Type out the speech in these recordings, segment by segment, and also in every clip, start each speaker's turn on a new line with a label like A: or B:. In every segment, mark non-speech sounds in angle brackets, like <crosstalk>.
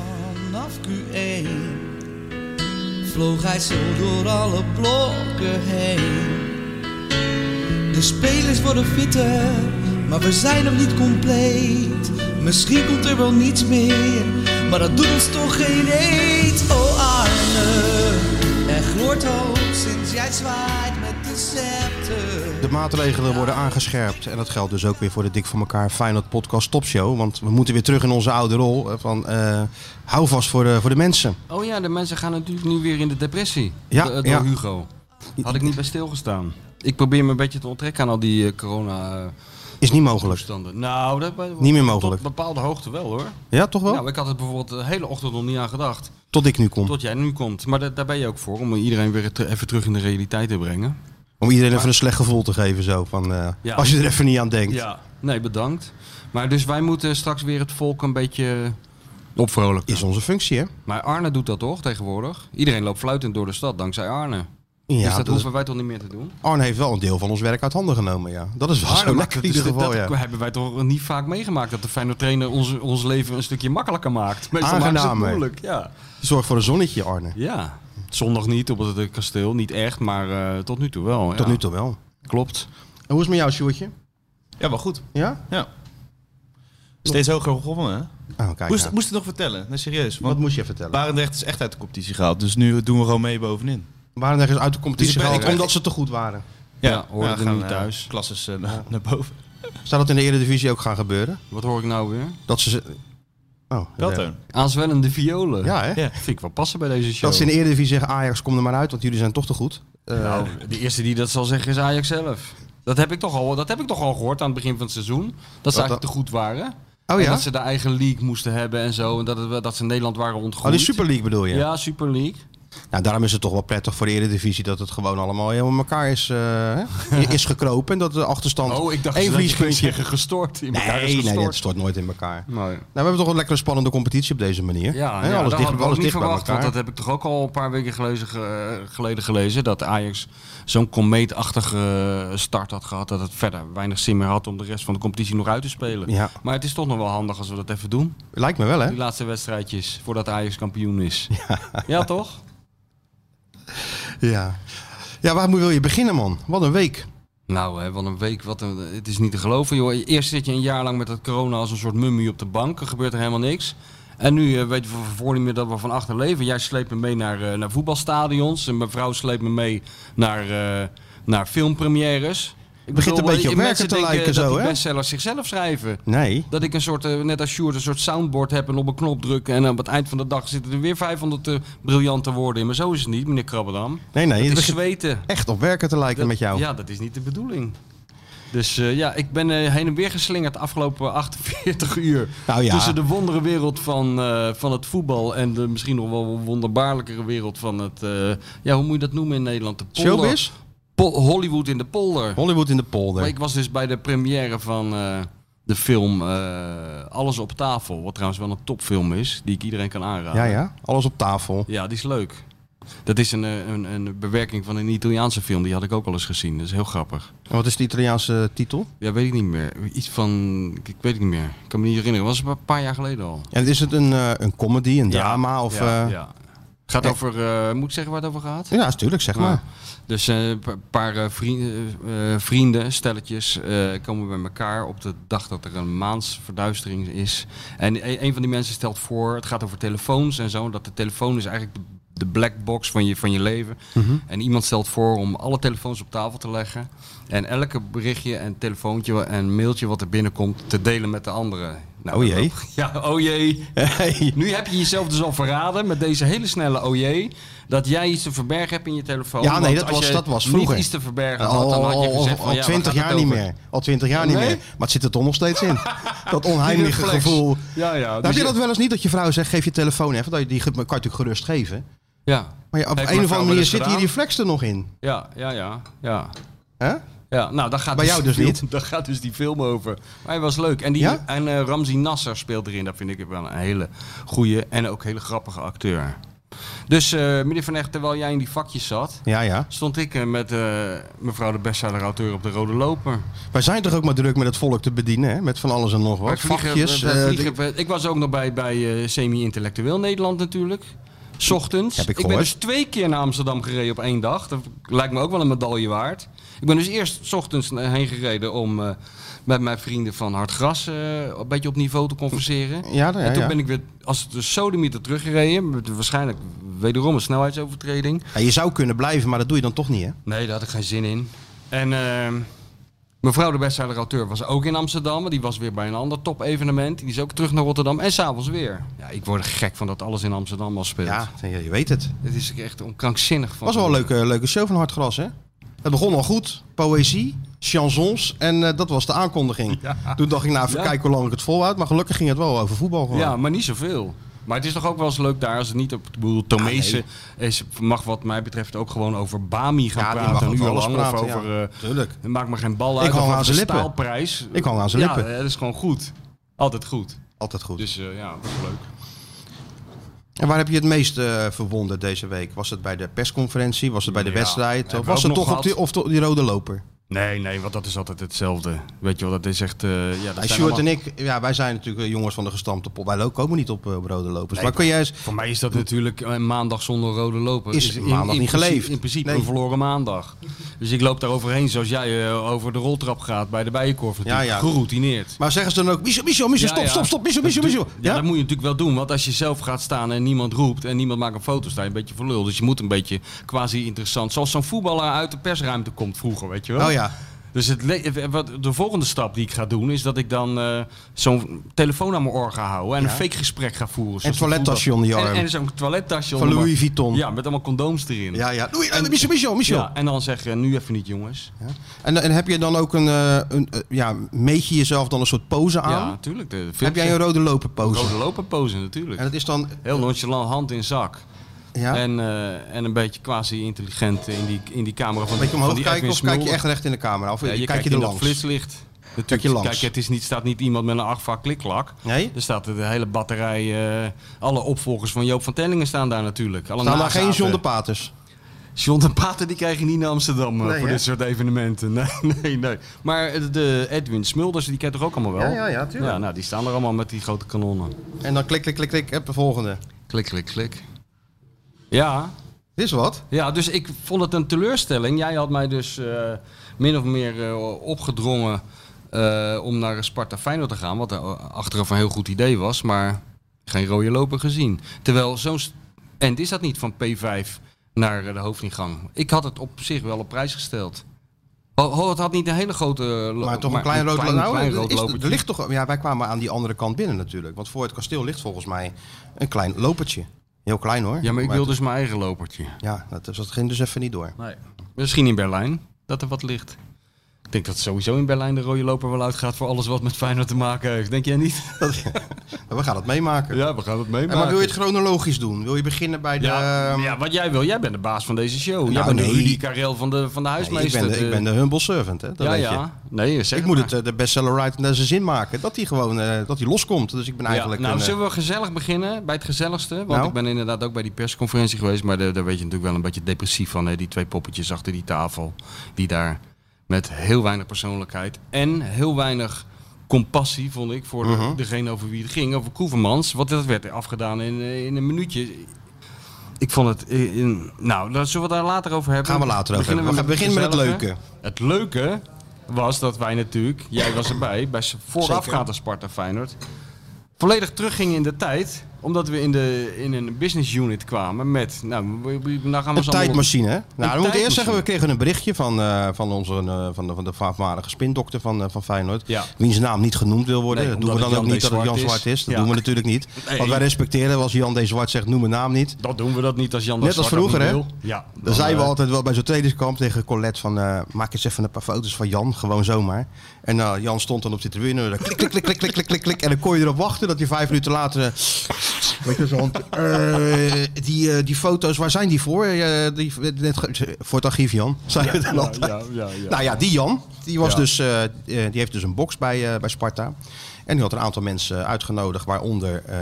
A: vanaf Q1 vloog hij zo door alle blokken heen. De spelers worden fitter, maar we zijn nog niet compleet. Misschien komt er wel niets meer, maar dat doet ons toch geen eet. Oh Arne, er gloort hoop sinds jij zwaait met de scepter.
B: De maatregelen worden aangescherpt. En dat geldt dus ook weer voor de Dik voor elkaar Feyenoord Podcast Topshow. Want we moeten weer terug in onze oude rol. eh, Van, eh, hou vast voor de, voor de mensen.
C: Oh ja, de mensen gaan natuurlijk nu weer in de depressie.
B: Ja,
C: Do- door
B: ja.
C: Hugo. Had ik niet bij stilgestaan. Ik probeer me een beetje te onttrekken aan al die eh, corona
B: Is niet mogelijk.
C: toestanden. Nou, dat
B: Niet meer mogelijk.
C: Tot bepaalde hoogte wel hoor.
B: Ja, toch wel?
C: Nou, ik had het bijvoorbeeld de hele ochtend nog niet aan gedacht.
B: Tot ik nu kom.
C: Tot jij nu komt. Maar da- daar ben je ook voor, om iedereen weer te- even terug in de realiteit te brengen.
B: Om iedereen even een slecht gevoel te geven. Zo, van, eh,
C: Ja.
B: Als je er even niet aan denkt.
C: Nee, bedankt. Maar dus wij moeten straks weer het volk een beetje eh, opvrolijken.
B: Is onze functie, hè?
C: Maar Arne doet dat toch tegenwoordig? Iedereen loopt fluitend door de stad dankzij Arne.
B: Ja,
C: dus dat,
B: dat is-
C: hoeven wij toch niet meer te doen?
B: Arne heeft wel een deel van ons werk uit handen genomen, ja. Dat is wel
C: Arne,
B: zo
C: maar
B: lekker
C: dat
B: in ieder
C: is-
B: geval,
C: dat
B: ja.
C: hebben wij toch niet vaak meegemaakt. Dat de fijne trainer ons, ons leven een stukje makkelijker maakt. Meestal maken ze het
B: Aangenamer.
C: moeilijk. Ja.
B: Zorg voor een zonnetje, Arne.
C: ja. Zondag niet op het eh, kasteel. Niet echt, maar eh, tot nu toe wel.
B: Tot
C: ja.
B: nu toe wel.
C: Klopt.
B: En hoe is het met jou, Sjoerdje?
D: Ja, maar goed.
B: Ja?
D: Ja. Steeds hoger gewonnen, hè?
B: Oh, kijk
D: Moest,
B: nou.
D: moest het nog vertellen? Nee, serieus.
B: Wat
D: Want
B: moest je vertellen?
D: Barendrecht is echt uit de competitie gehaald. Dus nu doen we gewoon mee bovenin.
B: Waren ergens uit de competitie
D: Dus ik ben-
B: gehaald
D: ik-
B: omdat ze te goed waren?
C: Ja, hoorde er
D: gaan,
C: niet
D: eh,
C: thuis.
D: Klasses eh, naar, naar boven.
B: Zou dat in de Eredivisie ook gaan gebeuren?
C: Wat hoor ik nou weer?
B: Dat ze... ze- Oh,
D: Wel,
B: ja.
D: Toon.
C: Aanzwellende violen.
B: Ja, hè?
D: Ja.
C: Vind ik wel passen bij deze show.
B: Dat ze in de Eredivisie zeggen, Ajax, kom er maar uit, want jullie zijn toch te goed. Eh,
C: Nou, de eerste die dat zal zeggen is Ajax zelf. Dat heb ik toch al, dat heb ik toch al gehoord aan het begin van het seizoen. Dat ze eigenlijk
B: dat-
C: te goed waren.
B: oh
C: En
B: ja?
C: dat ze de eigen league moesten hebben en zo. En dat, het, wel- dat ze Nederland waren
B: Oh,
C: ontgroeid.
B: die Super League bedoel je?
C: Ja, Super League.
B: Nou, daarom is het toch wel prettig voor de Eredivisie dat het gewoon allemaal helemaal elkaar is, eh,
C: <laughs>
B: hè, is gekropen. En dat de achterstand
C: Oh, ik
B: één
C: dacht dat je ging
B: verliespuntje...
C: zeggen gestort. In elkaar is
B: Nee, nee, dat
C: gestort.
B: stort nooit in elkaar.
C: Nee.
B: Nou, we hebben toch een lekkere spannende competitie op deze manier.
C: Ja,
B: Hè,
C: ja,
B: alles
C: dat
B: dicht,
C: had
B: alles
C: ik ook niet
B: dicht bij
C: verwacht.
B: elkaar.
C: Want dat heb ik toch ook al een paar weken gelezen, ge- eh, geleden gelezen. Dat Ajax zo'n komeetachtige start had gehad. Dat het verder weinig zin meer had om de rest van de competitie nog uit te spelen.
B: Ja.
C: Maar het is toch nog wel handig als we dat even doen.
B: Lijkt me wel, hè?
C: Die laatste wedstrijdjes voordat Ajax kampioen
B: <laughs>
C: is. Ja, toch?
B: Ja. Ja, waar moet- wil je beginnen, man? Wat een week.
C: Nou, hè, wat een week. Wat een, het is niet te geloven, joh. Eerst zit je een jaar lang met dat corona als een soort mummie op de bank. Er gebeurt er helemaal niks. En nu eh, weten we voor niet meer dat we van achter leven. Jij sleept me mee naar, eh, naar voetbalstadions. En mijn vrouw sleept me mee naar, eh, naar filmpremières. Ik
B: Begint een beetje op
C: eh,
B: werken
C: mensen
B: te
C: denken
B: lijken
C: dat
B: zo,
C: die
B: hè?
C: bestsellers zichzelf schrijven.
B: Nee.
C: Dat ik een soort, eh, net als Sjoerd, een soort soundboard heb en op een knop drukken. En op het eind van de dag zitten er weer 500 eh, briljante woorden in. Maar zo is het niet, meneer Krabbedam.
B: Nee, nee.
C: Het
B: Het
C: is
B: begint
C: zweten.
B: echt op werken te lijken
C: Dat-
B: met jou.
C: Ja, dat is niet de bedoeling. Dus eh, ja, ik ben eh, heen en weer geslingerd de afgelopen <laughs> 48 uur.
B: Nou ja.
C: Tussen de wondere wereld van, eh, van het voetbal en de misschien nog wel wonderbaarlijkere wereld van het... eh, ja, hoe moet je dat noemen in Nederland? De polder.
B: Showbiz?
C: Pol- Hollywood in de polder.
B: Hollywood in de
C: Maar
B: polder.
C: ik was dus bij de première van eh, de film eh, Alles op tafel. Wat trouwens wel een topfilm is, die ik iedereen kan aanraden.
B: Ja, ja. Alles op tafel.
C: Ja, die is leuk. Dat is een, eh, een, een bewerking van een Italiaanse film. Die had ik ook al eens gezien. Dat is heel grappig.
B: En wat is de Italiaanse titel?
C: Ja, weet ik niet meer. Iets van... Ik weet het niet meer. Ik kan me niet herinneren. was een paar jaar geleden al.
B: En is het een, eh, een comedy, een
C: Ja,
B: drama? Of,
C: ja,
B: eh,
C: ja. Gaat over... eh, moet ik zeggen waar het over gaat?
B: Ja, natuurlijk, zeg maar.
C: Dus eh, een pa- paar eh, vrienden, eh, vrienden, stelletjes, eh, komen bij elkaar op de dag dat er een maansverduistering is. En e- een van die mensen stelt voor, het gaat over telefoons en zo, dat de telefoon is eigenlijk de, de black box van je, van je leven.
B: Mhm.
C: En iemand stelt voor om alle telefoons op tafel te leggen en elke berichtje en telefoontje en mailtje wat er binnenkomt te delen met de anderen. Nou,
B: Oh jee.
C: <laughs> <laughs> Ja, oh jee.
B: Hey.
C: Nu heb je jezelf dus al verraden met deze hele snelle OJ. Dat jij iets te verbergen hebt in je telefoon.
B: Ja, nee,
C: Want
B: dat
C: als
B: was-
C: je
B: dat was vroeger.
C: niet iets te verbergen had,
B: Al,
C: dan had je
B: al,
C: gezegd
B: al,
C: van, ja, waar
B: 20
C: gaat
B: jaar
C: het
B: niet
C: over?
B: meer. Al 20 jaar niet
C: Nee?
B: meer. Maar het zit er toch nog steeds
C: <laughs>
B: in. Dat onheimelijke
C: reflex.
B: gevoel.
C: Ja, ja.
B: Nou,
C: dus
B: heb je
C: je-
B: dat wel eens niet dat je vrouw zegt: geef je telefoon even? Dat je die ge- kan je natuurlijk gerust geven.
C: Ja,
B: Maar ja, op
C: Heeft
B: een of
C: mijn vrouw
B: andere
C: wel
B: manier
C: eens
B: zit die
C: gedaan.
B: reflex er nog in.
C: ja, ja, ja, ja.
B: hè?
C: Ja, nou, daar gaat
B: Bij jou
C: die
B: dus
C: film- <laughs> Daar gaat dus die film over. Maar hij was leuk. En, die,
B: Ja?
C: en eh, Ramzi Nasser speelt erin. Dat vind ik wel een hele goede en ook hele grappige acteur. Dus eh, meneer Van Echt, terwijl jij in die vakjes zat,
B: Ja, ja.
C: stond ik eh, met eh, mevrouw de bestseller-auteur op de rode loper.
B: Wij zijn toch ook maar druk met het volk te bedienen, hè? Met van alles en nog
C: Wij
B: wat.
C: vliegen-
B: Vakjes.
C: wij
B: eh,
C: vliegen- wij- ik was ook nog bij, bij eh, semi-intellectueel Nederland natuurlijk. 's Ochtends.
B: Heb ik
C: ben
B: gehoord.
C: dus twee keer naar Amsterdam gereden op één dag. Dat lijkt me ook wel een medaille waard. Ik ben dus eerst 's ochtends heen gereden om eh, met mijn vrienden van Hartgras eh, een beetje op niveau te converseren.
B: de- ja, ja, ja.
C: en toen ben ik weer als de sodemieter teruggereden. Met waarschijnlijk wederom een snelheidsovertreding.
B: Ja, je zou kunnen blijven, maar dat doe je dan toch niet, hè?
C: Nee, daar had ik geen zin in. En ehm, mevrouw de bestseller-auteur was ook in Amsterdam. maar Die was weer bij een ander top-evenement. Die is ook terug naar Rotterdam. En s'avonds weer. Ja, ik word gek van dat alles in Amsterdam al speelt.
B: Ja, je je weet het.
C: Het is echt onkrankzinnig van.
B: was wel een leuke, leuke show van Hartgras, hè? Het begon al goed. Poëzie, chansons en eh, dat was de aankondiging. Toen dacht ik, nou, even
C: <laughs> Ja.
B: kijken hoe lang ik het volhoud. Maar gelukkig ging het wel over voetbal gewoon.
C: Ja, maar niet zoveel. Maar het is toch ook wel eens leuk daar als het niet op. Ik bedoel, Tomezen
B: Ah,
C: is- mag, wat mij betreft, ook gewoon over Bami gaan
B: Ja, die mag
C: praten. Een
B: over
C: uur
B: alles
C: lang.
B: praten,
C: of
B: ja.
C: over. eh,
B: Tuurlijk.
C: Het maakt me geen bal
B: Ik
C: uit.
B: hang
C: Of
B: aan
C: over
B: zijn
C: de
B: lippen.
C: staalprijs.
B: Ik hang aan zijn lippen.
C: Ja, eh, dat is gewoon goed. Altijd goed.
B: Altijd goed.
C: Dus eh, ja, dat is leuk.
B: En waar heb je het meest eh, verwonden deze week? Was het bij de persconferentie? Was het bij de
C: Ja,
B: wedstrijd?
C: hebben
B: Of
C: we
B: was
C: ook
B: het
C: nog
B: toch op die, of to- die rode loper?
C: Nee, nee, want dat is altijd hetzelfde. Weet je wel, dat is echt... eh, ja, dat
B: Hey,
C: zijn
B: Nou, Sjoerd
C: allemaal-
B: en ik, ja, wij zijn natuurlijk eh, jongens van de gestampte pop. Wij lo- komen niet op, eh, op rode lopers. maar kun jij eens...
C: Voor mij is dat natuurlijk eh, maandag zonder rode lopen.
B: Is maandag niet
C: principe-
B: geleefd.
C: In principe
B: Nee.
C: een verloren maandag. Dus ik loop daar overheen zoals jij eh, over de roltrap gaat bij de bijenkorf. natuurlijk.
B: Ja, ja.
C: Geroutineerd.
B: Maar zeggen ze dan ook, Michel, Michel, Michel,
C: Ja,
B: stop,
C: ja.
B: stop, stop, Michel, Michel, Michel.
C: Ja, dat moet je natuurlijk wel doen. Want als je zelf gaat staan en niemand roept en niemand maakt een foto, sta je een beetje voor lul. Dus je moet een beetje quasi interessant. Zoals zo'n voetballer uit de persruimte komt vroeger, weet je wel.
B: Oh ja,
C: Dus het le- wat de volgende stap die ik ga doen is dat ik dan eh, zo'n telefoon aan mijn oor ga houden en
B: Ja.
C: een fake gesprek ga voeren.
B: en
C: zoals
B: toilettasje onder je
C: voetbal-
B: arm.
C: En, en zo'n toilettasje
B: van
C: onder
B: Louis
C: mijn-
B: Vuitton. Ja,
C: Ja, met allemaal condooms erin.
B: ja. Doei, eh, Michel, Michel, Michel.
C: Ja, en dan zeggen nu even niet jongens.
B: En, en heb je dan ook een, eh, een eh, ja, meet je jezelf dan een soort pose aan?
C: Ja, natuurlijk. De
B: Ah. heb jij een rode loper pose?
C: rode loper pose natuurlijk.
B: En dat is dan,
C: Heel nonchalant, hand in zak.
B: ja, een
C: En, eh, en een beetje quasi intelligent in die, in die camera van, die-
B: beetje omhoog
C: van die
B: kijken
C: Edwin
B: of kijk je
C: Smulders.
B: echt recht in de camera? Of
C: Ja, je
B: kijk
C: kijkt
B: je er
C: in dat
B: langs?
C: flitslicht.
B: Kijk je langs?
C: Kijk, het is niet, staat niet iemand met een achtvaart kliklak.
B: Nee?
C: Er staat de hele batterij, eh, alle opvolgers van Joop van Tellingen staan daar natuurlijk. Alle
B: Staan daar geen
C: nazaten.
B: John de Paters?
C: John de Pater die krijg je niet naar Amsterdam eh,
B: Nee,
C: voor
B: hè?
C: dit soort evenementen. <laughs> Nee, nee, nee. Maar eh, de Edwin Smulders, die kent toch ook allemaal wel?
B: Ja, ja, ja, tuurlijk.
C: nou, die staan er allemaal met die grote kanonnen.
B: En dan klik, klik, klik, klik, heb de volgende.
C: Klik, klik, klik. Ja,
B: Dit is wat.
C: ja, dus ik vond het een teleurstelling. Jij had mij dus eh, min of meer eh, opgedrongen eh, om naar Sparta Feyenoord te gaan. Wat eh, achteraf een heel goed idee was, maar geen rode loper gezien. Terwijl zo'n... st- En is dat niet van P5 naar eh, de hoofdingang? Ik had het op zich wel op prijs gesteld. Ho- ho, het had niet een hele grote... eh, lo-
B: Maar toch een klein rood
C: klein- klein rood
B: loper.
C: lopertje.
B: Er ligt toch, ja, wij kwamen aan die andere kant binnen natuurlijk. Want voor het kasteel ligt volgens mij een klein lopertje. Heel klein hoor.
C: Ja, maar ik wil dus mijn eigen lopertje.
B: Ja, dat, dat ging dus even niet door.
C: Misschien in Berlijn, dat er wat ligt. Ik denk dat sowieso in Berlijn de rode loper wel uitgaat voor alles wat met Feyenoord te maken heeft. Denk jij niet?
B: Dat- <laughs> maar we gaan dat meemaken.
C: Ja, we gaan het meemaken.
B: en maar wil je het chronologisch doen? Wil je beginnen bij de...
C: ja,
B: ehm,
C: ja, wat jij wil. Jij bent de baas van deze show. jij
B: Nou,
C: bent
B: nee.
C: de Rudy Karel van de, van de
B: nee, ik,
C: huismeester.
B: ben de, ik ben de humble servant, hè? Dat
C: ja,
B: weet je.
C: ja. Nee, zeg
B: Ik moet
C: maar.
B: het, eh, de bestseller right naar zijn zin maken. Dat hij gewoon eh, dat hij loskomt. Dus ik ben
C: Ja,
B: eigenlijk...
C: nou,
B: een, eh,
C: zullen we gezellig beginnen bij het gezelligste? Want
B: Nou.
C: ik ben inderdaad ook bij die persconferentie geweest. Maar daar daar weet je natuurlijk wel een beetje depressief van. Hè? Die twee poppetjes achter die tafel. Die daar met heel weinig persoonlijkheid en heel weinig compassie, vond ik, voor de-
B: Mhm.
C: degene over wie het ging. Over Koevermans. Want dat werd afgedaan in, eh, in een minuutje. Ik vond het... eh, in- nou, daar zullen we daar later over hebben.
B: Gaan we later over hebben. We gaan beginnen met het
C: gezellige.
B: leuke.
C: Het leuke was dat wij natuurlijk, jij was erbij, bij voorafgaande Sparta Feyenoord, volledig teruggingen in de tijd. Omdat we in, de, in een business unit kwamen met, nou, we- we- nou gaan we
B: Een
C: ze allemaal-
B: tijdmachine, hè? Nou, we moeten
C: tijdmachine.
B: eerst zeggen, we kregen een berichtje van, eh, van, onze, eh, van de, van de voormalige spindokter van, eh, van Feyenoord.
C: Ja.
B: Wiens naam niet genoemd wil worden.
C: Nee,
B: dat doen we
C: omdat
B: dan ook
C: het Jan
B: niet
C: D.
B: dat het Jan
C: Zwart
B: Zwart
C: is.
B: is. Dat
C: Ja.
B: doen we natuurlijk niet.
C: <laughs> Nee.
B: Want wij respecteren als Jan D. Zwart zegt, noem mijn naam niet.
C: Dat doen we dat niet als Jan de
B: Net als
C: Zwart dat
B: vroeger,
C: niet
B: hè?
C: wil. Ja.
B: Dan zijn we
C: eh,
B: altijd wel bij zo'n trainingskamp tegen Colette van... eh, maak eens even een paar foto's van Jan, gewoon zomaar. En nou, Jan stond dan op de tribune. en dan Klik, klik, klik, klik, klik, klik, klik, klik. En dan kon je erop wachten dat hij vijf minuten later... eh, weet je, zo'n... eh, die, eh, die foto's, waar zijn die voor? Eh, die, net ge- voor het archief, Jan. Zijn we dan altijd.
C: ja, ja, ja.
B: Nou ja, die Jan, die, was
C: Ja.
B: dus, eh, eh, die heeft dus een box bij, eh, bij Sparta. En die had een aantal mensen uitgenodigd, waaronder eh,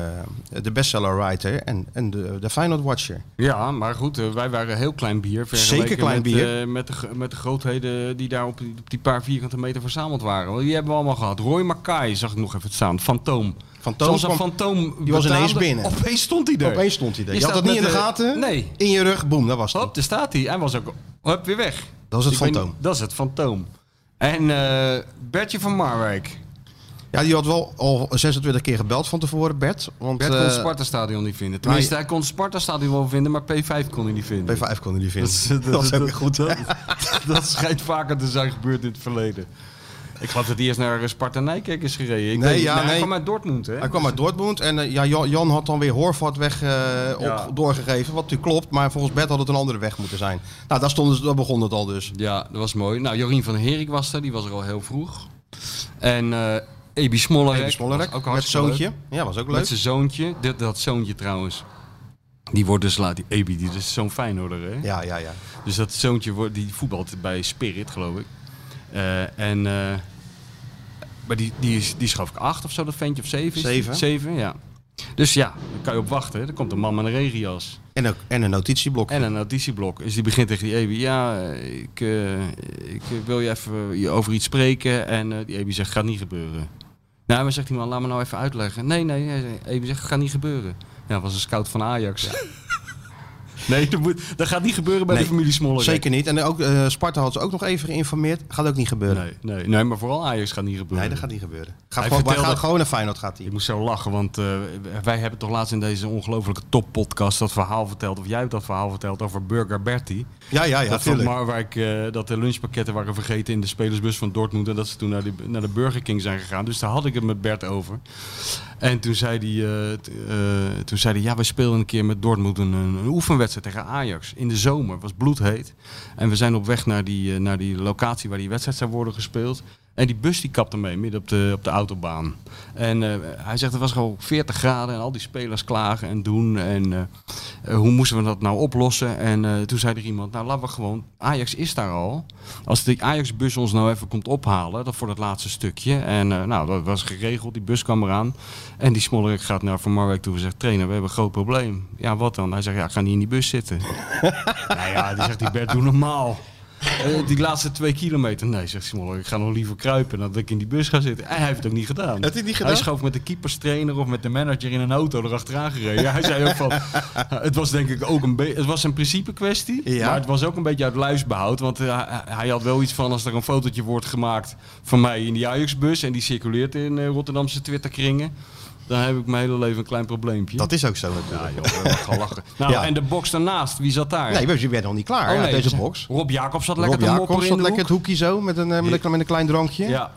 B: de bestseller writer en, en de, de Feyenoord Watcher.
C: Ja, maar goed, eh, wij waren heel klein bier. vergeleken
B: Zeker klein
C: met,
B: bier.
C: eh, met, de, gro- met de grootheden die daar op die, op die paar vierkante meter verzameld waren. Want die hebben we allemaal gehad. Roy Mackay zag ik nog even staan. Fantoom.
B: Fantoom
C: Zoals een
B: kwam-
C: fantoom
B: die was ineens
C: betaamde,
B: binnen.
C: Opeens stond hij er.
B: Opeens stond hij er.
C: Die
B: Je had
C: staat
B: het niet in de
C: met, eh,
B: gaten.
C: nee.
B: In je rug, boem, dat was het.
C: Hop, daar staat hij. Hij was ook hop, weer weg.
B: Dat was het
C: Ik weet
B: fantoom.
C: niet- dat is het fantoom. En eh, Bertje van Marwijk.
B: Ja, die had wel al 26 keer gebeld van tevoren, Bert. Want
C: Bert kon
B: eh,
C: het Sparta-stadion niet vinden. Tenminste, hij kon het Sparta-stadion wel vinden, maar P5 kon hij niet vinden.
B: P5 kon hij niet
C: <laughs> Dat,
B: vinden.
C: is- dat, dat, goed, dat, <laughs> dat schijnt vaker te zijn gebeurd in het verleden. Ik geloof dat hij eerst naar eh, Sparta Nijkerk is gereden. Ik
B: Nee,
C: weet-
B: ja,
C: nou, Hij
B: nee.
C: kwam uit Dortmund, hè?
B: Hij kwam uit Dortmund en eh, ja, Jan, Jan had dan weer Horvat weg eh, op,
C: Ja.
B: doorgegeven. Wat natuurlijk klopt, maar volgens Bert had het een andere weg moeten zijn. Nou, daar, stonden, ze- daar begon het al dus.
C: Ja, dat was mooi. Nou, Jorien van Herik was er. Die was er al heel vroeg. En eh Ebi Smollerek.
B: Even Smollerek,
C: was ook
B: met
C: hartstikke leuk.
B: zoontje. Ja, was ook leuk.
C: Met zijn zoontje. Dit, dat zoontje trouwens. Die wordt dus laat, die Ebi, die is zo'n Feyenoorder, hè?
B: Ja, ja, ja.
C: Dus dat zoontje wordt, die voetbalt bij Spirit, geloof ik. Eh, en, eh, maar die, die, is, die is geloof ik acht of zo, dat ventje, of zeven? is die?
B: Zeven.
C: Zeven, ja. Dus ja, daar kan je op wachten. hè. Er komt een man met een regenjas
B: En een, en een notitieblok.
C: en een auditieblok. Dus die begint tegen die Ebi. Ja, eh, ik, eh, ik wil je even eh, je over iets spreken. En eh, die Ebi zegt, gaat niet gebeuren. Nou, maar zegt die man, laat me nou even uitleggen. Nee, nee, nee, nee. Ebi zegt, gaat niet gebeuren. Ja, dat was een scout van Ajax. <laughs> Nee, dat, moet, dat gaat niet gebeuren bij
B: Nee,
C: de familie Smollering.
B: Zeker niet. En ook, eh, Sparta had ze ook nog even geïnformeerd. Gaat ook niet gebeuren. Nee,
C: Nee, nee, nee, maar vooral Ajax gaat niet gebeuren.
B: dat gaat niet gebeuren. Gaat
C: Hij
B: gewoon, wij
C: vertelde-
B: gaan gewoon naar Feyenoord gaat hij.
C: Ik moest zo lachen, want eh, wij hebben toch laatst in deze ongelofelijke toppodcast dat verhaal verteld, of jij hebt dat verhaal verteld over Burger Bertie.
B: Ja, ja, ja.
C: dat van
B: tuurlijk.
C: Marwijk, eh, dat de lunchpakketten waren vergeten in de spelersbus van Dortmund en dat ze toen naar, die, naar de Burger King zijn gegaan. Dus daar had ik het met Bert over. En toen zei hij, eh, t- eh, toen zei hij ja, we speelden een keer met Dortmund een, een, een oefenwedstrijd tegen Ajax in de zomer. Het was bloedheet. En we zijn op weg naar die, eh, naar die locatie waar die wedstrijd zou worden gespeeld. En die bus die kapte mee midden op de, op de autobaan. En eh, hij zegt, het was gewoon 40 graden en al die spelers klagen en doen. En eh, eh, hoe moesten we dat nou oplossen? En eh, toen zei er iemand, nou laten we gewoon, Ajax is daar al. Als die Ajax-bus ons nou even komt ophalen, dat voor dat laatste stukje. En eh, nou, dat was geregeld, die bus kwam eraan. En die Smollerik gaat naar Van Marwijk toe en zegt, trainer, we hebben een groot probleem. Ja, wat dan? Hij zegt, ja, ik ga niet in die bus
B: <laughs>
C: zitten. nou ja, die zegt, die Bert, doe normaal. Eh, die laatste twee kilometer. Nee, zegt Smoller, ik ga nog liever kruipen dan dat ik in die bus ga zitten. En hij heeft het ook niet gedaan.
B: Heeft hij het niet
C: Hij
B: gedaan?
C: schoof met de keeperstrainer of met de manager in een auto erachteraan gereden. Ja, hij zei ook van, <laughs> het was denk ik ook een beetje, het was een principe kwestie.
B: Ja.
C: Maar het was ook een beetje uit luisbehoud. Want eh, hij- hij had wel iets van, als er een fotootje wordt gemaakt van mij in die Ajax-bus. En die circuleert in eh, Rotterdamse Twitterkringen. Dan heb ik mijn hele leven een klein probleempje.
B: Dat is ook zo natuurlijk.
C: Ja joh, we gaan lachen.
B: <laughs>
C: Nou,
B: Ja.
C: en de box daarnaast, wie zat daar?
B: Nee, je bent nog niet klaar
C: Oh,
B: hè,
C: nee,
B: uit deze
C: dus-
B: box.
C: Rob Jacobs zat lekker
B: Rob
C: te mopperen
B: Jacobs
C: in
B: zat
C: de
B: lekker
C: hoek.
B: het hoekje zo met een, eh, met een, met een klein drankje.
C: Ja,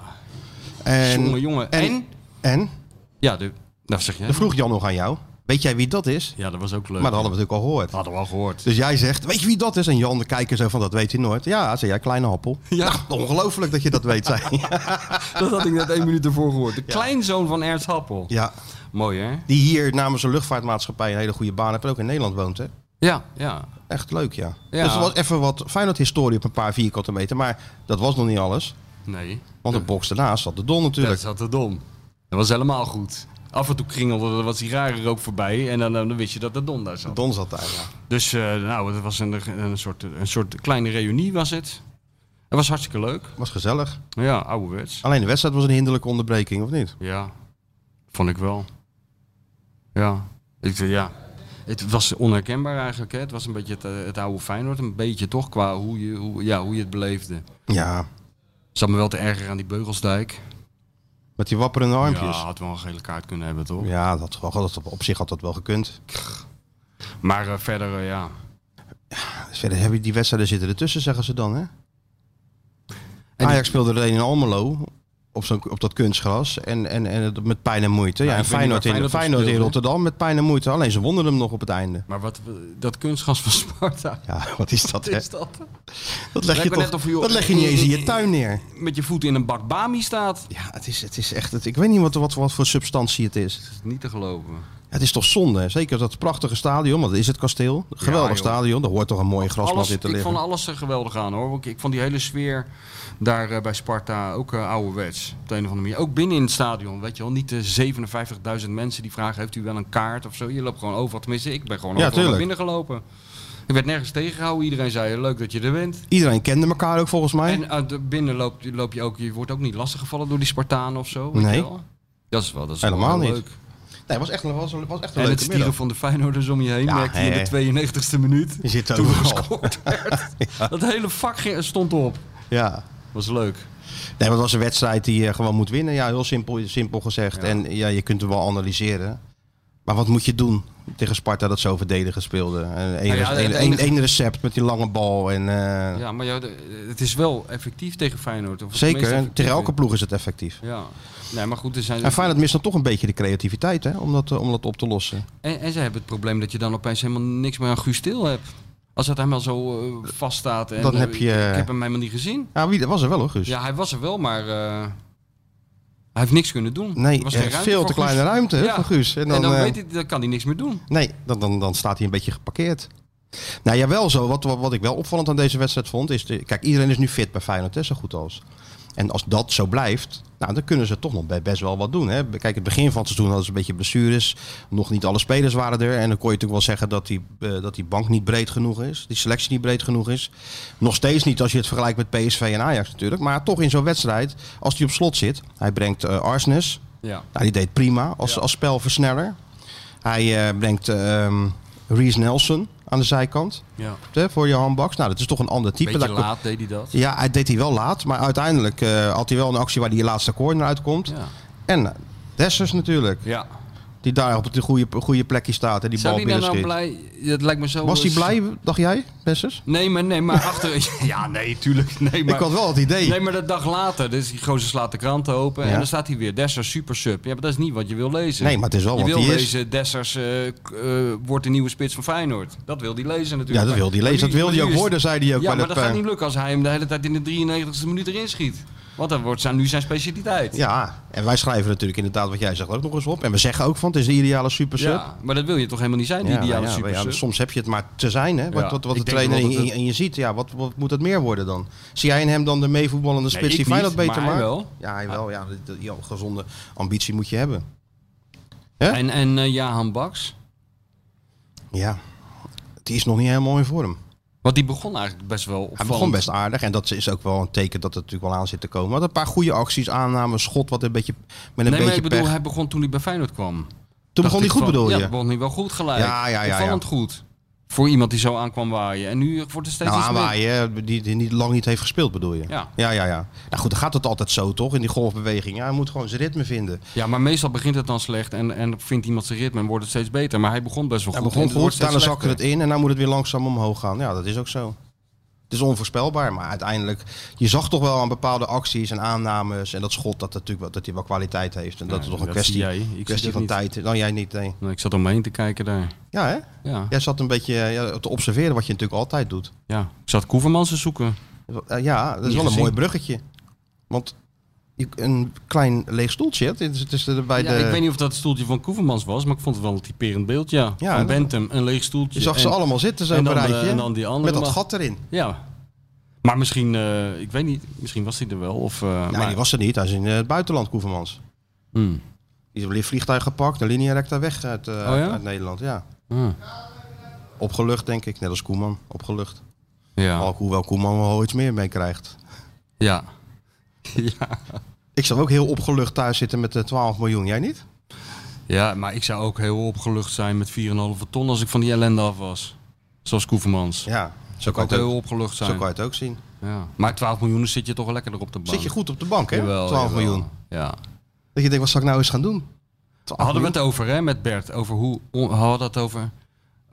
B: En,
C: jongen, jongen. En,
B: en, en?
C: Ja, de, nou zeg jij.
B: Dan vroeg Jan nog aan jou. Weet jij wie dat is?
C: Ja, dat was ook leuk.
B: Maar dat hadden we natuurlijk al gehoord.
C: hadden we al gehoord.
B: Dus jij zegt, weet je wie dat is? En Jan, de kijker, zo van, dat weet hij nooit. Ja, zei jij, kleine appel.
C: Ja.
B: Nou, ongelooflijk dat je dat weet,
C: <laughs>
B: zei hij.
C: Dat had ik net één minuut ervoor gehoord. De kleinzoon van Ernst Happel.
B: Ja,
C: Mooi, hè?
B: die hier namens een luchtvaartmaatschappij een hele goede baan heeft. En ook in Nederland woont, hè?
C: Ja, ja.
B: Echt leuk, ja.
C: Ja.
B: Dus er was even wat Feyenoord-historie op een paar vierkante meter. Maar dat was nog niet alles.
C: Nee.
B: Want de box daarnaast zat de Don
C: Dat
B: natuurlijk.
C: zat er dom. Dat was helemaal goed. Af en toe kringelde er wat sigaren rook voorbij en dan, dan wist je dat de don daar
B: De
C: zat.
B: Don zat daar, ja.
C: Dus eh, nou, het was een, een, soort, een soort kleine reunie was het. Het was hartstikke leuk.
B: Was gezellig.
C: Ja, ouderwets.
B: Alleen de wedstrijd was een hinderlijke onderbreking, of niet?
C: Ja, vond ik wel. Ja, ik, eh, ja. Het was onherkenbaar eigenlijk. Hè? Het was een beetje het, eh, het oude Feyenoord. Een beetje toch qua hoe je, hoe, ja, hoe je het beleefde. Het
B: Ja,
C: zat me wel te erger aan die Beugelsdijk.
B: met die wapperende
C: Ja,
B: armpjes. Ja,
C: had wel een gele kaart kunnen hebben toch?
B: dat, wel- dat, op zich had dat wel gekund.
C: Maar eh, verder, eh, ja.
B: Dus verder heb je die wedstrijden zitten ertussen, zeggen ze dan, hè?
C: die-
B: Ajax speelde er een in Almelo. Op, zo'n, op dat kunstgras. En, en, en het met pijn en moeite.
C: Nou,
B: ja, en
C: ik weet niet waar
B: Feyenoord, in,
C: Feyenoord op
B: Feyenoord in
C: speelde.
B: Rotterdam met pijn en moeite. Alleen ze wonnen hem nog op het einde.
C: Maar wat, eh, dat kunstgas van <laughs> Sparta.
B: Ja, <laughs> wat is dat,
C: Wat
B: hè?
C: is dat?
B: Dat leg, je
C: Lijkt me
B: toch,
C: net of je-
B: dat leg je niet eens
C: <laughs>
B: in je tuin neer.
C: Met je voeten in een bak Bami staat.
B: Ja, het is, het is echt... Het, ik weet niet wat, wat, wat voor substantie het is.
C: Dat is niet te geloven.
B: Het is toch zonde, zeker dat prachtige stadion, want dat is het kasteel. Geweldig
C: joh.
B: stadion, daar hoort toch een mooie grasmat
C: Alles,
B: in te
C: ik
B: liggen.
C: vond alles er geweldig aan hoor. Want Ik, ik vond die hele sfeer daar eh, bij Sparta ook eh, ouderwets. Op de een of andere manier. Ook binnen in het stadion, weet je wel. Niet de 57.000 mensen die vragen, heeft u wel een kaart of zo? Je loopt gewoon overal. Tenminste, ik ben gewoon
B: Ja,
C: overal naar
B: tuurlijk.
C: binnen gelopen. Ik werd nergens tegengehouden. Iedereen zei, leuk dat je er bent.
B: Iedereen kende elkaar ook volgens mij.
C: En eh, de- binnen loop, loop je ook, je wordt ook niet lastiggevallen door die Spartanen of zo. Weet
B: Nee.
C: Je wel? Dat is wel, dat is
B: Helemaal
C: wel heel
B: niet.
C: leuk.
B: Nee, was echt, een- was, was echt een
C: En het
B: leuke
C: stieren
B: middag.
C: van de Feyenoorders om je heen
B: Ja,
C: merkte je
B: hè.
C: in de 92e minuut.
B: Je zit
C: Toen er
B: overal. <laughs>
C: gescoord werd. Dat hele vak ging- stond op.
B: Ja.
C: Was leuk.
B: Nee, maar het was een wedstrijd die je gewoon moet winnen. Ja, heel simpel, simpel gezegd. En ja, je kunt hem wel analyseren. Maar wat moet je doen tegen Sparta dat zo verdedigend speelde? Eh, Eén
C: Nou ja, het enige-
B: recept met die lange bal. En, eh,
C: Ja, maar ja, de- het is wel effectief tegen Feyenoord. Of het meest
B: zeker, en
C: effectief
B: tegen elke
C: is.
B: ploeg is het effectief.
C: Ja, nee, maar goed, er zijn...
B: En Feyenoord mist dan toch een beetje de creativiteit hè, om, dat, eh, om dat op te lossen.
C: En, en ze hebben het probleem dat je dan opeens helemaal niks meer aan Guus Til hebt. Als het helemaal zo eh, vaststaat. En,
B: Dan
C: eh,
B: heb je-
C: Ik heb hem helemaal niet gezien.
B: Ja, wie, dat was er wel hoor, Guus.
C: Ja, hij was er wel, maar eh, hij heeft niks kunnen doen.
B: nee,
C: Er was
B: eh,
C: geen ruimte
B: veel
C: voor
B: te
C: Guus.
B: kleine ruimte hè,
C: Ja.
B: van Guus.
C: En dan,
B: eh,
C: weet hij, dan kan hij niks meer doen.
B: Nee, dan, dan, dan staat hij een beetje geparkeerd. Nou ja, wel zo. Wat, wat, wat ik wel opvallend aan deze wedstrijd vond, is... De, kijk, iedereen is nu fit bij Feyenoord, hè, zo goed als. En als dat zo blijft, nou, dan kunnen ze toch nog be- best wel wat doen. Hè. Kijk, het begin van het seizoen hadden ze een beetje blessures. Nog niet alle spelers waren er. En dan kon je natuurlijk wel zeggen dat die, eh, dat die bank niet breed genoeg is. Die selectie niet breed genoeg is. Nog steeds niet als je het vergelijkt met PSV en Ajax natuurlijk. Maar toch in zo'n wedstrijd, als die op slot zit... Hij brengt eh Arsenis,
C: Ja.
B: nou, die deed prima als,
C: Ja.
B: als spelversneller. Hij eh, brengt ehm Reese Nelson aan de zijkant
C: ja.
B: hè, voor Johan Baks. Nou, dat is toch een ander type.
C: Beetje
B: Daar-
C: laat deed hij dat.
B: Ja, hij deed hij wel laat. Maar uiteindelijk eh, had hij wel een actie waar die laatste corner uitkomt.
C: Ja.
B: En eh, Dessers natuurlijk,
C: ja.
B: die daar op het goede, goede plekje staat en die
C: Zou
B: bal
C: hij nou,
B: binnen
C: nou
B: schiet.
C: blij... Dat lijkt me zo...
B: Was hij blij, dacht jij, Dessers?
C: Nee, maar, nee, maar achter... <laughs> Ja, nee, tuurlijk. Nee, maar...
B: Ik had wel het idee.
C: Nee, maar de dag later, dus die gozer slaat de kranten open
B: Ja.
C: en dan staat hij weer Dessers super sub. Ja, maar dat is niet wat je wil lezen.
B: Nee, maar het is wel
C: je
B: wat
C: wil
B: hij is.
C: lezen, Dessers eh, k- eh, wordt de nieuwe spits van Feyenoord. Dat wil hij lezen natuurlijk.
B: Ja, dat wil hij lezen. Dat wil
C: wilde
B: hij ook worden, zei hij ook. bij
C: Ja, maar dat
B: dat,
C: gaat
B: eh,
C: niet lukken als hij hem de hele tijd in de 93 e minuut erin schiet. Want dat wordt zijn, nu zijn specialiteit.
B: Ja, en wij schrijven natuurlijk inderdaad wat jij zegt ook nog eens op. En we zeggen ook van het is de ideale supersub.
C: Ja, maar dat wil je toch helemaal niet zijn, die
B: Ja,
C: ideale
B: ja,
C: super
B: ja,
C: sub.
B: soms heb je het maar te zijn, hè? Wat,
C: Ja,
B: wat, wat
C: ik
B: de
C: denk
B: trainer
C: wel
B: in,
C: dat het-
B: in je ziet. Ja, wat, wat moet het meer worden dan? Zie jij in hem dan de meevoetballende spits
C: ik
B: die Feyenoord
C: niet,
B: beter
C: maar hij
B: maakt?
C: wel.
B: Ja, hij wel. Ja, dat- dat- ja, gezonde ambitie moet je hebben. hè?
C: En, en eh Jahan Baks,
B: Ja, die is nog niet helemaal in vorm.
C: want die begon eigenlijk best wel opvallend.
B: Hij begon best aardig en dat is ook wel een teken dat het natuurlijk wel aan zit te komen. Wat een paar goede acties, aannames, schot, wat een beetje met een
C: nee, maar
B: beetje
C: ik bedoel,
B: pech.
C: hij begon toen hij bij Feyenoord kwam.
B: Toen
C: Dacht
B: begon hij
C: ik
B: goed,
C: van,
B: bedoel
C: ja,
B: je?
C: Ja, begon hij wel goed gelijk.
B: Ja, ja, ja,
C: Opvallend goed. Voor iemand die zo aan kwam waaien. En nu wordt er steeds
B: Nou,
C: iets meer-
B: aanwaaien, hè, die, die niet, lang niet heeft gespeeld, bedoel je?
C: Ja.
B: ja, ja. ja. Nou goed, dan gaat het altijd zo, toch? In die golfbeweging. Ja, hij moet gewoon zijn ritme vinden.
C: Ja, maar meestal begint het dan slecht en, en vindt iemand zijn ritme en wordt het steeds beter. Maar hij begon best wel
B: Hij
C: goed.
B: begon
C: en het wordt
B: goed,
C: steeds
B: daarna zakte het
C: slechter.
B: in en dan moet het weer langzaam omhoog gaan. Ja, dat is ook zo. Het is onvoorspelbaar, maar uiteindelijk... Je zag toch wel aan bepaalde acties en aannames en dat schot dat, het natuurlijk, wel- dat hij wel kwaliteit heeft. En dat
C: Ja,
B: het toch een
C: dat
B: kwestie,
C: zie jij. Ik zie
B: kwestie
C: dat
B: van
C: niet.
B: tijd is. Nou, jij niet, nee.
C: Nou, Ik zat om me heen te kijken daar.
B: Ja, hè?
C: Ja, ja.
B: Jij zat een beetje eh, ja, te observeren wat je natuurlijk altijd doet.
C: ik zat Koevermans te zoeken.
B: Eh, Ja, dat is
C: Niet
B: wel een
C: gezien.
B: mooi bruggetje. Want je- een klein leeg stoeltje, hè? het is, het is er bij
C: Ja,
B: de...
C: ik weet niet of dat het stoeltje van Koevermans was, maar ik vond het wel een typerend beeld, ja.
B: Ja, dat-
C: van Bentham, een leeg stoeltje.
B: Je zag ze
C: en-
B: allemaal zitten, zo'n
C: en dan de-
B: rijtje.
C: en dan die andere
B: met dat
C: man.
B: gat erin.
C: Ja. Maar misschien, eh, ik weet niet, misschien was hij er wel. Of, eh,
B: Nee,
C: maar,
B: die was er niet. Hij is in eh, het buitenland, Koevermans.
C: Hmm.
B: Die is op een vliegtuig gepakt, een linia recta weg uit, eh,
C: Oh ja?
B: uit Nederland. Ja.
C: Ah.
B: Opgelucht, denk ik. Net als Koeman, opgelucht.
C: Ja.
B: Al Hoewel Koeman wel iets meer mee krijgt.
C: Ja. ja.
B: Ik zou ook heel opgelucht thuis zitten met de 12 miljoen. Jij niet?
C: Ja, maar ik zou ook heel opgelucht zijn met 4,5 ton als ik van die ellende af was. Zoals Koevermans.
B: Ja, zo
C: zou ik
B: kan,
C: ook
B: je het
C: heel
B: ook,
C: opgelucht
B: zo
C: zijn.
B: kan je het ook zien.
C: Ja. Maar 12 miljoen dan zit je toch wel lekker op de bank.
B: Zit je goed op de bank, hè?
C: Jawel,
B: 12
C: jawel.
B: miljoen.
C: Ja.
B: Dat je denkt, wat zal ik nou eens gaan doen?
C: Hadden we
B: miljoen?
C: het over hè, met Bert, over hoe, on, hadden het over,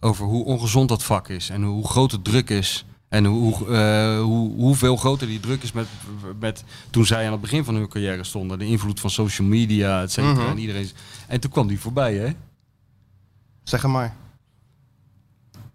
C: over hoe ongezond dat vak is en hoe groot de druk is. En hoe, eh, hoe, hoeveel groter die druk is met, met toen zij aan het begin van hun carrière stonden. De invloed van social media, et cetera. En, iedereen, en toen kwam die voorbij, hè?
B: Zeg het maar.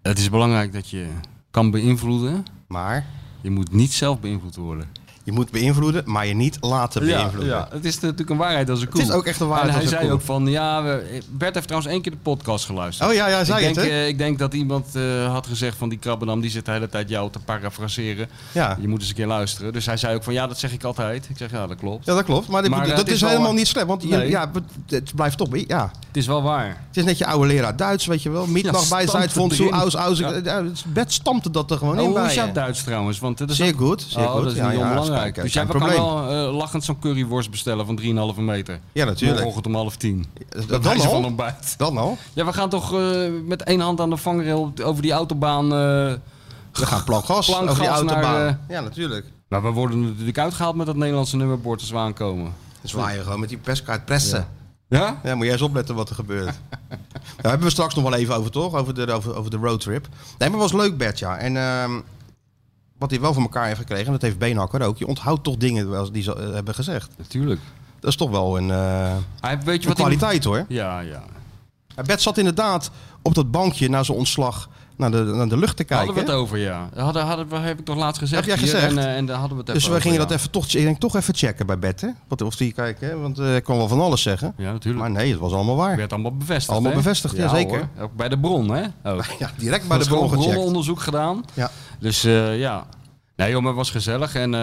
C: Het is belangrijk dat je kan beïnvloeden
B: Maar
C: Je moet niet zelf beïnvloed worden.
B: je Je moet beïnvloeden, maar je niet laten
C: Ja,
B: beïnvloeden.
C: ja, het is natuurlijk een waarheid als een koe.
B: Het is ook echt een waarheid
C: En hij
B: als een
C: zei
B: koe.
C: ook van, ja, we- Bert heeft trouwens één keer de podcast geluisterd.
B: Oh ja, ja,
C: ik
B: zei
C: denk,
B: het, hè?
C: eh, ik denk dat iemand eh, had gezegd van die krabbenam, die zit de hele tijd jou te parafraseren.
B: Ja.
C: Je moet eens een keer luisteren. Dus hij zei ook van, ja, dat zeg ik altijd. Ik zeg, ja, dat klopt.
B: ja, dat klopt. Maar, dit-
C: Maar, eh,
B: dat
C: het
B: is,
C: is wel,
B: helemaal
C: eh,
B: niet slecht. Want je-
C: nee.
B: ja, het- het blijft toch... bij- Ja.
C: Het is wel waar.
B: Het is net je oude leraar Duits, weet je wel. Mietnacht
C: stampt
B: bij
C: het
B: Zuid, vond zo,
C: erin.
B: aus, aus.
C: Ja.
B: Ja. Het bed stampte dat er gewoon
C: Oh,
B: in
C: hoe
B: bij
C: is jouw
B: je.
C: Duits trouwens? Want dat is
B: Zeer
C: ook-
B: goed, zeer
C: oh,
B: goed.
C: dat is
B: Ja,
C: niet
B: ja,
C: onbelangrijk.
B: dat is
C: dus jij
B: geen
C: kan
B: probleem.
C: wel eh, lachend zo'n curryworst bestellen van 3,5 meter.
B: Ja, natuurlijk.
C: Morgenochtend om half tien.
B: Dat
C: Bij
B: dan
C: wijze van
B: al?
C: ontbijt.
B: Dan al?
C: <laughs> Ja, we gaan toch eh, met één hand aan de vangrail op- over die autobaan. eh,
B: We gaan plank gas
C: Plank
B: over die
C: gas naar,
B: autobaan.
C: eh,
B: Ja, natuurlijk.
C: maar Nou, we worden natuurlijk uitgehaald met dat Nederlandse nummerbord als we aankomen.
B: Dan zwaai je gewoon met die perskaart pressen.
C: Ja?
B: Ja. moet jij eens opletten wat er gebeurt.
C: <laughs>
B: Daar hebben we straks nog wel even over, toch? Over de, over, over de roadtrip. Nee, maar het was leuk, Bert, ja. En ehm, wat hij wel voor elkaar heeft gekregen, en dat heeft Beenhakker ook. Je onthoudt toch dingen wel eens die ze eh, hebben gezegd.
C: Natuurlijk.
B: Dat is toch wel een, eh,
C: Hij, weet je
B: een
C: wat hij-
B: kwaliteit, hoor.
C: Ja, ja.
B: Ja, Bert zat inderdaad op dat bankje na zijn ontslag naar de, naar de lucht te kijken.
C: Hadden we het over, ja. Hadden, hadden we, heb ik toch laatst gezegd.
B: Heb jij
C: hier,
B: gezegd?
C: En, eh, en daar hadden we het
B: dus
C: even
B: we gingen
C: over,
B: dat even toch, ik denk, toch even checken bij Bert, hè? Wat, of die kijken, hè? want eh ik kon wel van alles zeggen.
C: Ja, natuurlijk.
B: Maar nee, het was allemaal waar.
C: werd allemaal bevestigd.
B: Allemaal
C: hè?
B: bevestigd, ja, zeker.
C: hoor. Ook bij de bron, hè? Ook.
B: <laughs> Ja, direct bij
C: Maar
B: de
C: er
B: bron
C: is gewoon
B: gecheckt.
C: onderzoek gedaan.
B: Ja.
C: Dus eh, ja. Nee joh, maar het was gezellig. En eh,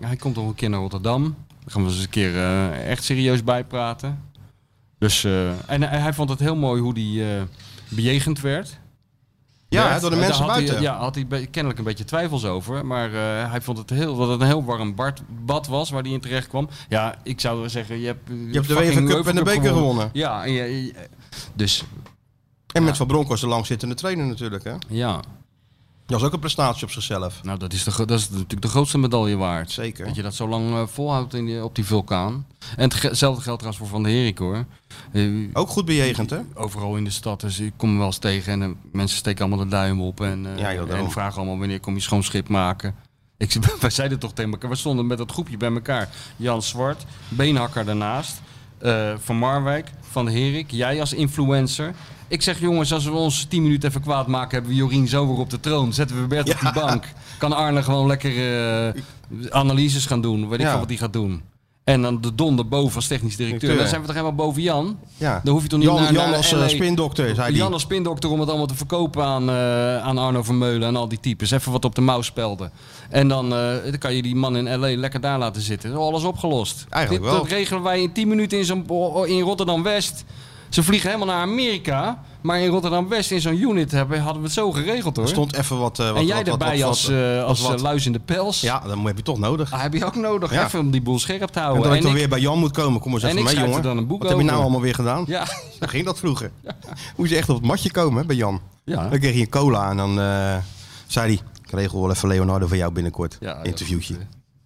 C: hij komt nog een keer naar Rotterdam. Daar gaan we eens een keer eh, echt serieus bijpraten. Dus, eh, en hij- hij vond het heel mooi hoe die eh, bejegend werd.
B: Ja,
C: Werd.
B: door de
C: En daar
B: mensen
C: had
B: buiten.
C: Hij, ja, had hij be- kennelijk een beetje twijfels over. Maar eh, hij vond het heel, dat het een heel warm bad, bad was waar hij in terecht kwam. Ja, ik zou zeggen, je hebt,
B: Je hebt de UEFA Cup en de beker gewonnen.
C: Ja, en je- je- dus
B: En
C: Ja.
B: met Van Bronckhorst de langzittende trainer natuurlijk, hè?
C: ja,
B: Dat is ook een prestatie op zichzelf.
C: nou dat is, de, gro- dat is natuurlijk de grootste medaille waard.
B: Zeker.
C: Dat je dat zo lang eh, volhoudt in die- op die vulkaan. En het ge- hetzelfde geldt trouwens voor Van der Herik hoor. Eh,
B: Ook goed bejegend, hè?
C: overal in de stad, dus ik kom hem wel eens tegen en eh, mensen steken allemaal de duim op en, eh,
B: Ja, joh, daarom.
C: en vragen allemaal wanneer kom je schoon schip maken. <laughs> Ik, zei, wij zeiden toch tegen elkaar, we stonden met dat groepje bij elkaar. Jan Zwart, Beenhakker daarnaast, eh, Van Marwijk, Van der Herik, jij als influencer. Ik zeg jongens, als we ons 10 minuten even kwaad maken, hebben we Jorien zo weer op de troon. Zetten we Bert op die bank. Kan Arne gewoon lekker eh, analyses gaan doen, weet ik
B: Ja.
C: veel wat hij gaat doen. En dan de donder boven als technisch directeur.
B: Directeur.
C: Dan zijn we toch helemaal boven Jan?
B: Ja.
C: Dan hoef je toch niet
B: Jan,
C: naar,
B: Jan
C: naar
B: als
C: LA.
B: eh, spindokter, zei
C: Jan
B: hij.
C: als spindokter om het allemaal te verkopen aan, eh, aan Arno Vermeulen en al die types. Even wat op de mouw spelden. En dan, eh, dan kan je die man in L.A. lekker daar laten zitten. Dan is Alles opgelost.
B: Eigenlijk
C: Dit,
B: wel.
C: Dat regelen wij in 10 minuten in, zo'n- oh, in Rotterdam-West. Ze vliegen helemaal naar Amerika. Maar in Rotterdam-West in zo'n unit hebben, hadden we het zo geregeld hoor.
B: Er stond even wat... eh, wat
C: en jij
B: wat, wat,
C: erbij
B: wat-
C: als,
B: wat-
C: eh, als
B: wat-
C: eh, luis in de pels.
B: Ja, dan heb je toch nodig.
C: Ah, heb je ook nodig.
B: Ja.
C: Even om die boel scherp te
B: En
C: houden.
B: dat ik
C: En
B: dan
C: ik-
B: weer bij Jan moet komen. Kom eens
C: en
B: even
C: ik
B: mee,
C: schrijf er
B: jongen.
C: dan een boek
B: Wat heb je nou
C: over.
B: allemaal weer gedaan?
C: Ja,
B: Zo Nou, ging dat vroeger. Moest je echt op het matje komen hè, bij Jan.
C: ja.
B: Dan kreeg je een cola en dan eh, zei hij... Ik regel wel even Leonardo voor jou binnenkort.
C: Ja,
B: Interviewtje.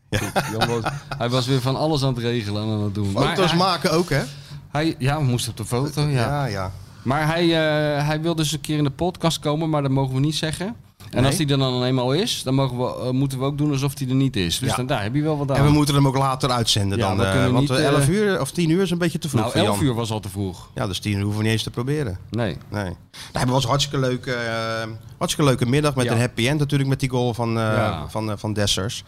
C: dat, eh, goed. Jan was, hij was weer van alles aan het regelen en aan het doen.
B: Foto's
C: hij,
B: maken ook, hè?
C: hij- ja, we moesten op de foto. Ja.
B: Ja, ja.
C: Maar hij, eh, hij wil dus een keer in de podcast komen, maar dat mogen we niet zeggen. En
B: Nee.
C: als hij er dan eenmaal is, dan mogen we, eh, moeten we ook doen alsof hij er niet is. Dus
B: Ja.
C: dan, daar heb je wel wat aan.
B: En we moeten hem ook later uitzenden
C: Ja,
B: dan.
C: we
B: eh,
C: kunnen
B: want
C: niet,
B: eh, 11
C: eh,
B: uur of 10 uur is een beetje te vroeg
C: nou,
B: voor Jan.
C: 11 uur was al te vroeg.
B: Ja, dus 10 uur hoeven we niet eens te proberen.
C: Nee.
B: Nee. Nou, het was een hartstikke leuke, eh, hartstikke leuke middag met
C: Ja.
B: een happy end natuurlijk met die goal van, eh,
C: Ja.
B: van, eh, van Dessers.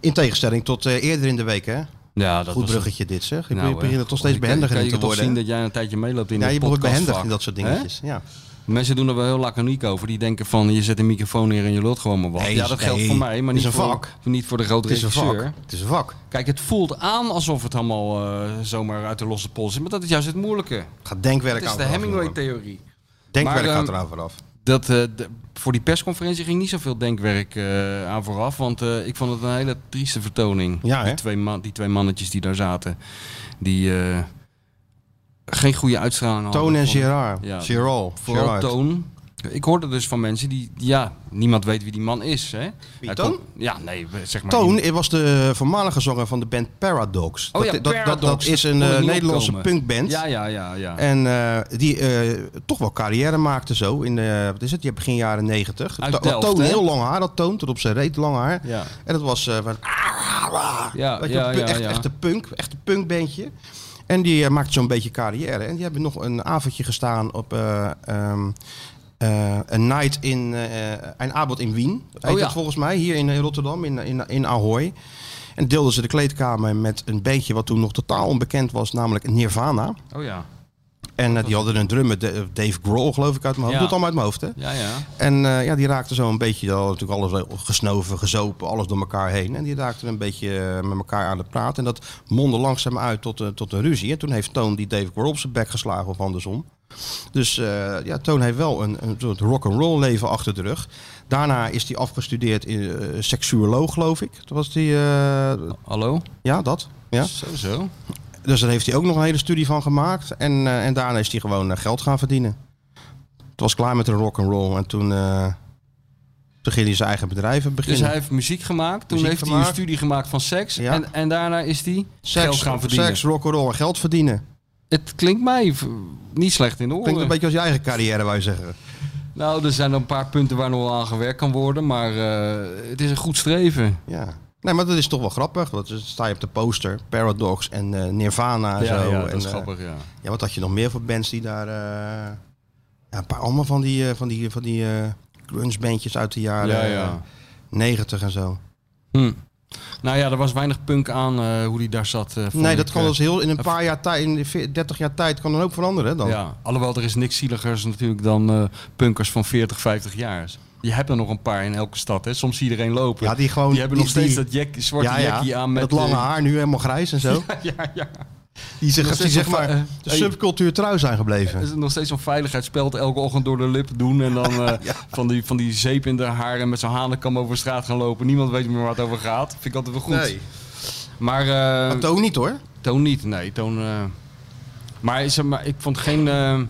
B: In tegenstelling tot eh, eerder in de week, hè?
C: Ja, dat
B: Goed
C: was
B: bruggetje dit, zeg. Ik
C: Nou,
B: begin
C: eh,
B: er toch steeds
C: ik- ik-
B: behendiger
C: kan
B: in
C: je
B: te
C: toch
B: worden.
C: zien
B: hè?
C: dat jij een tijdje meeloopt in
B: Ja,
C: de
B: je wordt behendig in
C: podcastvak,
B: dat soort
C: hè?
B: dingetjes. Ja.
C: Mensen doen er wel heel laconiek over. Die denken van, je zet een microfoon neer en je lult gewoon maar wat.
B: Nee,
C: ja, dat geldt
B: nee.
C: voor mij, maar
B: Het is
C: niet,
B: een
C: voor,
B: vak.
C: niet voor de grote
B: Het is een vak.
C: regisseur.
B: Het is een vak.
C: Kijk, het voelt aan alsof het allemaal eh, zomaar uit de losse pols is. Maar dat is juist het moeilijke.
B: Het gaat denkwerk
C: Het is
B: aan
C: de
B: vooraf, jongen.
C: Hemingway-theorie.
B: Denkwerk
C: Maar,
B: gaat
C: ehm,
B: eraan vooraf.
C: Dat, eh, de- voor die persconferentie ging niet zoveel denkwerk eh, aan vooraf. Want eh, ik vond het een hele trieste vertoning.
B: Ja, hè?
C: die, twee man, die twee mannetjes die daar zaten. Die eh, geen goede uitstraling hadden.
B: Toon en
C: Vond ik.
B: Gerard.
C: Ja.
B: Gerard.
C: Vooral
B: Gerard.
C: Toon. Ik hoorde dus van mensen die, die- ja, niemand weet wie die man is. Hè? Hij
B: Toon?
C: komt- ja, nee, we- zeg maar.
B: Toon
C: die-
B: hij was de voormalige zanger van de band Paradox.
C: Oh ja,
B: dat, dat, dat- dat,
C: Paradox.
B: is een
C: Kon ik
B: eh,
C: niet
B: Nederlandse
C: opkomen.
B: punkband.
C: Ja, ja, ja, ja.
B: En eh, die eh, toch wel carrière maakte zo. In de, wat is het? Je hebt begin jaren negentig.
C: Uit
B: To-
C: Delft,
B: Toon,
C: hè?
B: heel lang haar. Dat Toon, tot op zijn reet, lang haar.
C: ja.
B: En dat was eh, van... ah.
C: Ja,
B: weet je,
C: ja,
B: wel,
C: ja,
B: echt,
C: ja.
B: echt een punk. Echt een punkbandje. En die eh, maakte zo'n beetje carrière. En die hebben nog een avondje gestaan op... eh, ehm, eh, een night in eh, een avond in Wien, heet
C: Oh ja.
B: dat volgens mij, hier in Rotterdam, in, in, in Ahoy. En deelden ze de kleedkamer met een beetje wat toen nog totaal onbekend was, namelijk Nirvana.
C: Oh ja.
B: En eh, die hadden een drummer, De- Dave Grohl geloof ik uit mijn hoofd.
C: Ja.
B: Doet allemaal uit mijn hoofd hè.
C: Ja, ja.
B: En eh, ja, die raakte zo een beetje, al natuurlijk alles gesnoven, gezopen, alles door elkaar heen. En die raakte een beetje eh, met elkaar aan het praten. En dat mondde langzaam uit tot, eh, tot een ruzie. En toen heeft Toon die Dave Grohl op zijn bek geslagen of andersom. Dus eh, ja, Toon heeft wel een, een soort rock'n'roll leven achter de rug. Daarna is hij afgestudeerd in eh, seksuoloog, geloof ik. Dat was die, eh,
C: Hallo?
B: ja, dat. Ja.
C: Zo, zo.
B: Dus daar heeft hij ook nog een hele studie van gemaakt. En, eh, en daarna is hij gewoon eh, geld gaan verdienen. Het was klaar met de rock and roll. En toen, eh toen ging hij zijn eigen bedrijven
C: Dus
B: beginnen.
C: hij heeft muziek gemaakt. Toen
B: Muziek
C: heeft hij
B: gemaakt.
C: een studie gemaakt van seks.
B: Ja.
C: En, en daarna is hij geld gaan verdienen.
B: Seks, rock and roll en geld verdienen.
C: Het klinkt mij v- niet slecht in de
B: Klinkt
C: oren.
B: een beetje als je eigen carrière, wou je zeggen.
C: Nou, er zijn een paar punten waar nog wel aan gewerkt kan worden. Maar eh, het is een goed streven.
B: Ja. Nee, maar dat is toch wel grappig. Want dan sta je op de poster, Paradox en eh, Nirvana en
C: ja,
B: zo.
C: ja, dat
B: en,
C: is
B: eh,
C: grappig, ja.
B: ja, wat had je nog meer voor bands die daar... eh, ja, een paar allemaal van die, eh, van die, van die eh, grunge-bandjes uit de jaren
C: ja, ja.
B: 90 en zo.
C: Hm. Nou ja, er was weinig punk aan eh, hoe die daar zat. eh, vond
B: Nee,
C: ik,
B: dat kan
C: eh.
B: dus heel in een
C: eh,
B: paar jaar tijd, in de veer- 30 jaar tijd, kan dan ook veranderen. hè, Dan.
C: Ja, alhoewel er is niks zieligers natuurlijk dan eh, punkers van 40, 50 jaar. Je hebt er nog een paar in elke stad. Hè. Soms zie je iedereen lopen.
B: Ja, die gewoon.
C: die hebben nog
B: die-
C: steeds
B: die-
C: dat jack, zwarte
B: ja, ja,
C: jackie aan met
B: dat lange
C: eh,
B: haar, nu helemaal grijs en zo.
C: <laughs> ja, ja.
B: Die zich,
C: Nog
B: die
C: steeds
B: zeg
C: een
B: maar
C: va- eh,
B: de
C: hey, Eh,
B: subcultuur trouw zijn
C: er
B: gebleven.
C: is nog steeds zo'n veiligheidsspeld elke ochtend door de lip doen. En dan
B: <laughs>
C: eh, van, die, van die zeep in de haar en met zo'n hanenkam over straat gaan lopen. Niemand weet meer waar het over gaat. Vind ik altijd wel goed. Maar eh,
B: Dat ook niet hoor.
C: Toon niet, nee. Toon, eh, maar, is er, maar ik vond geen... eh,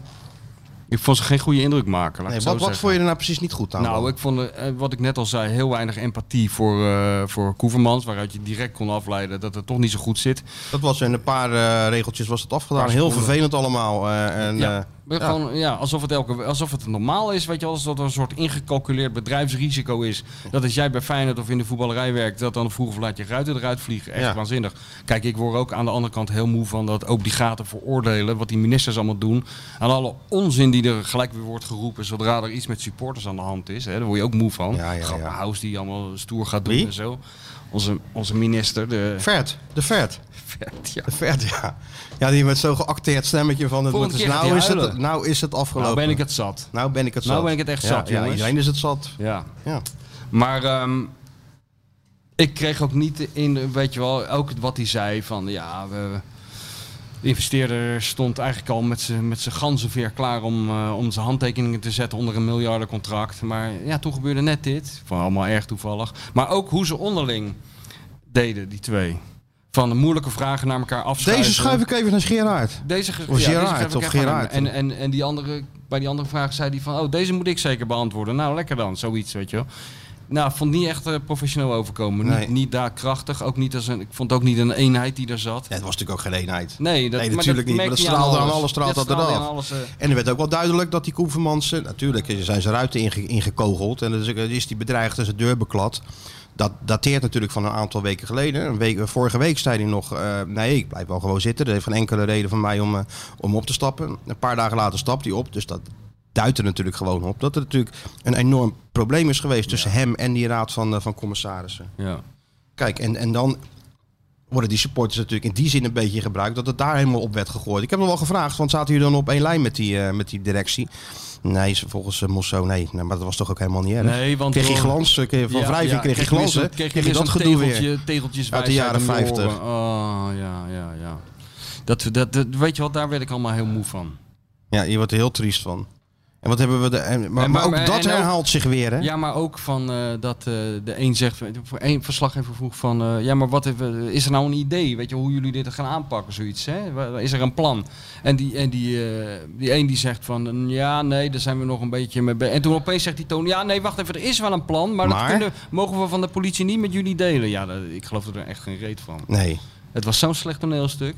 C: ik vond ze geen goede indruk maken.
B: Nee, wat wat vond je er nou precies niet goed aan?
C: Nou,
B: dan?
C: ik vond, eh, eh, wat ik net al zei, heel weinig empathie voor, eh voor Koevermans. Waaruit je direct kon afleiden dat het toch niet zo goed zit.
B: dat was in een paar eh, regeltjes was het afgedaan.
C: Paar
B: Heel
C: seconden.
B: vervelend allemaal. eh, en,
C: Ja.
B: eh,
C: Maar
B: Ja.
C: Gewoon, ja, alsof, het elke, alsof het normaal is, weet je, wel, alsof dat er een soort ingecalculeerd bedrijfsrisico is. Dat als jij bij Feyenoord of in de voetballerij werkt, dat dan vroeg of laat je ruiten eruit vliegen. Echt
B: Ja.
C: waanzinnig. Kijk, ik word ook aan de andere kant heel moe van dat obligaten veroordelen, wat die ministers allemaal doen. En alle onzin die er gelijk weer wordt geroepen zodra er iets met supporters aan de hand is. Hè, daar word je ook moe van.
B: Ja, ja, ja.
C: Grappenhuis die allemaal stoer gaat doen
B: Wie?
C: en zo. Onze, onze minister, de...
B: Vert, de Vert.
C: Vet, ja.
B: De Vert, <laughs> ja. Ja, die met zo'n geacteerd stemmetje van het
C: Volgende
B: wordt dus
C: keer gaat
B: nou,
C: hij
B: is het,
C: huilen.
B: nou is het afgelopen.
C: Nou ben ik het zat.
B: nou ben ik het zat.
C: nou ben ik het echt
B: Ja,
C: zat,
B: ja,
C: jongens.
B: iedereen is het zat.
C: Ja.
B: Ja.
C: Maar ehm, ik kreeg ook niet in, weet je wel, ook wat hij zei van ja, we, de investeerder stond eigenlijk al met zijn met zijn ganzenveer klaar om, eh, om zijn handtekeningen te zetten onder een miljardencontract. Maar ja, toen gebeurde net dit. Van allemaal erg toevallig. Maar ook hoe ze onderling deden, die twee. Van de moeilijke vragen naar elkaar afschuiven.
B: Deze schuif ik even naar Gerard.
C: Deze ge-
B: Of Gerard,
C: deze geef ik
B: of
C: even aan
B: Gerard.
C: hem. En, en, en die andere, bij die andere vraag zei hij van, oh, deze moet ik zeker beantwoorden. Nou, lekker dan, zoiets, weet je wel. Nou, vond niet echt eh, professioneel overkomen.
B: Nee.
C: Niet, niet daar krachtig, ook niet als een, ik vond ook niet een eenheid die daar zat.
B: Ja, het was natuurlijk ook geen eenheid.
C: Nee, dat,
B: Nee,
C: maar
B: natuurlijk niet, maar
C: merk
B: dat
C: je
B: straalde aan alles, straalde dat
C: straalde
B: eraf.
C: aan alles, eh.
B: En er werd ook wel duidelijk dat die Koevermans... eh, Natuurlijk eh, zijn zijn ruiten inge- ingekogeld en dan is- eh, is die bedreigd en zijn deur beklad. Dat dateert natuurlijk van een aantal weken geleden. Een week, eh, vorige week zei hij nog, eh, nee, ik blijf wel gewoon zitten. Er heeft geen enkele reden van mij om, eh, om op te stappen. Een paar dagen later stapt hij op, dus dat duidt er natuurlijk gewoon op. Dat er natuurlijk een enorm probleem is geweest tussen hem en die raad van, eh, van commissarissen.
C: Ja.
B: Kijk, en, en dan worden die supporters natuurlijk in die zin een beetje gebruikt dat het daar helemaal op werd gegooid. Ik heb nog wel gevraagd, want zaten jullie dan op één lijn met die, eh, met die directie? Nee, ze- volgens uh, Mosso, nee. nee. Maar dat was toch ook helemaal niet erg?
C: Nee, want
B: kreeg je
C: door-
B: glans, eh, kreeg je van
C: Ja,
B: wrijving
C: ja,
B: kreeg je
C: kijk,
B: glans,
C: weer
B: hè?
C: zo'n- kijk,
B: Kreeg je
C: weer
B: dat
C: zo'n
B: gedoe weer?
C: tegeltje- Tegeltjes
B: Uit de
C: wijsheid
B: jaren
C: om je
B: 50.
C: oren. Oh, ja, ja, ja. Dat, dat, dat, weet je wat, daar werd ik allemaal heel moe van.
B: Ja, je wordt er heel triest van. En wat hebben we... De, en- maar,
C: En-
B: maar ook
C: maar-
B: dat
C: en ook-
B: herhaalt zich weer, hè?
C: Ja, maar ook van eh, dat eh, de een zegt, voor één verslaggever vroeg van, eh, ja, maar wat heeft- eh, is er nou een idee, weet je, hoe jullie dit gaan aanpakken, zoiets, hè? Wa- Is er een plan? En die en die, eh, die een die zegt van, eh, ja, nee, daar zijn we nog een beetje mee bezig. En toen opeens zegt die toon, ja, nee, wacht even, er is wel een plan, maar,
B: Maar?
C: dat kunnen, mogen we van de politie niet met jullie delen. Ja, dat- ik geloof er echt geen reet van.
B: Nee,
C: Het was zo'n slecht toneelstuk.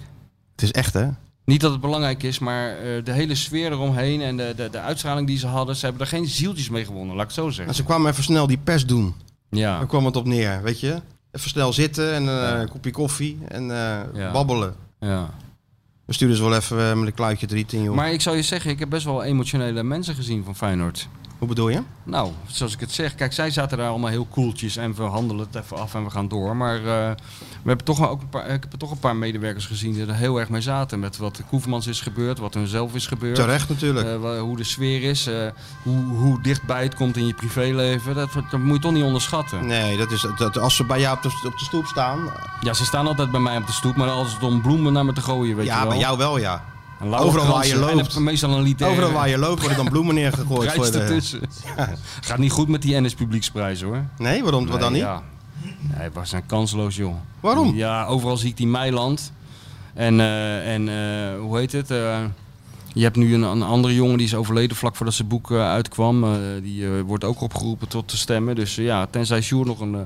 B: het is echt, hè?
C: Niet dat het belangrijk is, maar eh, de hele sfeer eromheen en de, de, de uitstraling die ze hadden, ze hebben er geen zieltjes mee gewonnen, laat ik het zo
B: Nou,
C: zeggen.
B: ze kwamen even snel die pers doen.
C: Ja.
B: Daar kwam het op neer, weet je? Even snel zitten en eh, een kopje koffie en eh,
C: Ja.
B: babbelen.
C: ja.
B: We sturen ze wel even eh, met een kluitje driet in, joh.
C: Maar ik zou je zeggen, ik heb best wel emotionele mensen gezien van Feyenoord.
B: Hoe bedoel je?
C: Nou, zoals ik het zeg, kijk, zij zaten daar allemaal heel koeltjes en we handelen het even af en we gaan door. Maar eh, we hebben toch wel ook een paar, ik heb toch een paar medewerkers gezien die er heel erg mee zaten. Met wat Koevermans is gebeurd, wat hun zelf is gebeurd.
B: Terecht natuurlijk.
C: Eh, wa- hoe de sfeer is, eh, hoe, hoe dichtbij het komt in je privéleven. Dat, dat moet je toch niet onderschatten.
B: Nee, dat is, dat, als ze bij jou op de, op de stoep staan.
C: Ja, ze staan altijd bij mij op de stoep, maar als het om bloemen naar me te gooien, weet je
B: ja,
C: wel.
B: bij jou wel, ja.
C: En lauwerkransen.
B: overal waar je
C: En dan
B: loopt.
C: heb je meestal een liter.
B: Overal waar je loopt worden dan bloemen neergegooid.
C: Prijs
B: voor de-
C: <laughs> ertussen. Gaat niet goed met die NS Publieksprijs hoor.
B: Nee, waarom wat dan
C: Nee,
B: niet?
C: Ja. Nee, was zijn kansloos, joh.
B: Waarom?
C: Ja, overal zie ik die Meiland. En, eh, en eh, hoe heet het? Eh, je hebt nu een, een andere jongen die is overleden vlak voordat zijn boek eh, uitkwam. Eh, die eh, wordt ook opgeroepen tot te stemmen. Dus eh, ja, tenzij Sjoerd nog een eh,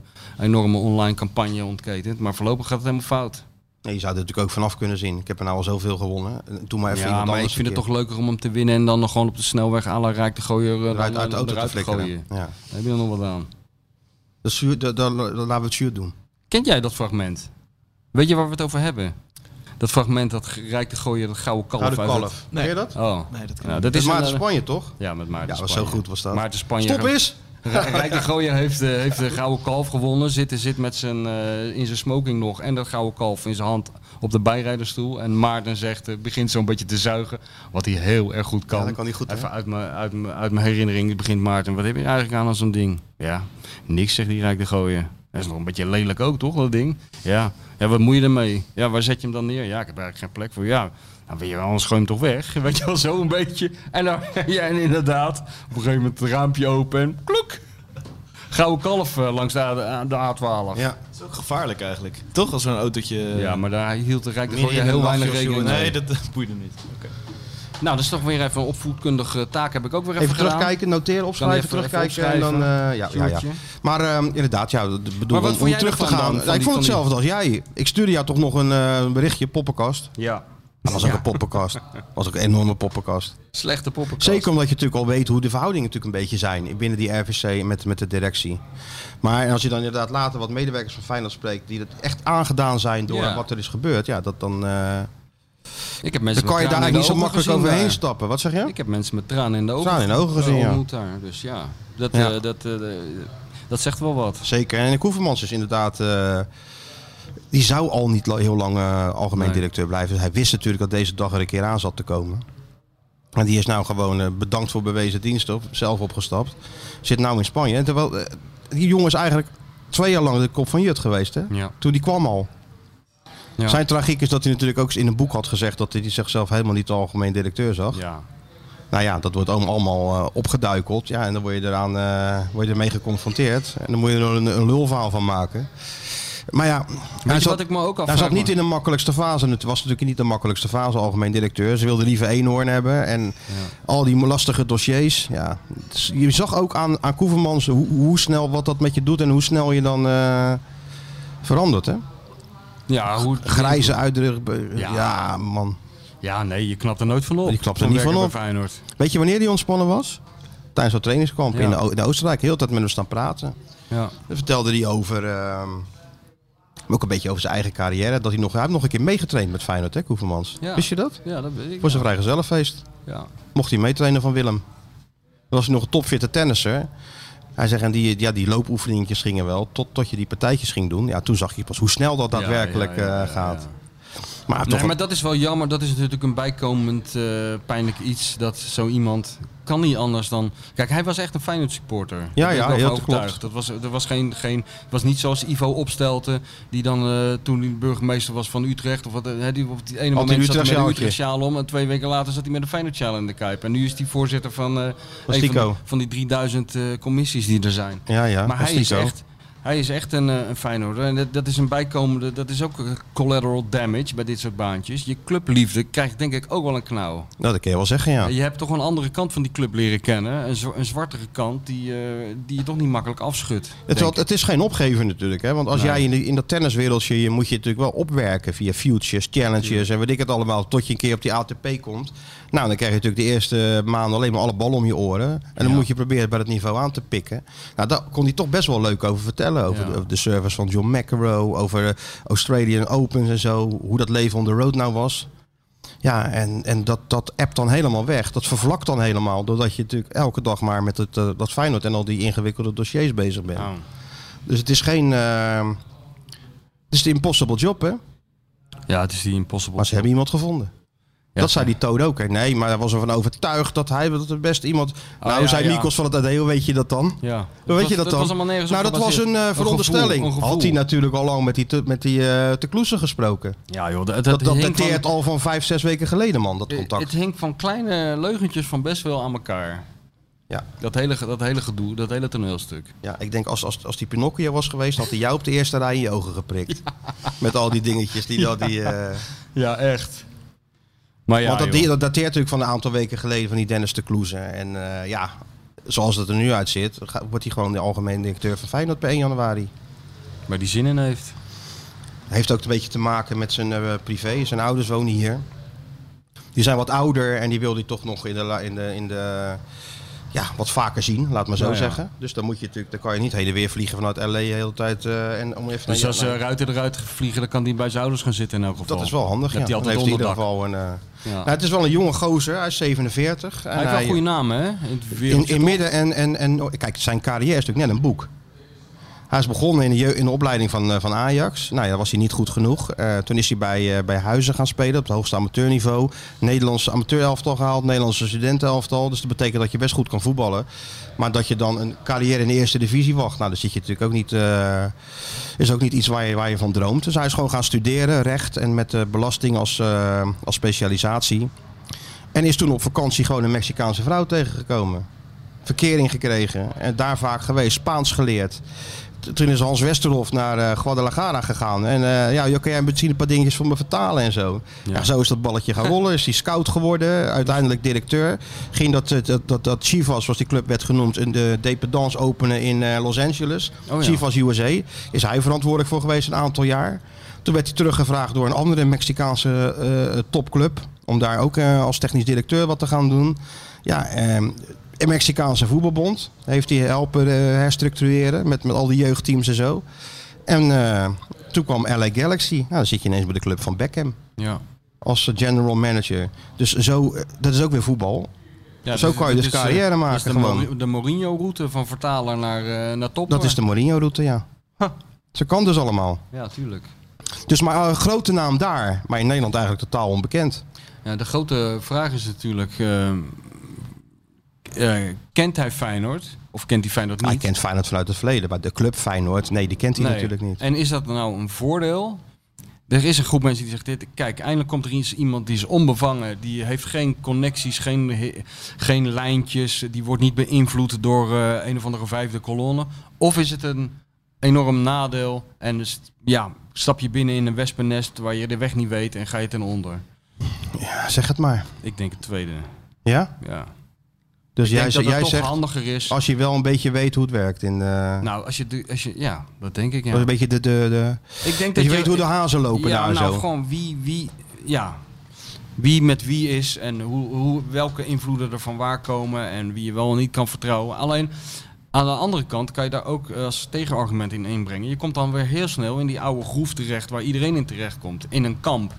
C: enorme online campagne ontketent. Maar voorlopig gaat het helemaal fout.
B: Nee, je zou er natuurlijk ook vanaf kunnen zien. Ik heb er nou al zoveel gewonnen. En Doe maar even
C: ja,
B: iemand
C: maar ik
B: anders
C: vind het
B: een
C: toch leuker om hem te winnen en dan nog gewoon op de eh, snelweg à la Rijk te gooien.
B: keer eruit uit de auto te flikkeren.
C: gooien.
B: Ja.
C: Daar heb je nog wat aan.
B: Dat is zuur- dat- dat- dat- laten we het zuur doen.
C: Kent jij dat fragment? Weet je waar we het over hebben? Dat fragment dat ge- Rijk de Gooier, dat gouden kalf.
B: Gouden
C: uit het-
B: kalf. Ken je dat? Dat
C: Oh.
D: Nee, dat kan
C: Nou,
D: niet.
C: dat
B: is
C: is
B: Maarten
C: een-
B: Spanje, toch?
C: Ja, met Maarten
B: Ja, was
C: Spanje.
B: zo goed was dat.
C: Maarten Spanje.
B: Stop eens!
C: Ra- <laughs> Rijk de Gooier heeft, eh, heeft de gouden kalf gewonnen. Zit, zit met zijn, eh, in zijn smoking nog en dat gouden kalf in zijn hand op de bijrijdersstoel. En Maarten zegt, eh, begint zo'n beetje te zuigen, wat hij heel erg goed kan.
B: Ja, dat kan hij goed, hè?
C: Even uit mijn, uit, mijn, uit mijn herinnering begint Maarten, wat heb je eigenlijk aan aan zo'n ding? Ja, niks, zegt die Rijk de Gooier. Dat is nog een beetje lelijk ook, toch, dat ding? Ja. ja, wat moet je ermee? Ja, waar zet je hem dan neer? Ja, ik heb eigenlijk geen plek voor. Ja, nou weet je wel, anders gooi je hem toch weg. <laughs> Weet je wel, zo een beetje. En, dan, <laughs> ja, en inderdaad, op een gegeven moment het raampje open en kloek. Gouden kalf eh, langs de, A- de A12. Ja.
B: Ja.
D: Dat is ook gevaarlijk eigenlijk. Toch als zo'n autootje... eh,
C: maar daar hield de Rijk de
B: Meer
C: Gooier
B: in de
C: heel weinig
B: mafioso-
C: rekening mee.
D: Nee, dat, dat boeide niet. Oké.
C: Nou, dat is toch weer even een opvoedkundige taak heb ik ook weer even,
B: Even
C: gedaan.
B: terugkijken, noteren, opschrijven,
C: Kan even-
B: terugkijken
C: even
B: en dan...
C: opschrijven.
B: eh, ja, ja, ja.
C: Sjoerdje.
B: Maar ehm, inderdaad, ja, dat bedoel,
C: Maar wat
B: om,
C: vond
B: om
C: jij
B: terug te
C: ervan
B: gaan.
C: dan, van
B: ik
C: die-
B: vond
C: van die-
B: hetzelfde als jij. Ik stuurde jou toch nog een eh, berichtje, poppenkast.
C: Ja,
B: Dat was ook een poppenkast. Dat was ook een enorme
C: <laughs>
B: poppenkast.
C: slechte poppenkast.
B: Zeker omdat je natuurlijk al weet hoe de verhoudingen natuurlijk een beetje zijn binnen die RVC met, met de directie. Maar als je dan inderdaad later wat medewerkers van Feyenoord spreekt die dat echt aangedaan zijn door
C: Ja.
B: wat er is gebeurd, ja, dat dan, eh,
C: Ik heb mensen
B: dan kan je
C: met
B: daar
C: tranen
B: eigenlijk
C: in de
B: niet zo
C: ogen
B: makkelijk
C: gezien
B: overheen
C: daar.
B: stappen. Wat zeg je?
C: Ik heb mensen met tranen in de ogen,
B: Tranen in de ogen gezien, ja.
C: ontmoet daar. Dus ja, dat,
B: Ja.
C: eh, dat, eh, eh, dat zegt wel wat.
B: Zeker. En Koevermans is inderdaad. eh, die zou al niet la- heel lang eh, algemeen
C: Nee.
B: directeur blijven. Hij wist natuurlijk dat deze dag er een keer aan zat te komen. En die is nou gewoon eh, bedankt voor bewezen dienst op, zelf opgestapt. Zit nou in Spanje. En terwijl eh, die jongen is eigenlijk twee jaar lang de kop van Jut geweest. Hè?
C: Ja.
B: Toen die kwam al.
C: Ja.
B: Zijn tragiek is dat hij natuurlijk ook eens in een boek had gezegd dat hij zichzelf helemaal niet de algemeen directeur zag.
C: Ja.
B: Nou ja, dat wordt allemaal- allemaal eh, opgeduikeld. Ja, en dan word je, eraan, eh, word je ermee geconfronteerd. En dan moet je er een, een lulverhaal van maken. Maar ja,
C: Weet
B: hij
C: je
B: zat,
C: wat ik me ook afvraag?
B: hij zat niet
C: man?
B: in de makkelijkste fase. En het was natuurlijk niet de makkelijkste fase, algemeen directeur. Ze wilden liever eenhoorn hebben. En al die lastige dossiers. Ja. Dus Je zag ook aan, aan Koevermans hoe, hoe snel wat dat met je doet. En hoe snel je dan eh, verandert. Hè?
C: Ja, hoe...
B: Grijze uitdrukking. Ja.
C: Ja.
B: man.
C: Ja, nee, je knapt er nooit van op.
B: Je knapt er
C: Zo'n
B: niet van
C: werker
B: op.
C: bij Feyenoord.
B: Weet je wanneer die ontspannen was? Tijdens dat trainingskamp
C: Ja.
B: in, de, O- in Oostenrijk. Heel de tijd met hem staan praten.
C: Ja.
B: Dan vertelde hij over. ehm, ook een beetje over zijn eigen carrière. Dat hij nog. Hij heeft nog een keer meegetraind met Feyenoord, hè, Koevermans.
C: Ja.
B: Wist je dat?
C: ja, dat weet ik.
B: Voor zijn vrijgezellenfeest.
C: Ja.
B: Mocht hij meetrainen van Willem. Dan was hij nog een topfitte tennisser. Hij zegt, en die, ja, die loopoefeningetjes gingen wel. Tot, tot je die partijtjes ging doen. Ja, toen zag je pas hoe snel dat daadwerkelijk
C: Ja, ja, ja, ja,
B: eh, gaat.
C: ja.
B: Maar, hij heeft
C: Nee,
B: toch
C: maar dat is wel jammer. Dat is natuurlijk een bijkomend eh, pijnlijk iets. Dat zo iemand kan niet anders dan. Kijk, hij was echt een Feyenoord supporter. Daar ben ik
B: ja,
C: wel van
B: heel
C: overtuigd.
B: klopt.
C: Dat was, dat was geen, geen. Het was niet zoals Ivo opstelte. Die dan eh, toen hij burgemeester was van Utrecht. Of wat, eh, die op die ene
B: Had hij
C: moment
B: een
C: zat hij met een
B: Utrechtsjaaltje.
C: Utrecht sjaal om. En twee weken later zat hij met een Feyenoord sjaal in de kuip. En nu is hij voorzitter van. eh,
B: Was
C: een van,
B: Tico.
C: die- van die 3000 eh, commissies die er zijn.
B: een- ja, ja,
C: Maar
B: dat
C: hij is,
B: niet zo.
C: echt, hij is echt een, eh, een Feyenoorder. En dat, dat is een bijkomende, dat is ook eh, collateral damage bij dit soort baantjes. Je clubliefde krijgt denk ik ook wel een knauw.
B: Nou, dat kun je wel zeggen, ja.
C: En Je hebt toch een andere kant van die club leren kennen. Een, zo- een zwartere kant die, eh, die je toch niet makkelijk afschudt.
B: Het,
C: denk
B: wel- het is geen opgeven natuurlijk, hè? want als
C: Nee.
B: jij in, de- in dat tenniswereldje, je moet je natuurlijk wel opwerken via futures, challenges en weet ik het allemaal, tot je een keer op die ATP komt. Nou, dan krijg je natuurlijk de eerste maanden alleen maar alle ballen om je oren en dan
C: Ja.
B: moet je proberen bij dat niveau aan te pikken. Nou, daar kon hij toch best wel leuk over vertellen, over
C: Ja.
B: de, over de service van John McEnroe, over eh, Australian Opens en zo, hoe dat leven on the road nou was. Ja, en, en dat, dat appt dan helemaal weg. Dat vervlakt dan helemaal. Doordat je natuurlijk elke dag maar met het, eh, dat Feyenoord en al die ingewikkelde dossiers bezig bent.
C: Oh.
B: Dus het is geen... eh, het is de impossible job, hè?
C: Ja, het is die impossible.
B: Maar ze hebben iemand gevonden.
C: Ja,
B: dat zei
C: ze-
B: die Toon ook. Hè? Nee, maar hij was ervan overtuigd dat hij dat het best iemand... nou,
C: Oh ja,
B: zei
C: ja.
B: Nikos van het AD, hoe weet je dat dan?
C: Ja.
B: Hoe weet je dat dan?
C: was allemaal nergens
B: nou,
C: op
B: dat was een
C: gebaseerd.
B: eh,
C: Een
B: veronderstelling.
C: gevoel, een gevoel.
B: Had hij natuurlijk al lang met die, te, met die eh, te kloesen gesproken.
C: Ja, joh, dat,
B: Dat, dat
C: hing
B: dateert
C: van, Eh,
B: al van vijf, zes weken geleden, man, dat
C: Het
B: contact.
C: hing van kleine leugentjes van best wel aan elkaar.
B: Ja.
C: Dat hele, ge- dat hele gedoe, dat hele toneelstuk.
B: Ja, ik denk als, als, als die Pinocchio was geweest, had hij jou op de eerste rij in je ogen geprikt. Met al die dingetjes. Die, dat die, eh,
C: Ja, echt. Maar ja,
B: want dat,
C: joh.
B: dat dateert natuurlijk van een aantal weken geleden van die Dennis de Kloesen. En eh, ja, zoals het er nu uitziet, ga- wordt hij gewoon de algemene directeur van Feyenoord per 1 januari.
C: maar die zin in heeft.
B: Heeft ook een beetje te maken met zijn eh, privé. Zijn ouders wonen hier. Die zijn wat ouder en die wil hij toch nog in de, la- in de, in de ja, wat vaker zien, laat maar zo
C: Nou Ja, ja.
B: zeggen. Dus dan moet je natuurlijk, dan kan je niet heen en weer vliegen vanuit LA de hele tijd. eh, en om even
C: Dus
B: naar-
C: als
B: nou,
C: eh, Ruiter eruit vliegen, dan kan die bij zijn ouders gaan zitten in elk geval.
B: dat is wel handig.
C: Dat
B: ja.
C: hij
B: Dan
C: altijd
B: heeft hij in ieder
C: onderdak.
B: geval een. eh,
C: Ja.
B: nou, het is wel een jonge gozer. Hij is 47. en
C: hij heeft wel
B: hij-
C: een goede naam, hè? In, het
B: in,
C: wereldje.
B: in midden en, en, en oh, kijk, zijn carrière is natuurlijk net een boek. Hij is begonnen in de, jeu- in de opleiding van, eh, van Ajax. Nou ja, daar was hij niet goed genoeg. Eh, toen is hij bij, eh, bij Huizen gaan spelen op het hoogste amateurniveau. Nederlands amateurelftal gehaald, Nederlandse studentenelftal. Dus dat betekent dat je best goed kan voetballen. Maar dat je dan een carrière in de eerste divisie wacht. Nou, dat zit je natuurlijk ook niet. eh, is ook niet iets waar je, waar je van droomt. Dus hij is gewoon gaan studeren, recht en met eh, belasting als, eh, als specialisatie. En is toen op vakantie gewoon een Mexicaanse vrouw tegengekomen. Verkering gekregen en daar vaak geweest, Spaans geleerd. T- Toen is Hans Westerhof naar eh, Guadalajara gegaan. En eh, ja, joh, kan jij misschien een paar dingetjes voor me vertalen en zo.
C: Ja.
B: Ja, zo is dat balletje gaan rollen. Is hij scout geworden, uiteindelijk directeur. Ging dat, eh, dat, dat, dat Chivas, zoals die club werd genoemd, een de dependance openen in eh, Los Angeles.
C: Oh ja.
B: Chivas USA. Is hij verantwoordelijk voor geweest een aantal jaar. Toen werd hij teruggevraagd door een andere Mexicaanse eh, topclub. Om daar ook eh, als technisch directeur wat te gaan doen. Ja, ehm een Mexicaanse voetbalbond heeft hij helpen eh, herstructureren met, met al die jeugdteams en zo. En eh, toen kwam LA Galaxy. Nou, dan zit je ineens bij de club van Beckham
C: Ja.
B: als general manager. Dus zo, eh, dat is ook weer voetbal.
C: Ja,
B: Zo kan je
C: dit
B: dus
C: is, eh,
B: carrière
C: dit is
B: maken
C: de,
B: gewoon.
C: Mori- de Mourinho-route van vertaler naar, eh naar topper.
B: Dat is de Mourinho-route, ja.
C: Huh.
B: Ze kan dus allemaal.
C: Ja, tuurlijk.
B: Dus maar eh, een grote naam daar, maar in Nederland eigenlijk totaal onbekend. Ah,
C: Ja, de grote vraag is natuurlijk... ehm, eh, kent hij Feyenoord? Of kent hij Feyenoord niet?
B: Hij kent Feyenoord vanuit het verleden, maar de club Feyenoord, nee, die kent hij
C: Nee.
B: natuurlijk niet.
C: En is dat nou een voordeel? Er is een groep mensen die zegt dit. Kijk, eindelijk komt er eens iemand die is onbevangen. Die heeft geen connecties, geen, he- geen lijntjes. Die wordt niet beïnvloed door eh, een of andere vijfde kolonne. Of is het een enorm nadeel? En dus, ja, stap je binnen in een wespennest waar je de weg niet weet en ga je ten onder.
B: Ja, zeg het maar.
C: Ik denk het tweede.
B: Ja?
C: Ja.
B: Dus
C: Ik
B: jij,
C: denk dat
B: zegt-
C: het
B: jij
C: toch
B: zegt, Oh,
C: handiger is.
B: als je wel een beetje weet hoe het werkt. In de,
C: Nou, als je, de- als je, ja, dat denk ik.
B: Dat is
C: Ja.
B: een beetje de... de, de
C: Ik denk
B: dat Oh, je weet hoe de hazen lopen
C: ja,
B: daar en
C: nou,
B: zo.
C: gewoon wie, wie, ja, wie met wie is en hoe, hoe, welke invloeden er van waar komen en wie je wel en niet kan vertrouwen. Alleen aan de andere kant kan je daar ook eh, als tegenargument in inbrengen. Je komt dan weer heel snel in die oude groef terecht waar iedereen in terecht komt, in een kamp.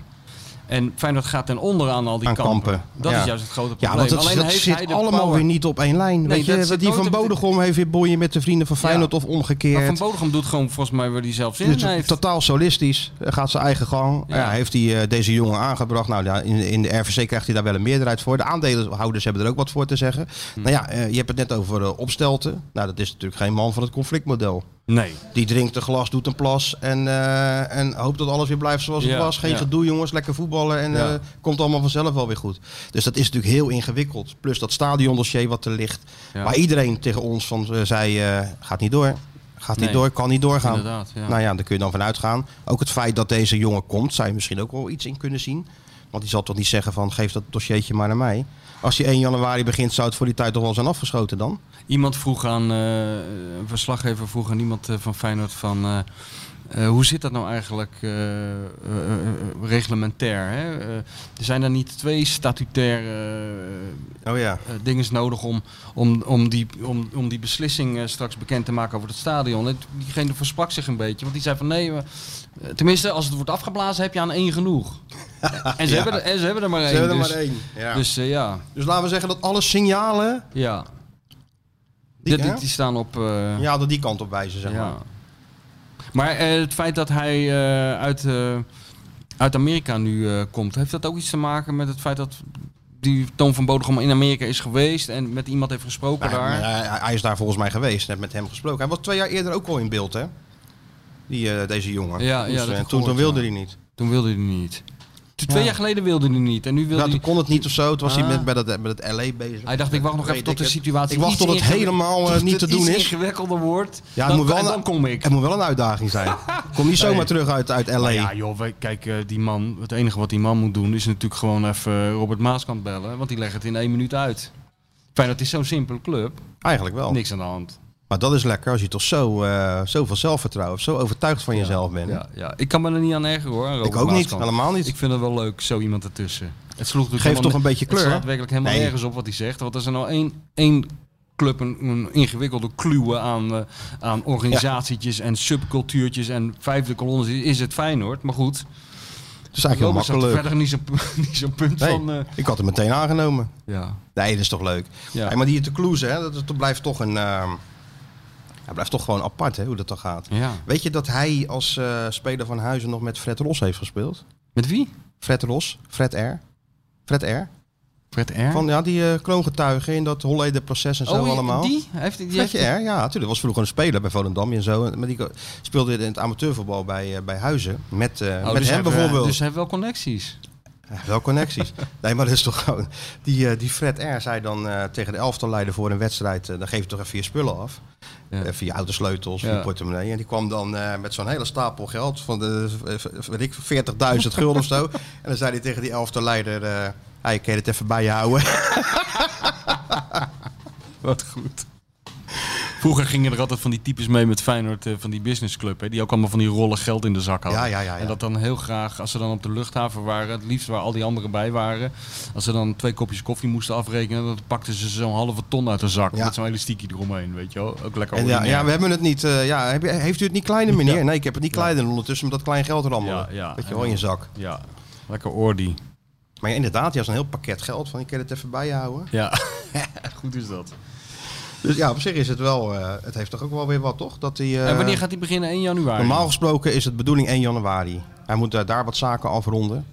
C: En Feyenoord gaat ten onder aan al die
B: Aan
C: kampen.
B: kampen,
C: Dat
B: ja.
C: is juist het grote probleem.
B: Ja, want dat,
C: Alleen
B: dat
C: heeft hij
B: zit
C: de
B: allemaal
C: power.
B: weer niet op één lijn.
C: Nee,
B: Weet
C: dat
B: je,
C: zit
B: die
C: nooit
B: van
C: op de-
B: Bodegom heeft weer boeien met de vrienden van Feyenoord of
C: Maar
B: omgekeerd.
C: Van Bodegom doet gewoon volgens mij waar hij zelf zin
B: Dus
C: in heeft.
B: totaal solistisch, eh, gaat zijn eigen gang.
C: Ja.
B: Ja. heeft hij eh, deze jongen aangebracht. Nou, daar- in, in de RVC krijgt hij daar wel een meerderheid voor. De aandeelhouders hebben er ook wat voor te zeggen.
C: Hm.
B: Nou ja, eh, je hebt het net over eh, opstelten. Nou, dat is natuurlijk geen man van het conflictmodel.
C: Nee.
B: Die drinkt een glas, doet een plas en, eh, en hoopt dat alles weer blijft zoals het
C: Ja,
B: was. Geen
C: ja.
B: gedoe jongens, lekker voetballen en
C: Ja.
B: eh, komt allemaal vanzelf wel weer goed. Dus dat is natuurlijk heel ingewikkeld. Plus dat stadiondossier wat er ligt.
C: Ja.
B: Waar iedereen tegen ons van eh, zei, eh, gaat niet door. Gaat niet
C: Nee.
B: door, kan niet doorgaan.
C: Inderdaad, ja.
B: Nou ja, daar kun je dan van uitgaan. Ook het feit dat deze jongen komt, zou je misschien ook wel iets in kunnen zien. Want die zal toch niet zeggen van, geef dat dossiertje maar naar mij. Als die 1 januari begint, zou het voor die tijd toch wel zijn afgeschoten dan?
C: Iemand vroeg aan, eh, een verslaggever vroeg aan iemand eh, van Feyenoord van... eh, Eh, hoe zit dat nou eigenlijk eh, eh, eh, reglementair? Hè? Eh, zijn er niet twee statutaire eh,
B: Oh ja.
C: eh, dingen nodig om, om, om, die, om, om die beslissing eh, straks bekend te maken over het stadion. En diegene versprak zich een beetje, want die zei van nee, we- eh, tenminste als het wordt afgeblazen heb je aan één
B: <laughs>
C: genoeg. en, ze
B: Ja.
C: hebben er, en ze hebben er maar één.
B: Ze hebben
C: dus,
B: er maar één. Ja. Dus,
C: Dus eh, ja,
B: laten we zeggen dat alle signalen
C: ja.
B: Die-
C: Die, die, die staan op... eh,
B: ja, dat die kant op wijzen, zeg maar.
C: ja. Maar eh, het feit dat hij eh, uit, eh, uit Amerika nu eh, komt, heeft dat ook iets te maken met het feit dat die Toon van Bodegom in Amerika is geweest en met iemand heeft gesproken
B: Nou,
C: daar?
B: hij- hij- hij is daar volgens mij geweest, net met hem gesproken. Hij was twee jaar eerder ook al in beeld, hè? Die, eh, deze jongen.
C: Ja,
B: Dus,
C: ja, dat
B: eh,
C: heb
B: toen,
C: ik
B: toen
C: gehoord,
B: wilde
C: ja.
B: hij niet.
C: Toen wilde hij niet. T- Twee
B: Ja.
C: jaar geleden wilde hij niet. En nu wil
B: Ja, Nou, toen
C: hij...
B: kon het niet of zo. Toen was hij
C: Ah.
B: met, bij, dat, met het LA bezig.
C: Hij dacht, ik wacht nog
B: Weet
C: even tot
B: ik
C: de
B: het.
C: situatie
B: Ik wacht
C: iets
B: tot het
C: ingewi-
B: helemaal eh,
C: tot
B: niet
C: het
B: te doen
C: iets
B: is.
C: ingewikkelder wordt.
B: Ja,
C: dan,
B: het moet wel
C: en
B: een-
C: dan kom ik.
B: Het moet wel een uitdaging zijn.
C: <laughs>
B: Kom niet zomaar
C: Nee.
B: terug uit, uit LA.
C: Maar ja, joh, wij- kijk, eh, die man, het enige wat die man moet doen is natuurlijk gewoon even eh, Robert Maaskant bellen. Want die legt het in één minuut uit. Fijn, dat is zo'n simpele club.
B: Eigenlijk wel.
C: Niks aan de hand.
B: Maar dat is lekker als je toch zo, eh, zoveel zelfvertrouwen of zo overtuigd van jezelf bent.
C: Ja, ja. Ik kan me er niet aan ergeren hoor. aan Robert
B: Ik ook niet,
C: Maaskant.
B: helemaal niet.
C: Ik vind het wel leuk, zo iemand ertussen. Het sloeg natuurlijk
B: Geeft
C: helemaal
B: toch een beetje
C: Het
B: kleur.
C: slaat werkelijk helemaal
B: Nee.
C: nergens op wat hij zegt. Want als er nou één, één club een, een ingewikkelde kluwen aan, eh, aan organisatietjes en subcultuurtjes en vijfde kolonnes is, is het Feyenoord. Maar goed,
B: Het is eigenlijk
C: Robert
B: heel
C: zat er
B: makkelijk.
C: verder niet zo'n <laughs> niet zo'n punt
B: Nee,
C: van... eh,
B: ik had hem meteen aangenomen.
C: ja,
B: Nee, dat is toch leuk.
C: ja.
B: Hey, maar die te kloezen, hè, dat, dat blijft toch een. ehm, ja, blijft toch gewoon apart, hè, hoe dat dan gaat.
C: ja.
B: Weet je dat hij als eh, speler van Huizen nog met Fred Ros heeft gespeeld?
C: Met wie?
B: Fred Ros, Fred R. Fred R.
C: Fred R?
B: Van ja, die eh kroongetuigen in dat Holleder proces en zo
C: oh,
B: allemaal.
C: die? Hij Heeft, die
B: Fred R,
C: heeft-
B: ja, natuurlijk. Was vroeger een speler bij Volendam en zo. Maar die ko- speelde in het amateurvoetbal bij, eh, bij Huizen. Met, eh,
C: Oh,
B: met
C: dus
B: hem
C: hij-
B: bijvoorbeeld.
C: Dus hij heeft wel connecties.
B: Ja, Wel connecties. <laughs> nee, maar dat is toch gewoon... Die, eh, die Fred R. zei dan eh, tegen de elftalleider voor een wedstrijd... eh, dan geef je toch even je spullen af.
C: Ja.
B: Eh, via autosleutels, via
C: Ja.
B: portemonnee. En die kwam dan eh, met zo'n hele stapel geld van de, eh, v- weet ik, 40.000 gulden of zo.
C: <laughs>
B: En dan zei hij tegen die elftalleider... eh hey, kan je het even bij je houden?
C: Wat goed. Vroeger gingen er altijd van die types mee met Feyenoord, eh, van die businessclub. Hè, die ook allemaal van die rollen geld in de zak hadden.
B: Ja, ja, ja, ja.
C: En dat dan heel graag, als ze dan op de luchthaven waren, het liefst waar al die anderen bij waren. Als ze dan twee kopjes koffie moesten afrekenen, dan pakten ze zo'n halve ton uit de zak.
B: Ja.
C: Met zo'n elastiekje eromheen, weet je wel. Ook lekker
B: En ja,
C: ordinair.
B: ja, we hebben het niet... eh, ja, heb je- heeft u het niet kleiner, meneer? Nee, ik heb het niet kleiner ondertussen... met dat klein geld rammelen.
C: Ja, ja.
B: dat je wel in je zak.
C: Ja, lekker ordi.
B: Maar ja, inderdaad, hij had een heel pakket geld van... ik kan je het even bij je houden.
C: Ja, <laughs> goed is dat.
B: Dus ja, op zich is het wel. eh, het heeft toch ook wel weer wat, toch? Dat die, eh,
C: en wanneer gaat die beginnen? 1 januari?
B: Normaal gesproken is het bedoeling 1 januari. Hij moet eh, daar wat zaken afronden.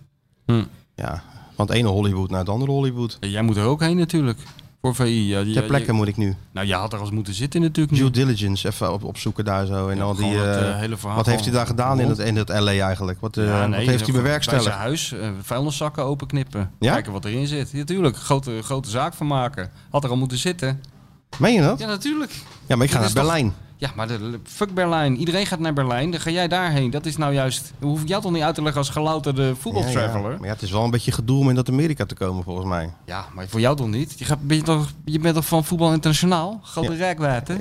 C: Hm.
B: Ja, want het ene Hollywood naar het andere Hollywood.
C: Jij moet er ook heen natuurlijk. Voor VI. Ja,
B: Ter
C: ja,
B: plekke
C: ja.
B: moet ik nu
C: nou, je had er als moeten zitten natuurlijk.
B: due
C: nu.
B: diligence even op, opzoeken daar zo. En al die,
C: Gewoon dat,
B: eh,
C: eh, hele verhaal
B: wat heeft hij
C: gewoon
B: daar gedaan in
C: rond.
B: dat, in dat LA eigenlijk? Wat, eh,
C: Ja, nee,
B: wat heeft
C: dat-
B: hij
C: Bij
B: bewerkstelligd?
C: zijn huis, eh, vuilniszakken openknippen.
B: Ja?
C: Kijken wat erin zit. Ja, natuurlijk, grote, grote zaak van maken. Had er al moeten zitten.
B: Meen je dat?
C: Ja, natuurlijk.
B: Ja, maar ik ga
C: dit
B: naar
C: is toch-
B: Berlijn.
C: Ja, maar de, fuck Berlijn. Iedereen gaat naar Berlijn. Dan ga jij daarheen. Dat is nou juist... Dat hoef ik jou toch niet uit te leggen als gelouterde
B: Ja,
C: voetbaltraveler?
B: ja.
C: Ja,
B: Maar ja, het is wel een beetje gedoe om in dat Amerika te komen volgens mij.
C: maar voor jou toch niet? Je, gaat, ben je, toch, je bent toch van voetbal internationaal? Grote
B: Ja.
C: rijkwijde.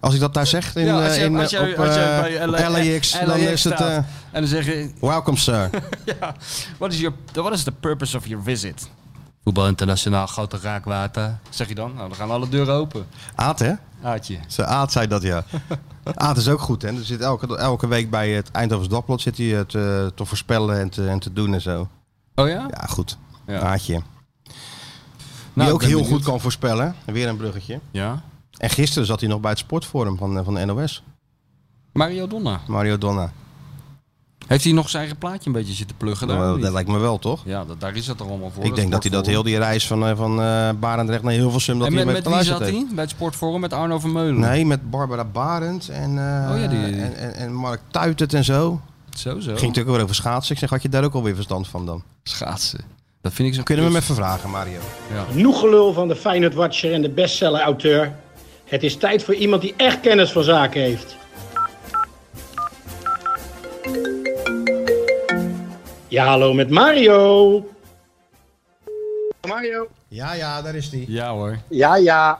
B: Als ik dat daar zeg in,
C: Ja, als
B: eh,
C: jij-
B: in, eh,
C: als jij-
B: op
C: als jij
B: eh,
C: bij LA
B: LAX, dan is het...
C: staat.
B: eh,
C: En dan zeg je...
B: welcome sir.
C: <laughs> Ja, what is, your, what is the purpose of your visit? Voetbal internationaal, grote raakwater. Zeg je dan? Nou, dan gaan alle deuren open.
B: Aad, hè?
C: Aatje.
B: Ze Aad zei dat,
C: <laughs>
B: ja. Aad is ook goed, hè? Er zit elke, elke week bij het Eindhoven's Dagblad zit hij het te, te voorspellen en te, en te doen en zo.
C: Oh ja?
B: Ja, goed.
C: Ja.
B: Aadje. Die
C: Nou, ik
B: ook
C: ben
B: heel
C: benieuwd.
B: goed kan voorspellen. Weer een bruggetje.
C: Ja.
B: En gisteren zat hij nog bij het sportforum van, eh, van de NOS.
C: Mario Donna.
B: Mario Donna.
C: Heeft hij nog zijn eigen plaatje een beetje zitten pluggen? Daar,
B: Nou,
C: of
B: dat
C: niet?
B: lijkt me wel, toch?
C: ja, dat, daar is dat er allemaal voor.
B: Ik denk dat hij dat heel
C: sportforum.
B: die reis van, eh, van eh Barendrecht naar Hilversum... Dat
C: En
B: hij
C: met,
B: met,
C: met wie
B: geluisterd
C: zat
B: heeft.
C: hij? Bij het sportforum met Arno Vermeulen?
B: Nee, met Barbara Barend en, eh,
C: Oh ja, die-
B: en, en, en Mark Tuitert en zo.
C: Zo, zo.
B: Ging natuurlijk ook over schaatsen. Ik zeg, had je daar ook alweer verstand van dan?
C: Schaatsen. Dat vind ik zo
B: Kunnen we hem
C: kut.
B: even vragen, Mario?
E: Genoeg gelul van de Feyenoord Watcher en de bestseller-auteur. Het is tijd voor iemand die echt kennis van zaken heeft. Ja, hallo met Mario.
F: Mario.
B: Ja, ja, daar is die.
C: Ja hoor.
F: Ja, ja.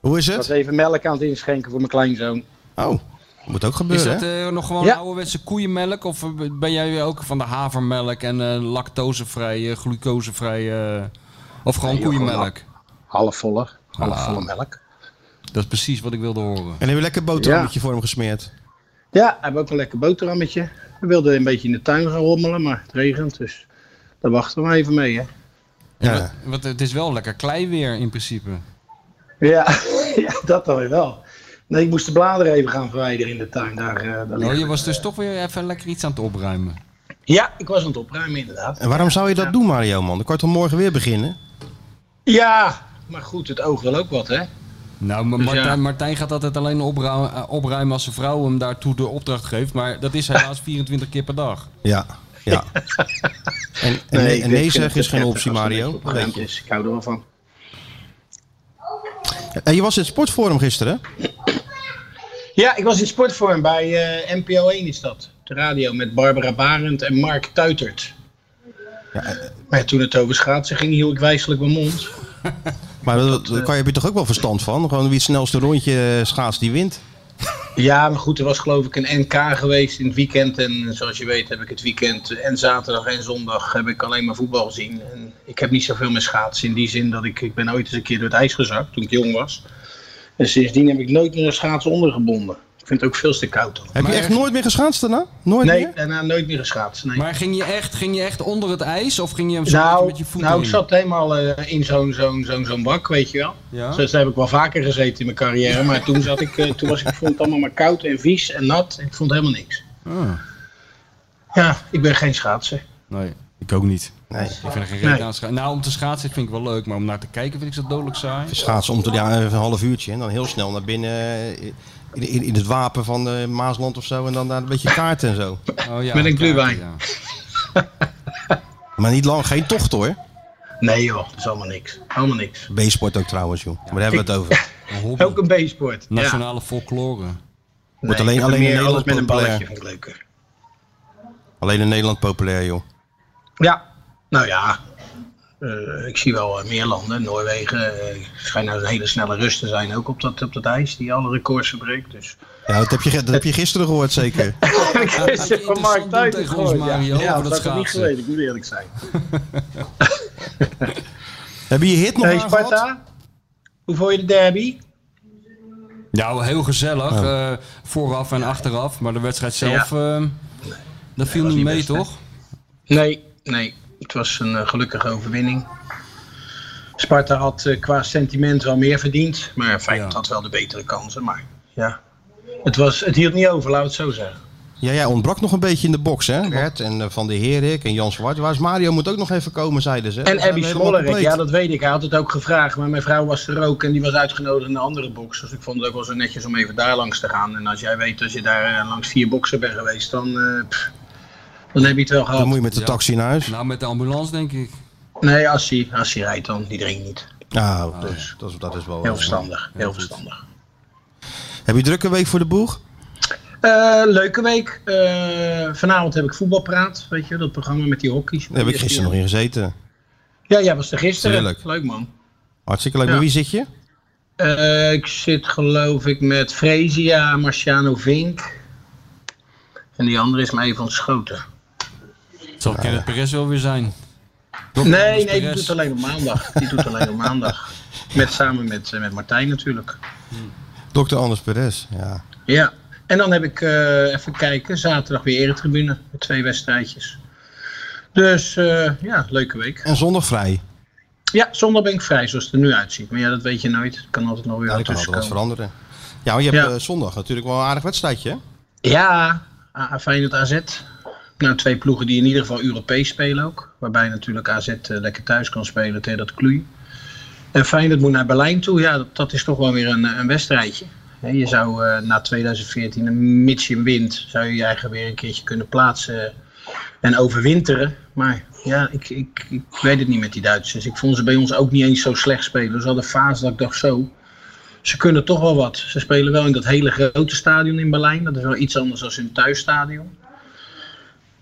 B: Hoe is
F: Ik was
B: het?
F: even melk aan het inschenken voor mijn kleinzoon.
B: Oh, Moet ook
C: Is
B: gebeuren,
C: dat
B: hè?
C: eh, nog gewoon
F: Ja.
C: ouderwetse koeienmelk? Of eh, ben jij ook van de havermelk en eh, lactosevrij, eh, glucosevrij... eh, of gewoon
F: Nee, joh,
C: koeienmelk?
F: Halfvolle, halfvolle
C: Ah.
F: melk.
C: Dat is precies wat ik wilde horen.
B: En hebben we lekker boterhammetje voor hem gesmeerd.
F: Ja, hebben we ook een lekker boterhammetje. We wilden een beetje in de tuin gaan rommelen, maar het regent, dus daar wachten we even mee, hè.
B: Ja.
C: Wat- Want het is wel lekker klei weer in principe.
F: Ja, <laughs> ja dat dan weer wel. Nee, ik moest de bladeren even gaan verwijderen in de tuin. Daar, eh, daar
C: Oh,
F: liggen.
C: je was dus toch weer even lekker iets aan het opruimen.
F: Ja, ik was aan het opruimen, inderdaad.
B: En waarom zou je dat doen, Mario, man? Dan kan je toch morgen weer beginnen?
F: Ja, maar goed, het oog wil ook wat, hè.
C: Nou, maar
F: Dus
C: Martijn,
F: ja.
C: Martijn gaat altijd alleen opruim- eh, opruimen als zijn vrouw hem daartoe de opdracht geeft. Maar dat is
F: <laughs>
C: helaas 24 keer per dag.
B: Ja. ja. en en nee, en
F: ik
B: nee
F: vind
B: zeg
F: het
B: is geen
F: prettig
B: optie,
F: als het
B: Mario.
F: netjes opgeruimd is. Ik hou er wel van.
B: En je was in het sportforum gisteren, hè?
F: Ja, ik was in sportvorm bij eh, NPO 1 is dat. De radio met Barbara Barend en Mark Tuitert. Maar toen het over schaatsen ging, hield ik wijselijk mijn mond.
B: Maar dat, dat kan, je- heb je toch ook wel verstand van? Gewoon wie het snelste rondje schaats die wint.
F: Ja, maar goed, er was geloof ik een NK geweest in het weekend. En eh, zoals je weet heb ik het weekend eh, en zaterdag en zondag heb ik alleen maar voetbal gezien. En ik heb niet zoveel met schaatsen in die zin dat ik, ik ben ooit eens een keer door het ijs gezakt toen ik jong was. En sindsdien heb ik nooit meer een schaatsen ondergebonden. Ik vind het ook veel te koud dan.
B: Heb
C: Maar
B: je echt
C: echt-
B: nooit meer geschaatst daarna? Nooit
F: Nee,
B: meer?
F: daarna nooit meer geschaatst. Nee.
C: Maar ging je echt, ging je echt onder het ijs of ging je hem zo
F: Nou,
C: met je voeten
F: nou ik
C: in?
F: zat helemaal eh, in zo'n zo'n zo'n zo'n bak, weet je wel.
C: Ja?
F: Dus daar heb ik wel vaker gezeten in mijn carrière. Maar toen, zat ik, eh, toen was ik, ik vond het allemaal maar koud en vies en nat. Ik vond helemaal niks.
C: Ah,
F: Ja, ik ben geen schaatser.
C: nee, ik ook niet.
B: Nee.
C: Ik vind er geen
F: Nee.
C: reden aan scha- Nou, om te schaatsen vind ik wel leuk, maar om naar te kijken vind ik zo dodelijk saai.
B: Schaatsen om te, ja, even een half uurtje en dan heel snel naar binnen eh, in, in, in het wapen van eh, Maasland of zo. En dan daar een beetje kaarten en zo.
C: Oh, ja,
F: Met een glühwein.
C: Ja.
B: Maar niet lang, geen tocht hoor.
F: Nee joh, dat is allemaal niks. Allemaal niks.
B: B-sport ook trouwens, joh. Maar daar hebben we het over.
C: Een hobby.
F: Ook een B-sport. Ja.
C: Nationale folklore.
F: Nee,
B: Wordt alleen-
F: ik vind
B: alleen in
F: meer
B: Nederland
F: alles met een
B: populair.
F: balletje vind ik leuker.
B: Alleen in Nederland populair, joh.
F: Ja, nou ja. eh, ik zie wel eh, meer landen. Noorwegen eh, schijnt nou een hele snelle rust te zijn. Ook op dat, op dat ijs die alle records verbreekt. Dus.
B: Ja, dat heb je, ge- dat heb je gisteren gehoord, zeker.
F: Ik is
C: je
F: van
C: interessant
F: Mark
C: doen
F: Tuit
C: tegen ons, Mario, over dat
F: dat had ik niet
C: schaatsen.
F: geweten, ik moet eerlijk zijn.
B: Heb je je hit nog
F: Hey,
B: aangehad?
F: Sparta, hoe vond je de derby?
C: Nou, heel gezellig. eh, vooraf en achteraf. Maar de wedstrijd zelf, eh, dat viel niet
F: niet
C: mee,
F: best, hè?
C: toch?
F: Nee, nee. Het was een eh, gelukkige overwinning. Sparta had eh, qua sentiment wel meer verdiend. Maar Feyenoord
C: Ja.
F: had wel de betere kansen. Maar ja, het, was, het hield niet over, laat het zo zeggen.
B: Ja, jij ontbrak nog een beetje in de box, hè? Bert en eh, Van de Herik en Jan Zwart. Waar is Mario? Moet ook nog even komen, zeiden ze.
F: En Abby Smollerik,
B: Smoller.
F: ja dat weet ik. Hij had het ook gevraagd. Maar mijn vrouw was er ook en die was uitgenodigd in de andere box. Dus ik vond het ook wel zo netjes om even daar langs te gaan. En als jij weet dat je daar eh, langs vier boxen bent geweest, dan, eh, pff, dan heb je het wel gehad.
B: Dan moet je met de taxi naar huis.
C: Nou, met de ambulance, denk ik.
F: Nee, als hij, als hij rijdt dan, die drinkt niet.
B: Nou, dat is- dat, is, dat is wel... eh,
F: Heel verstandig, heel verstandig.
B: Heb je drukke week voor de boeg?
F: Eh, leuke week. Eh, vanavond heb ik voetbalpraat, weet je, dat programma met die hockey.
B: Daar heb ik gisteren nog in gezeten.
F: Ja, jij was er gisteren.
B: Tuurlijk.
F: Leuk man.
B: Hartstikke leuk.
F: Ja.
B: Met wie zit je?
F: Eh, ik zit geloof ik met Frezia, Marciano Vink. En die andere is me even ontschoten.
C: Het zal Kenneth Perez wel weer zijn.
F: Nee, nee, die
C: Perez.
F: doet het alleen op maandag. Die doet het alleen op maandag. Met, samen met, eh, met Martijn natuurlijk.
B: Dr. Anders Perez. Ja.
F: Ja, en dan heb ik eh, even kijken, zaterdag weer Eretribune met twee wedstrijdjes. Dus eh, ja, leuke week.
B: En zondag vrij.
F: Ja, zondag ben ik vrij zoals het er nu uitziet. Maar ja, dat weet je nooit. Het dus kan altijd nog weer
B: Ja,
F: wat
B: dat kan altijd wat
F: tussenkomen.
B: veranderen. Ja, maar je hebt
F: Ja.
B: eh, zondag natuurlijk wel een aardig wedstrijdje. hè?
F: Ja, A- A- Feyenoord AZ. Nou, twee ploegen die in ieder geval Europees spelen ook. Waarbij natuurlijk AZ eh, lekker thuis kan spelen tegen dat kloei. En Feyenoord moet naar Berlijn toe. Ja, dat, dat is toch wel weer een, eh, een wedstrijdje. Hè, Je zou eh, na 2014, een mits je wint, zou je je eigen weer een keertje kunnen plaatsen en overwinteren. Maar ja, ik, ik, ik weet het niet met die Duitsers. Ik vond ze bij ons ook niet eens zo slecht spelen. Ze hadden een fase dat ik dacht zo, ze kunnen toch wel wat. Ze spelen wel in dat hele grote stadion in Berlijn. Dat is wel iets anders dan hun thuisstadion.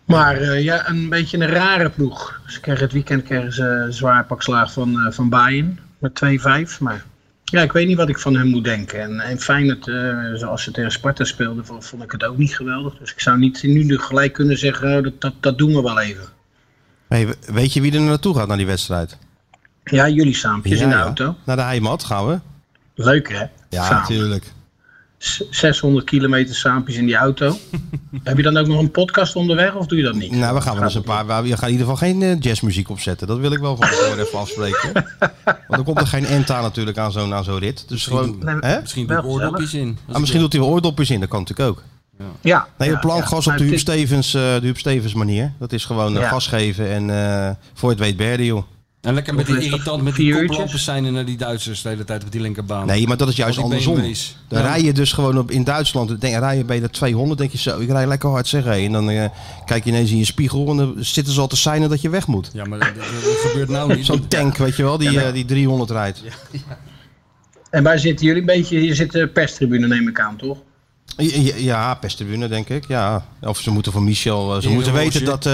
F: Maar eh, ja, een beetje een rare ploeg. Ze kregen het weekend kregen ze een zwaar pak slaag van, eh, van Bayern met 2-5. Maar Ja, ik weet niet wat ik van hem moet denken. En, en Feyenoord, eh, zoals ze tegen Sparta speelden, vo- vond ik het ook niet geweldig. Dus ik zou niet nu de- gelijk kunnen zeggen, eh, dat, dat, dat doen we wel even.
B: Hey, we- weet je wie er naartoe gaat naar die wedstrijd?
F: Ja, jullie saampjes in de auto.
B: Naar de heimat gaan we.
F: Leuk hè?
B: Ja,
F: Samen.
B: natuurlijk.
F: S- 600 kilometer saampjes in die
C: <laughs>
F: auto. Heb je dan ook nog een podcast onderweg of doe je dat niet?
B: Nou, we gaan wel eens een paar. We gaan in ieder geval geen eh, jazzmuziek opzetten. Dat wil ik wel van tevoren even
F: <laughs>
B: afspreken. Want dan komt er geen enta natuurlijk aan zo'n aan zo'n rit. Dus gewoon.
F: Nee,
B: hè?
C: Misschien doe ik
F: Wel
C: oordopjes in.
B: Ah, misschien doet hij wel oordopjes in, dat kan natuurlijk ook.
F: Ja.
B: Nee,
F: ja,
B: op plankgas
F: ja.
B: op de
F: Nou,
B: Huub,
F: het is-
B: Stevens, eh, de Huub Stevens manier. Dat is gewoon eh,
F: Ja.
B: gas geven en eh, voor het weet berden, joh.
C: En lekker met
F: Of
C: die
F: is dat
C: irritant met die
F: vier
C: koplampen
F: uurtjes?
C: zijn en naar die Duitsers de hele tijd op die linkerbaan.
B: Nee, maar dat is juist
C: Al die
B: andersom.
C: BMW's.
B: Dan
C: Ja.
B: rij je dus gewoon op, in Duitsland, denk, rij je bij de 200, denk je zo, ik rij lekker hard zeg. hé. En dan eh, kijk je ineens in je spiegel en dan zitten ze al te seinen dat je weg moet.
C: Ja, maar dat, dat- dat gebeurt nou niet.
B: Zo'n tank, weet je wel, die,
F: Ja, maar-
B: eh, die 300 rijdt.
F: En waar zitten jullie een beetje? Hier zit de perstribune neem ik aan, toch?
B: Ja, ja, pestribune denk ik. Ja. Of ze moeten van Michel. eh, Ze
C: In
B: moeten
C: een
B: weten
C: roosje.
B: dat,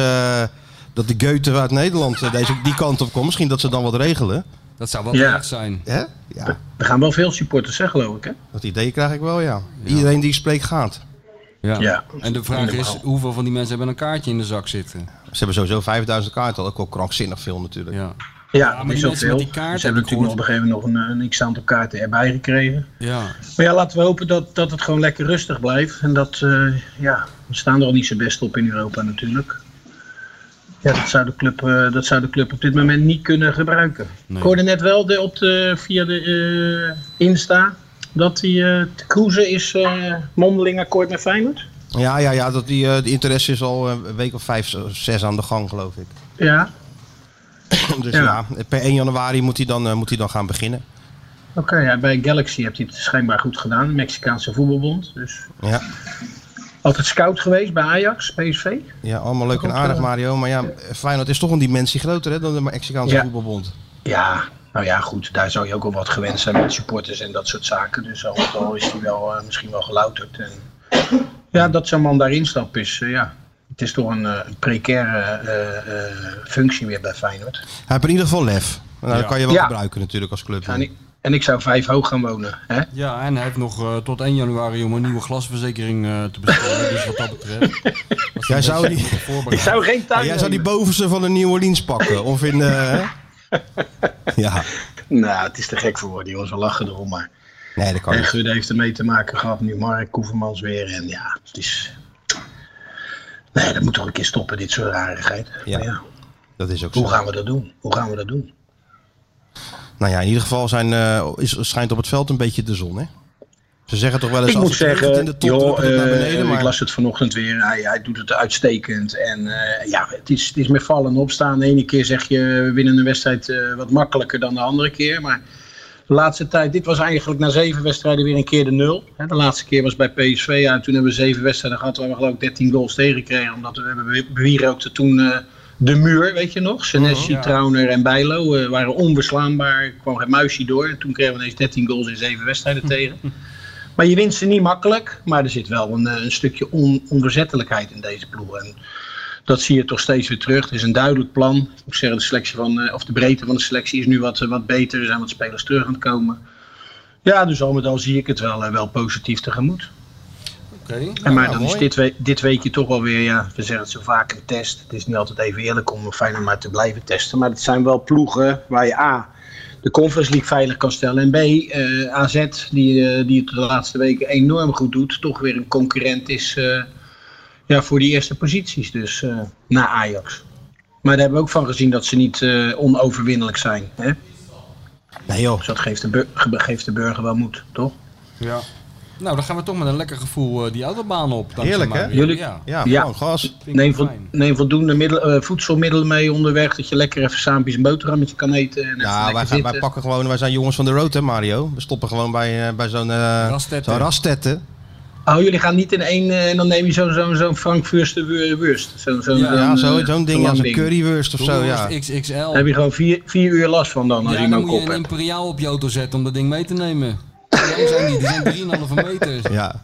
B: eh, dat de Goethe uit Nederland eh, deze, die kant op komt. Misschien dat ze dan wat regelen.
C: Dat zou wel
F: Ja.
C: echt zijn.
B: Hè? Ja,
F: Er gaan wel veel supporters, hè, geloof ik. Hè?
B: dat idee krijg ik wel, ja. Iedereen die ik spreek gaat.
C: Ja.
F: Ja.
C: En de vraag is,
F: Helemaal.
C: hoeveel van die mensen hebben een kaartje in de zak zitten?
B: Ze hebben sowieso 5000 kaarten. Ook wel krankzinnig veel natuurlijk.
C: Ja.
F: Ja,
C: maar
F: dat is
C: die
F: ook
C: mensen met
F: veel.
C: die kaarten,
F: Ze hebben
C: heb ik
F: natuurlijk nog op een gegeven moment nog een, een x-aantal kaarten erbij gekregen.
C: ja.
F: Maar ja, laten we hopen dat, dat het gewoon lekker rustig blijft. En dat, eh, ja, we staan er al niet zo best op in Europa natuurlijk. Ja, dat zou de club, eh, dat zou de club op dit moment niet kunnen gebruiken.
C: Nee.
F: Ik hoorde net wel de, op de, via de eh, Insta dat die eh Kroeze is eh, mondeling akkoord met Feyenoord.
B: Ja, ja, ja. Dat die, eh, de interesse is al eh, een week of vijf, eh, zes aan de gang, geloof ik. <clears throat>
F: Ja,
B: Dus ja,
F: Ja.
B: per 1 januari moet hij dan, eh, moet hij dan gaan beginnen.
F: oké. ja, bij Galaxy hebt hij het schijnbaar goed gedaan. de Mexicaanse voetbalbond. Dus
B: Ja.
F: altijd scout geweest bij Ajax, PSV.
B: Ja, allemaal leuk en
F: Goed,
B: aardig,
F: eh,
B: Mario. Maar ja, Feyenoord is toch een dimensie groter hè, dan de Mexicaanse
F: Ja.
B: voetbalbond.
F: Ja, nou ja, goed. Daar zou je ook wel wat gewend zijn met supporters en dat soort zaken. Dus al met al is hij wel eh, misschien wel gelouterd. En, ja, dat zo'n man daarin stapt is, eh, ja. Het is toch een, eh, een precaire eh, eh, functie weer bij Feyenoord.
B: Hij heeft in ieder geval lef. Nou, Dat kan je wel
F: Ja.
B: gebruiken natuurlijk als club.
F: En ik, en ik zou vijf hoog gaan wonen. Hè?
C: ja, en hij heeft nog eh, tot 1 januari om een nieuwe glasverzekering eh, te bestellen. dus wat dat
F: <laughs>
C: betreft... was hij
B: Jij
C: een
B: zou
C: beetje
B: die-
C: voorbereid.
F: geen
B: <laughs> Ja, jij zou die bovenste van de New Orleans pakken. Of in. eh,
F: <laughs>
B: hè? ja,
F: Nou, het is te gek voor woorden, jongens. We lachen erom maar.
B: nee, dat kan
F: En
B: niet.
F: Gudde heeft ermee te maken gehad. Nu Mark Koevermans weer. En ja, het is... Nee, dat moet toch een keer stoppen, dit soort rarigheid.
B: Ja.
F: Maar ja,
B: Dat is ook zo.
F: hoe gaan we dat doen? Hoe gaan we dat doen?
B: Nou ja, in ieder geval zijn, eh, is, schijnt op het veld een beetje de zon, hè? Ze zeggen toch wel eens.
F: Ik
B: als
F: moet
B: het regent
F: zeggen,
B: in de top,
F: joh,
B: drukt het naar
F: eh,
B: beneden. Maar
F: ik las het vanochtend weer. Hij, hij doet het uitstekend. En eh, ja, het is, het is met vallen en opstaan. De ene keer zeg je, we winnen een wedstrijd eh, wat makkelijker dan de andere keer. Maar de laatste tijd, dit was eigenlijk na zeven wedstrijden weer een keer de nul. Hè, De laatste keer was bij PSV uit. Toen hebben we zeven wedstrijden gehad waar we geloof ik 13 goals tegen kregen. Omdat we hebben bewierookte toen... eh, de muur, weet je nog? Senesi, Trauner en Bijlo eh, waren onbeslaanbaar. Er kwam geen muisje door. En toen kregen we ineens 13 goals in zeven wedstrijden tegen. Maar je wint ze niet makkelijk. Maar er zit wel een, eh, een stukje on, onverzettelijkheid in deze ploeg. En dat zie je toch steeds weer terug. Er is een duidelijk plan. Ik moet zeggen, de, selectie van, eh, of de breedte van de selectie is nu wat, eh, wat beter. Er zijn wat spelers terug aan het komen. Ja, dus al met al zie ik het wel, eh, wel positief tegemoet.
C: Oké.
F: en maar
B: ja, nou,
F: dan is
B: mooi.
F: dit, we- dit weekje toch wel weer, ja, we zeggen het zo vaak, een test. Het is niet altijd even eerlijk om Feyenoord maar te blijven testen. Maar het zijn wel ploegen waar je A, de Conference League veilig kan stellen. En B, eh, AZ, die, eh, die het de laatste weken enorm goed doet, toch weer een concurrent is eh, ja, voor die eerste posities. Dus eh, na Ajax. Maar daar hebben we ook van gezien dat ze niet eh, onoverwinnelijk zijn. Hè?
B: nee, joh.
F: Dus dat geeft de, bur- ge- geeft de burger wel moed, toch?
C: Ja. Nou, dan gaan we toch met een lekker gevoel eh, die autobaan op. dankzij
B: Heerlijk, hè?
C: Mario.
F: Jullie-
C: Ja.
B: Ja,
F: Ja.
B: gewoon gas.
C: Vind ik
F: Neem,
C: wel
F: vo-
C: fijn.
F: neem voldoende middel, eh, voedselmiddelen mee onderweg. Dat je lekker even saampjes een boterhammetje kan eten. En even
B: Ja,
F: lekker
B: wij, gaan, wij
F: zitten.
B: pakken gewoon, wij zijn jongens van de road, hè Mario? We stoppen gewoon bij, eh, bij zo'n eh,
C: Rastetten.
B: zo'n rastetten.
F: Oh, jullie gaan niet in één eh, en dan neem je zo'n zo, zo Frankfurster wur- wurst. Zo, zo,
C: Ja,
F: zo'n,
B: Ja,
F: eh,
B: zo- zo'n ding, ja,
F: lang
B: zo'n currywurst of zo, ja.
C: Doelworst XXL.
F: Daar heb je gewoon vier, vier uur last van dan, als
C: Ja,
F: je hem
C: dan
F: ook
C: moet
F: op
C: je een
F: hebt.
C: imperiaal op je auto zetten om dat ding mee te nemen. Zo lang zijn die, die zijn 3,5 meter.
B: Ja.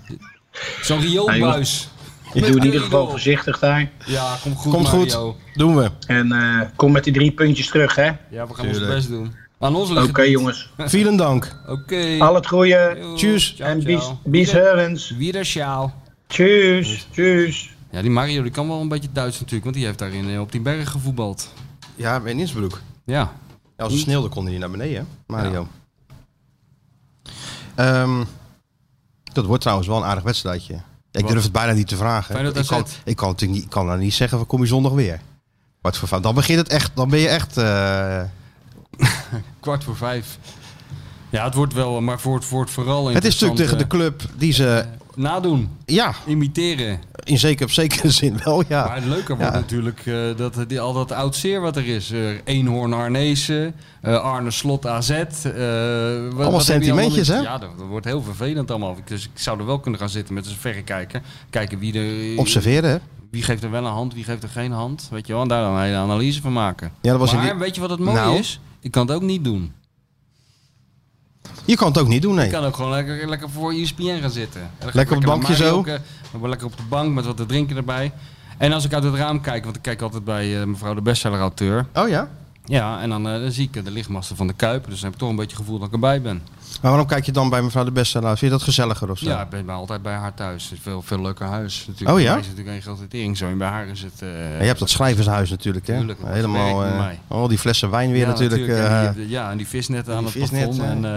C: Zo'n rioolbuis.
F: Je doet in ieder geval voorzichtig daar.
C: Ja, komt goed
B: Komt goed,
C: Mario.
B: doen we.
F: En eh, kom met die drie puntjes terug, hè.
C: Ja, we gaan
B: Tuurlijk.
C: ons best doen. Aan ons
F: Oké
C: liggen het niet.
F: jongens,
B: Vielen dank.
C: Oké.
F: al het goede.
C: Joe,
B: Tjus.
C: ciao,
F: En bis,
C: ciao.
F: bis herens.
C: Wieder ciao.
F: Tjus, tjus.
C: Ja, die Mario die kan wel een beetje Duits natuurlijk, want die heeft daarin eh, op die bergen gevoetbald.
B: Ja, in Innsbruck.
C: Ja.
B: Ja, als het sneeuwde kon hij niet naar beneden, hè, Mario. Ehm, dat wordt trouwens wel een aardig wedstrijdje. Ik
C: Wat?
B: durf het bijna niet te vragen.
C: Feyenoord
B: ik, kan,
C: AZ.
B: ik kan natuurlijk niet, ik kan nou niet zeggen, van kom je zondag weer? Wat voor fout. Dan begint het echt, dan ben je echt... eh,
C: Kwart voor vijf. Ja, het wordt wel, maar voor het, wordt vooral
B: het is natuurlijk tegen de
C: interessant,
B: club die ze,
C: eh, Nadoen,
B: ja,
C: imiteren.
B: in zeker, op zekere <laughs> zin wel,
C: Maar
B: ja.
C: het leuke wordt
B: Ja.
C: natuurlijk eh, dat, eh, die, al dat oud zeer wat er is. Eh Eenhoorn Arnezen, eh, Arne Slot AZ. eh, wat- wat heb je
B: sentimentjes,
C: allemaal
B: hè?
C: niet? Ja, dat, dat wordt heel vervelend allemaal. Ik- Dus ik zou er wel kunnen gaan zitten met een verrekijker. Kijken wie er... eh,
B: Observeren, hè?
C: Wie geeft er wel een hand, wie geeft er geen hand. Weet je wel, en daar dan een hele analyse van maken.
B: Ja, dat was in
C: maar
B: die-
C: weet je wat het mooie
B: Nou.
C: is? Ik kan het ook niet doen.
B: Je kan het ook niet doen, nee.
C: Ik kan ook gewoon lekker, lekker voor E ESPN gaan zitten. En dan ga ik
B: Lekker op het bankje
C: met Mario
B: zo.
C: ke- dan ben ik lekker op de bank met wat te drinken erbij. En als ik uit het raam kijk, want ik kijk altijd bij eh, mevrouw de bestseller-auteur.
B: Oh ja?
C: Ja, en dan, eh, dan zie ik eh, de lichtmasten van de Kuip. Dus dan heb ik toch een beetje het gevoel dat ik erbij ben.
B: Maar waarom kijk je dan bij mevrouw de Beste? Nou, vind je dat gezelliger of zo?
C: Ja, ik ben maar altijd bij haar thuis. Het is veel, veel leuker huis. Natuurlijk.
B: Oh ja?
C: Bij mij is het natuurlijk een grote tering zo. En bij haar is het... eh,
B: En je hebt dat schrijvershuis natuurlijk, hè?
C: Tuurlijk, dat
B: Helemaal,
C: werkt bij
B: eh,
C: mij.
B: al die flessen wijn weer
C: ja,
B: natuurlijk. eh,
C: en die, ja, en die visnetten aan
B: die
C: het plafond. En,
B: visnetten.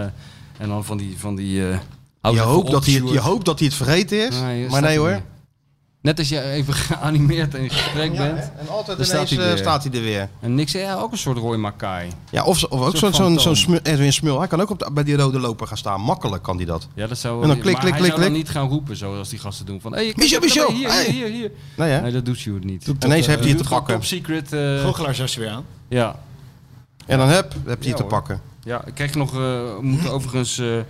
C: eh, en dan van die... Van die eh,
B: je,
C: oude
B: hoopt dat hij het, je
C: opgesjoerd-
B: hoopt dat hij het vergeten is,
C: Nee, hier
B: maar
C: staat
B: nee
C: hij
B: hoor.
C: weer. Net als je even <laughs> geanimeerd en in gesprek bent.
B: en altijd
C: Dan
B: ineens
C: staat hij
B: eh,
C: weer.
B: staat hij er weer.
C: En niks, ja, ook een soort Roy Makai.
B: Ja, of, zo- of ook
C: Zo'n
B: zo'n zo'n
C: fantoom.
B: zo'n Smul- Edwin Smul. Hij kan ook op de- bij die rode loper gaan staan. Makkelijk kan hij dat.
C: Ja, dat zou
B: En dan
C: maar
B: klik, klik,
C: hij
B: klik,
C: zou dan
B: klik.
C: niet gaan roepen zoals die gasten doen. Van, hey, kijk,
B: Michel,
C: kijk,
B: Michel,
C: Hier,
B: hey.
C: hier, hier, hier.
B: Nee, hè?
C: Nee, dat doet Sjoerd niet.
B: Ineens heeft hij het
C: Doet
B: te pakken.
C: Top secret. eh,
D: Goochelaar zag je weer aan.
C: ja.
B: En dan heb, heb hij het te
C: hoor.
B: pakken.
C: ja, ik kreeg nog, eh, we
B: <laughs>
C: moeten overigens eh,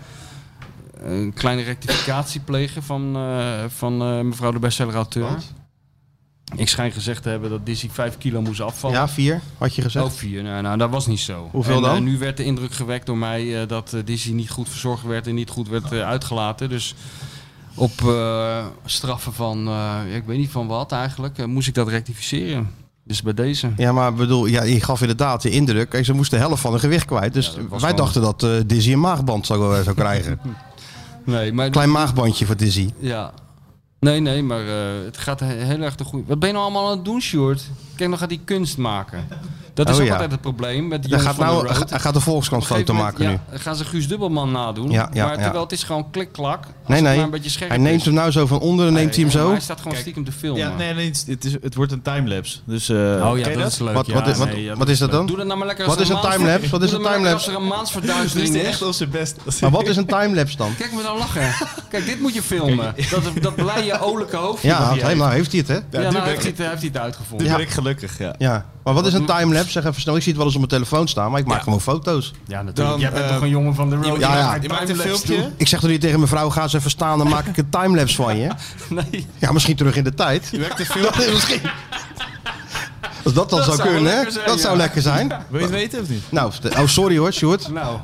C: een kleine rectificatie plegen van, eh, van eh, mevrouw de bestseller-auteur.
B: Want?
C: Ik schijn gezegd te hebben dat Dizzy 5 kilo moest afvallen.
B: Ja, vier, had je gezegd.
C: Oh, vier. Nou, nou, dat was niet zo.
B: Hoeveel
C: en,
B: dan?
C: eh, nu werd de indruk gewekt door mij eh, dat eh, Dizzy niet goed verzorgd werd en niet goed werd eh, uitgelaten. Dus op eh, straffen van, eh, ja, ik weet niet van wat eigenlijk, eh, moest ik dat rectificeren. Dus bij deze.
B: Ja, maar ik bedoel, ja, je gaf inderdaad de indruk. Kijk, ze moest de helft van hun gewicht kwijt. Dus
C: Ja, dat
B: wij
C: was gewoon-
B: dachten dat eh, Dizzy een maagband zou, eh, zou
C: <laughs>
B: krijgen.
C: Nee, maar...
B: Klein maagbandje voor Dizzy.
C: Ja. Nee, nee, maar eh, het gaat he- heel erg de goede... Wat ben je nou allemaal aan het doen, Sjoerd? Kijk, dan gaat hij kunst maken. Dat is
B: Oh,
C: ook
B: ja.
C: altijd het probleem met die
B: Hij
C: jongens
B: gaat,
C: van
B: nou,
C: de road.
B: hij gaat de Volkskrant
C: Op een gegeven
B: foto
C: moment,
B: maken nu.
C: Ja, gaan ze Guus Dubbelman nadoen.
B: Ja, ja,
C: maar
B: ja.
C: terwijl het is gewoon klik-klak. Als
B: Nee,
C: het
B: nee.
C: maar een beetje scherp
B: Hij neemt
C: is.
B: hem nou zo van onderen, neemt hij hem
C: Ja, maar
B: zo.
C: Hij staat gewoon
D: Kijk.
C: stiekem te filmen.
D: Ja, nee, nee het, is- het, is, het wordt een timelapse. Dus, eh,
C: Oh
D: ken
C: ja,
D: je
C: dat, is leuk.
B: Wat,
C: ja,
B: wat, wat,
C: nee, ja,
B: wat is dat dan?
C: Doe dat nou maar lekker
B: Wat
C: als
B: is een
C: maand-
B: timelapse? Wat is
C: Doe
B: een
C: dat maar lekker
B: timelapse?
C: Als er een
D: Dit is
C: maandsverduistering
D: die
C: is.
D: echt op zijn best. <laughs>
B: Maar wat is een timelapse dan?
C: Kijk me dan lachen. Kijk, dit moet je
B: <laughs>
C: filmen. Dat, dat blije, olijke hoofdje.
B: Ja,
C: wat hij heeft.
B: helemaal heeft hij het, hè?
D: Ja,
C: Ja,
D: nu
C: nou,
D: ben
C: heeft,
D: ik-
C: hij het, heeft hij het uitgevonden.
D: Nu
B: Ja.
D: ben ik gelukkig, ja.
B: Ja. Maar wat is een timelapse? Zeg even snel. Ik zie het wel eens op mijn telefoon staan, maar ik maak gewoon foto's.
C: Ja, natuurlijk.
D: Dan,
C: Jij bent
D: eh,
C: toch een jongen van de road?
B: ja, ja.
D: Je maakt een filmpje.
B: Ik zeg toch niet tegen mijn vrouw, ga eens even staan, dan maak ik een timelapse van je.
C: <laughs> Nee.
B: Ja, misschien terug in de tijd.
D: Je
B: <laughs>
D: maakt een
B: Dat
D: filmpje.
B: is misschien... Als dat dan
C: Dat
B: zou
C: zou
B: kunnen, hè?
C: lekker zijn,
B: dat
C: ja.
B: zou lekker zijn.
D: Wil je het weten of niet?
B: Nou, vertel- oh sorry hoor, Sjoerd.
C: Nou,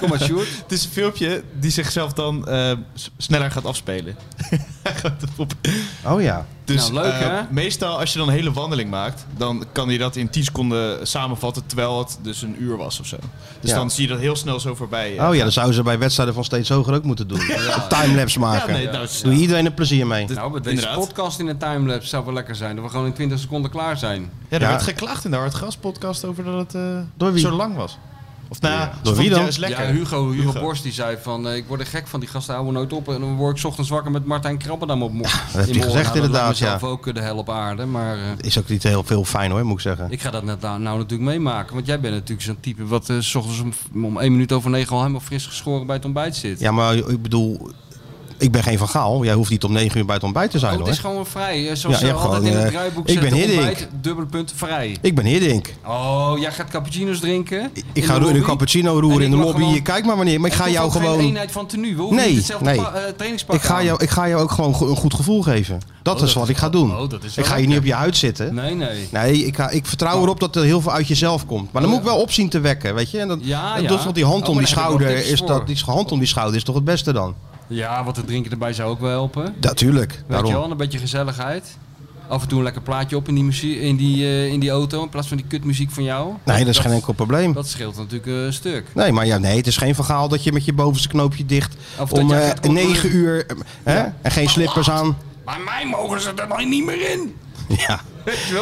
C: kom maar, Sjoerd.
D: Het is een filmpje die zichzelf dan eh, s- sneller gaat afspelen. <laughs> Hij gaat erop.
B: Oh ja.
D: dus
C: Nou, leuk,
D: eh,
C: hè?
D: meestal als je dan een hele wandeling maakt, dan kan hij dat in 10 seconden samenvatten terwijl het dus een uur was of zo. Dus
B: Ja.
D: dan zie je dat heel snel zo voorbij. eh.
B: Oh ja, dan zouden ze bij wedstrijden van steeds hoger ook moeten doen. Een timelapse
D: ja,
B: maken.
D: nee, nou, het is-
B: Doe je iedereen er plezier mee.
C: Nou, met deze
D: inderdaad.
C: podcast in een timelapse zou wel lekker zijn. Dat we gewoon in 20 seconden klaar zijn.
D: Ja, er
B: Ja.
D: werd geklaagd in de Hartgras podcast over dat het eh,
B: Door wie?
D: zo lang was. Of nou, ja.
B: Door wie dan?
D: Juist lekker.
C: Ja, Hugo, Hugo, Borst die zei van, eh, ik word er gek van, die gasten houden nooit op. En dan word ik ochtends wakker met Martijn Krabbendam op mo- in mijn
B: heeft hij
C: oor.
B: gezegd
C: Nou, dat lijkt
B: inderdaad,
C: mezelf ook eh, de hel op aarde, maar eh,
B: Is ook niet heel veel fijn hoor, moet ik zeggen.
C: ik ga dat net nou, nou natuurlijk meemaken. Want jij bent natuurlijk zo'n type wat eh, s ochtends om, om één minuut over negen al helemaal fris geschoren bij het ontbijt zit.
B: Ja, maar ik bedoel, ik ben geen van Gaal. Jij hoeft niet om 9 uur bij het ontbijt te zijn
C: Oh, het
B: hoor.
C: is gewoon vrij. eh, Zoals
B: Ja,
C: ze
B: je hebt
C: altijd
B: gewoon,
C: in het
B: eh,
C: draaiboek
B: ik ben
C: zetten,
B: Hiddink.
C: ontbijt, dubbele punt, vrij.
B: Ik ben Hiddink.
C: Oh, jij gaat cappuccino's drinken?
B: Ik ga roeren, een cappuccino roeren
C: En
B: in
C: ik
B: de
C: mag
B: lobby.
C: gewoon-
B: Kijk maar wanneer. Maar ik ga jou
C: Geen
B: gewoon.
C: eenheid van tenue. We hoeven
B: Nee,
C: niet hetzelfde
B: nee.
C: pa- eh, trainingspak
B: Ik ga,
C: aan. Oh,
B: jou, ik ga jou ook gewoon go- een goed gevoel geven. Dat
C: dat
B: is wat
C: is
B: ik ga
C: wel-
B: doen.
C: oh, dat is wel
B: ik ga je niet op je huid zitten.
C: Nee, Oh. nee.
B: Nee, ik, ga, ik vertrouw erop dat er heel veel uit jezelf komt. Maar dan moet ik wel opzien te wekken, weet je. En dat,
C: Oh, Ja,
B: dat
C: ja.
B: doet- want die hand
C: Oh,
B: om
C: maar
B: die
C: daar heb ik wel
B: schouder
C: tips
B: is dat,
C: voor.
B: die hand om die schouder is toch het beste dan?
C: Ja, wat te drinken erbij zou ook wel helpen. Weet
B: Natuurlijk,
C: je
B: daarom.
C: wel, een beetje gezelligheid. Af en toe een lekker plaatje op in die, muzie- in die, eh, in die auto in plaats van die kutmuziek van jou.
B: Nee, dat is geen enkel probleem.
C: Dat scheelt natuurlijk eh, een stuk.
B: Nee, maar ja, nee, het is geen verhaal dat je met je bovenste knoopje dicht
C: Of dat
B: om
C: jij
B: eh,
C: gaat controleren.
B: 9 uur eh, hè, en geen slippers
C: <laughs>
B: aan.
C: Bij mij mogen ze er dan niet meer in.
B: Ja.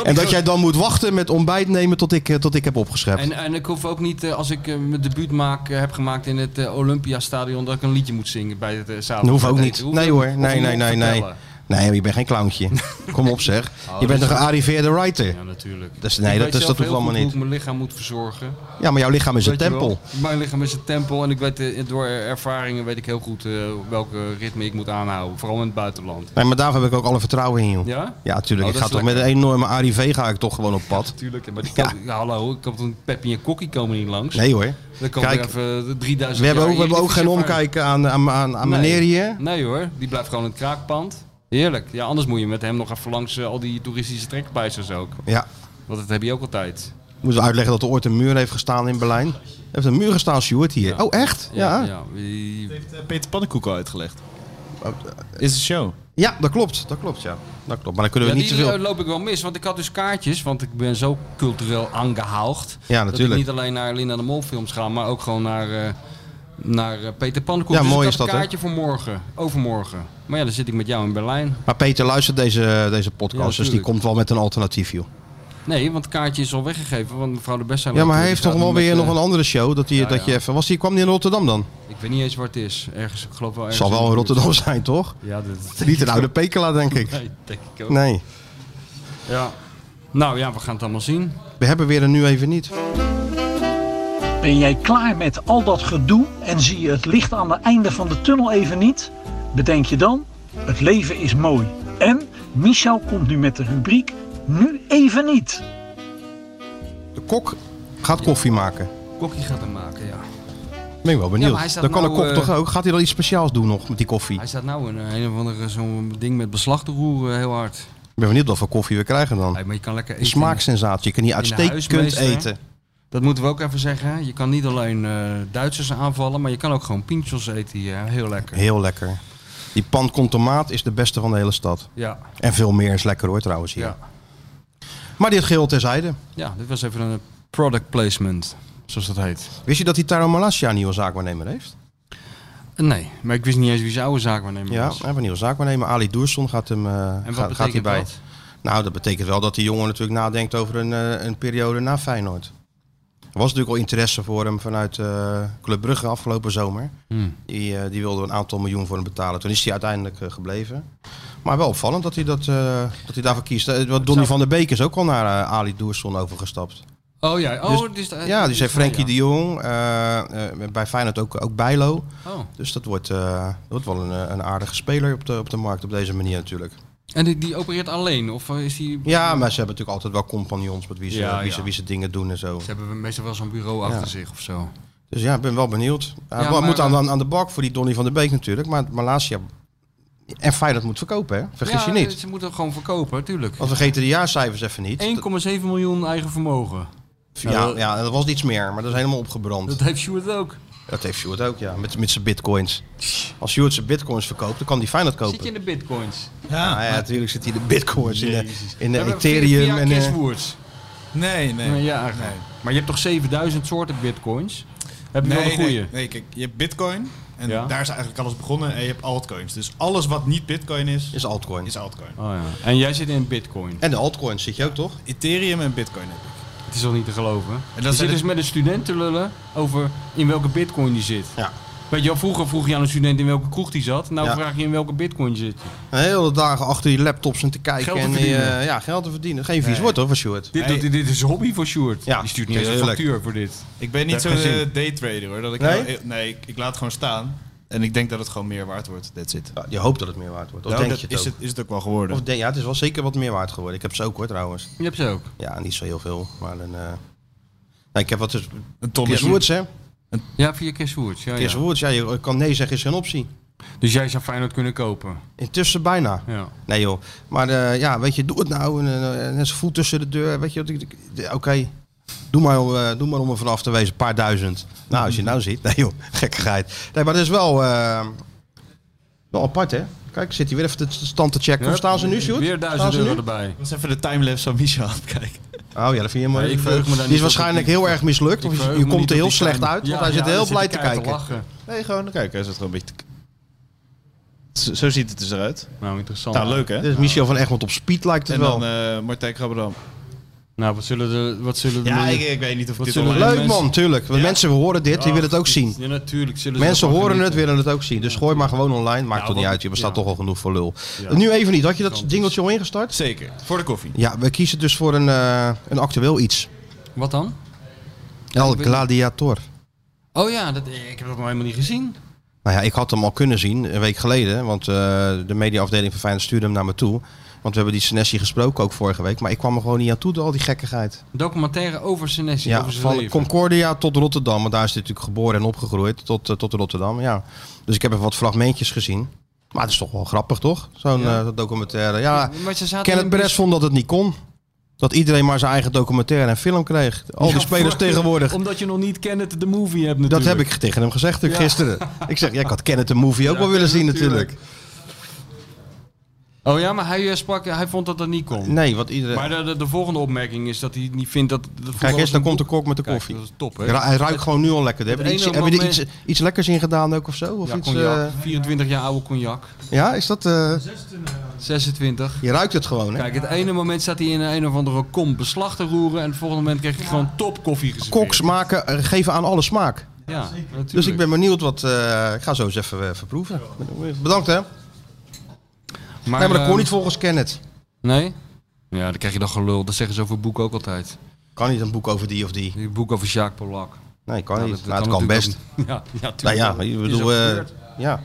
B: En dat jij dan moet wachten met ontbijt nemen tot ik, eh, tot ik heb opgeschept.
C: En, en ik hoef ook niet, eh, als ik eh, mijn debuut maak, eh, heb gemaakt in het eh, Olympiastadion, dat ik een liedje moet zingen bij het eh zaal.
B: Dat hoeft ook
C: Hoef
B: niet.
C: ik-
B: Nee hoor,
C: hoef ik
B: nee,
C: niet
B: nee,
C: te
B: nee, nee.
C: vertellen. Oh,
B: Nee, je bent geen clowntje.
C: <laughs>
B: Kom op zeg. Je bent een gearriveerde writer.
C: Ja, natuurlijk.
B: Dus nee,
C: Ik
B: dat-
C: weet
B: dus dat
C: zelf
B: hoeft
C: heel
B: allemaal
C: goed
B: niet.
C: hoe ik mijn lichaam moet verzorgen.
B: Ja, maar jouw lichaam is een
C: Weet je wel.
B: tempel.
C: Mijn lichaam is een tempel en ik weet, eh, door ervaringen weet ik heel goed eh, welke ritme ik moet aanhouden. Vooral in het buitenland.
B: Nee, maar daarvoor heb ik ook alle vertrouwen in, joh.
C: Ja?
B: Ja, tuurlijk.
C: Oh,
B: ik
C: dat
B: ga
C: is
B: toch met een enorme ARIV ga ik toch gewoon op pad.
C: Tuurlijk, maar die kan, ja, hallo, ik kan een Peppi en Kokkie komen niet langs.
B: Nee hoor.
C: Dan kan
B: Kijk,
C: er even de 3000
B: We hebben
C: jaar
B: ook, we hebben ook geen
C: Eredivisie
B: omkijken
C: ervaring.
B: aan, aan, aan, aan meneer hier.
C: Nee hoor, die blijft gewoon in het kraakpand. Heerlijk. Ja, anders moet je met hem nog even langs eh, al die toeristische trekpleisters ook.
B: Ja.
C: Want dat heb je ook altijd.
B: Moeten we uitleggen dat er ooit een muur heeft gestaan in Berlijn? Er heeft een muur gestaan, Stuart, hier. Oh, echt? Ja. Ja,
C: ja, die-
D: Heeft eh, Peter Pannenkoek al uitgelegd?
B: Oh, eh.
D: Is de show.
B: dat klopt. Dat klopt, ja. Dat klopt. Maar dan kunnen we
C: Ja,
B: niet
C: die
B: zoveel...
C: eh, loop ik wel mis, want ik had dus kaartjes, want ik ben zo cultureel aangehaald.
B: Ja,
C: Dat ik
B: natuurlijk.
C: niet alleen naar Linda de Mol films ga, maar ook gewoon naar, eh, naar eh, Peter Pannenkoek.
B: Ja,
C: dus
B: mooi
C: ik
B: is
C: had
B: dat,
C: een
B: hè?
C: kaartje voor morgen, overmorgen. Maar ja, dan zit ik met jou in Berlijn.
B: Maar Peter luistert deze, deze podcast,
C: Ja,
B: dus die
C: tuurlijk.
B: komt wel met een alternatief, joh.
C: Nee, want het kaartje is al weggegeven, want mevrouw de Best
B: Ja, maar hij heeft toch wel weer
C: eh,
B: nog een andere show. Dat hij, dat Je even, was die, kwam die in Rotterdam dan?
C: Ik weet niet eens waar het is. Ergens, ik geloof wel ergens.
B: Zal
C: in
B: wel
C: de
B: in
C: buurt.
B: Rotterdam <laughs> zijn, toch?
C: Ja, dat
B: Niet in Oude Pekela, denk ik.
C: Nee, denk ik ook.
B: Nee.
C: Ja. Nou ja, we gaan het allemaal zien.
B: We hebben weer een nu even niet.
G: Ben jij klaar met al dat gedoe en zie je het licht aan het einde van de tunnel even niet? Bedenk je dan, het leven is mooi. En Michel komt nu met de rubriek Nu even niet.
B: De kok gaat koffie maken.
C: Kokkie gaat hem maken, ja.
B: Ben ik wel
C: Ja,
B: benieuwd.
C: maar hij staat
B: dan kan
C: nou,
B: de kok
C: eh,
B: toch ook. Gaat hij dan iets speciaals doen nog met die koffie?
C: Hij staat nou in een een of andere zo'n ding met beslag te roeren, heel hard.
B: Ik ben benieuwd wat voor koffie we krijgen dan.
C: Nee, maar je kan lekker
B: Een
C: eten.
B: smaaksensatie. Je kan hier
C: In de
B: uitstekend
C: huismeester.
B: eten.
C: Dat moeten we ook even zeggen. Je kan niet alleen eh, Duitsers aanvallen, maar je kan ook gewoon pinchos eten hier. hè. Heel lekker.
B: Heel lekker. Die pan con tomaat is de beste van de hele stad.
C: Ja,
B: En veel meer is lekker hoor trouwens hier.
C: ja.
B: Maar dit geheel terzijde.
C: ja, dit was even een product placement, zoals dat heet.
B: Wist je dat die Taro Malassia een nieuwe zaakwaarnemer heeft?
C: Nee, maar ik wist niet eens wie zijn oude zaakwaarnemer
B: Ja, hij
C: was.
B: heeft een nieuwe zaakwaarnemer. Ali Doerson gaat hem eh,
C: En
B: gaat,
C: wat
B: gaat hij
C: betekent
B: bij.
C: dat?
B: Nou, dat betekent wel dat die jongen natuurlijk nadenkt over een, eh, een periode na Feyenoord. Er was natuurlijk al interesse voor hem vanuit eh, Club Brugge afgelopen zomer.
C: Hmm.
B: Die, eh, die wilde een aantal miljoen voor hem betalen. Toen is hij uiteindelijk eh, gebleven. Maar wel opvallend dat hij, dat, eh, dat hij daarvoor kiest. Eh, want Donny
C: zou-
B: van der Beek is ook al naar eh, Ali Doerson overgestapt.
C: Oh ja, oh,
B: Dus-
C: dus, eh,
B: ja, dus
C: dus-
B: heeft Frenkie
C: ja.
B: de Jong. eh, eh, bij Feyenoord ook, ook Bijlo.
C: Oh.
B: Dus dat wordt, eh, dat wordt wel een, eh, een aardige speler op de, op de markt op deze manier natuurlijk.
C: En die, die opereert alleen? Of eh, is die...
B: Ja, maar ze hebben natuurlijk altijd wel compagnons met wie ze,
C: Ja,
B: wie
C: ja.
B: ze, wie ze dingen doen en zo.
C: Ze hebben meestal wel zo'n bureau achter
B: Ja.
C: zich of zo.
B: Dus ja, ik ben wel benieuwd. Hij
C: Ja, maar-
B: moet aan, aan, aan de bak voor die Donny van der Beek natuurlijk. Maar Malasia en Feyenoord moet verkopen, hè? Vergis je
C: Ja,
B: niet.
C: Ze moeten gewoon verkopen, tuurlijk.
B: Want we vergeten de jaarcijfers even niet.
C: 1,7 miljoen eigen vermogen.
B: Dat- ja, ja, dat was iets meer, maar dat is helemaal opgebrand.
C: Nou- Dat
B: Dat,
C: heeft Sjoerd ook.
B: heeft Sjoerd ook, ja, met, met zijn bitcoins. Als Sjoerd zijn bitcoins verkoopt, dan kan hij Feyenoord kopen. Nou
C: Zit je in de bitcoins?
B: ja, ja, natuurlijk zit hij de bitcoins in de, in de
C: We hebben
B: Ethereum.
C: via
B: En, eh,
C: Cashwords.
H: Nee, nee.
C: Nee, ja, eigenlijk. Maar je hebt toch 7000 soorten bitcoins? Heb je wel
H: Nee,
C: een goede?
H: nee, nee, kijk, je hebt bitcoin en
C: Ja.
H: daar is eigenlijk alles begonnen. En je hebt altcoins. Dus alles wat niet bitcoin is,
B: is altcoin.
H: is altcoin.
C: Oh, ja. En jij zit in bitcoin.
B: En de altcoins zit je ook, toch?
H: Ethereum en bitcoin heb ik.
C: Het is al niet te geloven. En je
H: zijn
C: zit
H: de-
C: dus met een student te lullen over in welke bitcoin die zit.
B: Ja.
C: Weet je wel, vroeger vroeg je aan een student in welke kroeg die zat. Nou
B: Ja.
C: vraag je in welke bitcoin zit. je.
B: De hele dagen achter die laptops en te kijken.
C: Geld te
B: en, eh,
C: verdienen.
B: ja, geld te verdienen. Geen vies woord hoor, van Sjoerd.
C: Dit, doet- dit is een hobby voor Sjoerd.
B: Ja,
C: die stuurt niet eens een
B: tuurlijk.
C: factuur voor dit.
H: Ik ben niet
B: Dat heb ik
H: zo'n eh, daytrader hoor. Dat ik
B: Nee?
H: nou- nee, ik, ik laat het gewoon staan. En ik denk dat het gewoon meer waard wordt. That's it.
B: Ja, je hoopt dat het meer waard wordt. Of
H: Nou,
B: denk
H: dat
B: je het
H: is,
B: ook?
H: het, is het ook wel geworden.
B: Of denk- ja, het is wel zeker wat meer waard geworden. Ik heb ze ook hoor trouwens.
C: Je hebt ze ook.
B: Ja, niet zo heel veel. Maar een, eh, nou, ik heb wat dus...
H: een ton
B: Chris
H: is
B: Woods, hè?
C: Ja, via Cashwords. Ja,
B: Chris
C: ja.
B: Woods, ja, je kan nee zeggen is geen optie.
C: Dus jij zou Feyenoord kunnen kopen.
B: Intussen bijna.
C: Ja.
B: Nee joh. Maar eh, ja, weet je, doe het nou. En, eh, en zijn voet tussen de deur. Weet je, wat ik- ik- eh, oké. Doe, maar, eh, doe maar om er vanaf te wezen. Een <laughs> paar duizend. Nou, als je nou ziet. Nee joh, gekkigheid. Nee, maar dat is wel... eh, Wel apart, hè? Kijk, zit hij weer even de stand te checken. Hoe
C: Hup,
B: staan ze nu, Sjoerd?
C: Weer
B: Staan
C: duizend
B: ze
C: euro
B: nu?
C: erbij.
H: was even de timelapse van Michel aan het kijken.
B: Oh ja, dat vind je mooi.
C: Ja, ik verheug me daar
B: die
C: niet
B: is
C: op,
B: waarschijnlijk
C: ik-
B: heel erg mislukt. Of
C: Ik
B: je-
C: verheug
B: je
C: me
B: komt
C: niet
B: er
C: op
B: heel
C: die
B: slecht
C: timer.
B: uit,
C: Ja,
B: want hij
C: ja,
B: zit heel
C: dan
B: blij te
C: hij keihard
B: kijken.
C: lachen.
H: Nee, gewoon kijken. Hij zat gewoon een beetje te- Zo- Zo ziet het dus eruit.
C: Nou, interessant.
H: Nou, leuk hè?
B: Dit is Michel van Egmond op speed, lijkt het
H: En
B: wel.
H: dan eh Martijn Krabberdam.
C: Nou, wat zullen de... Wat zullen de
H: Ja,
C: miljoen-
H: ik, ik weet niet of ik
C: Wat
H: dit
C: zullen
H: online...
C: we-
B: Leuk
C: mensen-
B: man, tuurlijk. Want
H: Ja.
B: Mensen horen dit, die
C: Ah,
B: willen het ook zien.
C: Ja, natuurlijk. Zullen ze
B: Mensen
C: ervan
B: horen het,
C: genieten.
B: willen het ook zien. Dus gooi maar gewoon online. Maakt
C: Ja,
B: toch niet
C: want-
B: uit. Je bestaat
C: ja.
B: toch al genoeg voor lul.
C: Ja.
B: Nu even niet. Had je dat
C: Gigantisch.
B: jingletje al ingestart?
H: Zeker. Voor de koffie.
B: Ja, we kiezen dus voor een, eh, een actueel iets.
C: Wat dan?
B: El
C: ik weet niet.
B: Gladiator.
C: Oh ja, dat, ik heb dat nog helemaal niet gezien.
B: Nou ja, ik had hem al kunnen zien een week geleden. Want eh, de mediaafdeling van Feyenoord stuurde hem naar me toe. Want we hebben die Senesi gesproken ook vorige week. Maar ik kwam er gewoon niet aan toe door al die gekkigheid.
C: Documentaire over Senesi,
B: Ja,
C: over zijn
B: van
C: leven.
B: Concordia tot Rotterdam. Want daar is hij natuurlijk geboren en opgegroeid. Tot, eh, tot Rotterdam, ja. Dus ik heb even wat fragmentjes gezien. Maar het is toch wel grappig, toch? Zo'n
C: Ja.
B: eh, documentaire. Ja,
C: maar ze zaten
B: Kenneth
C: in een
B: Perez vond dat het niet kon. Dat iedereen maar zijn eigen documentaire en film kreeg. Al die
C: Ja,
B: spelers
C: voor- <laughs>
B: tegenwoordig.
C: Omdat je nog niet Kenneth de movie hebt natuurlijk.
B: Dat heb ik tegen hem gezegd ook
C: Ja.
B: gisteren. Ik zeg, ja, ik had Kenneth de movie ook
C: Ja,
B: wel willen zien natuurlijk.
C: natuurlijk. Oh ja, maar hij, eh, sprak, hij vond dat dat niet kon.
B: Nee, want iedereen...
C: Maar de, de, de volgende opmerking is dat hij niet vindt dat... dat
B: Kijk,
C: voetballers
B: eerst dan
C: een
B: komt de
C: boek-
B: kok met de
C: Kijk,
B: koffie.
C: dat is top, hè?
B: Hij ru- hij ruikt gewoon nu al lekker. Hebben we er
C: Het
B: iets,
C: ene
B: hebben we er iets,
C: moment-
B: iets lekkers in gedaan ook of zo? Of
C: Ja,
B: iets,
C: cognac.
B: eh,
C: 24 jaar oude cognac.
B: ja, is dat... eh,
C: 26.
B: je ruikt het gewoon, hè?
C: Kijk, het ene moment zat hij in een of andere kom beslag te roeren... en het volgende moment kreeg hij gewoon top koffie geserveerd.
B: Koks maken, eh, geven aan alle smaak.
C: Ja, natuurlijk.
B: Dus ik ben benieuwd wat... eh, ik ga zo eens even eh, verproeven. Bedankt, hè?
C: Maar,
B: nee, maar dat
C: eh,
B: kon niet volgens Kenneth.
C: Nee? Ja, dan krijg je dan gelul. Dat zeggen ze over boeken ook altijd.
B: Kan niet een boek over die of die.
C: Die boek over Jacques Polak.
B: Nee, kan
C: Nou,
B: niet.
C: dat-
B: Nou, het
C: dat
B: kan
C: natuurlijk
B: best.
C: ook niet. <laughs> Ja, ja,
B: Nou ja,
C: tuurlijk.
B: ik
C: Is ook
B: bedoel... eh,
C: gebeurd. Nou
B: ja.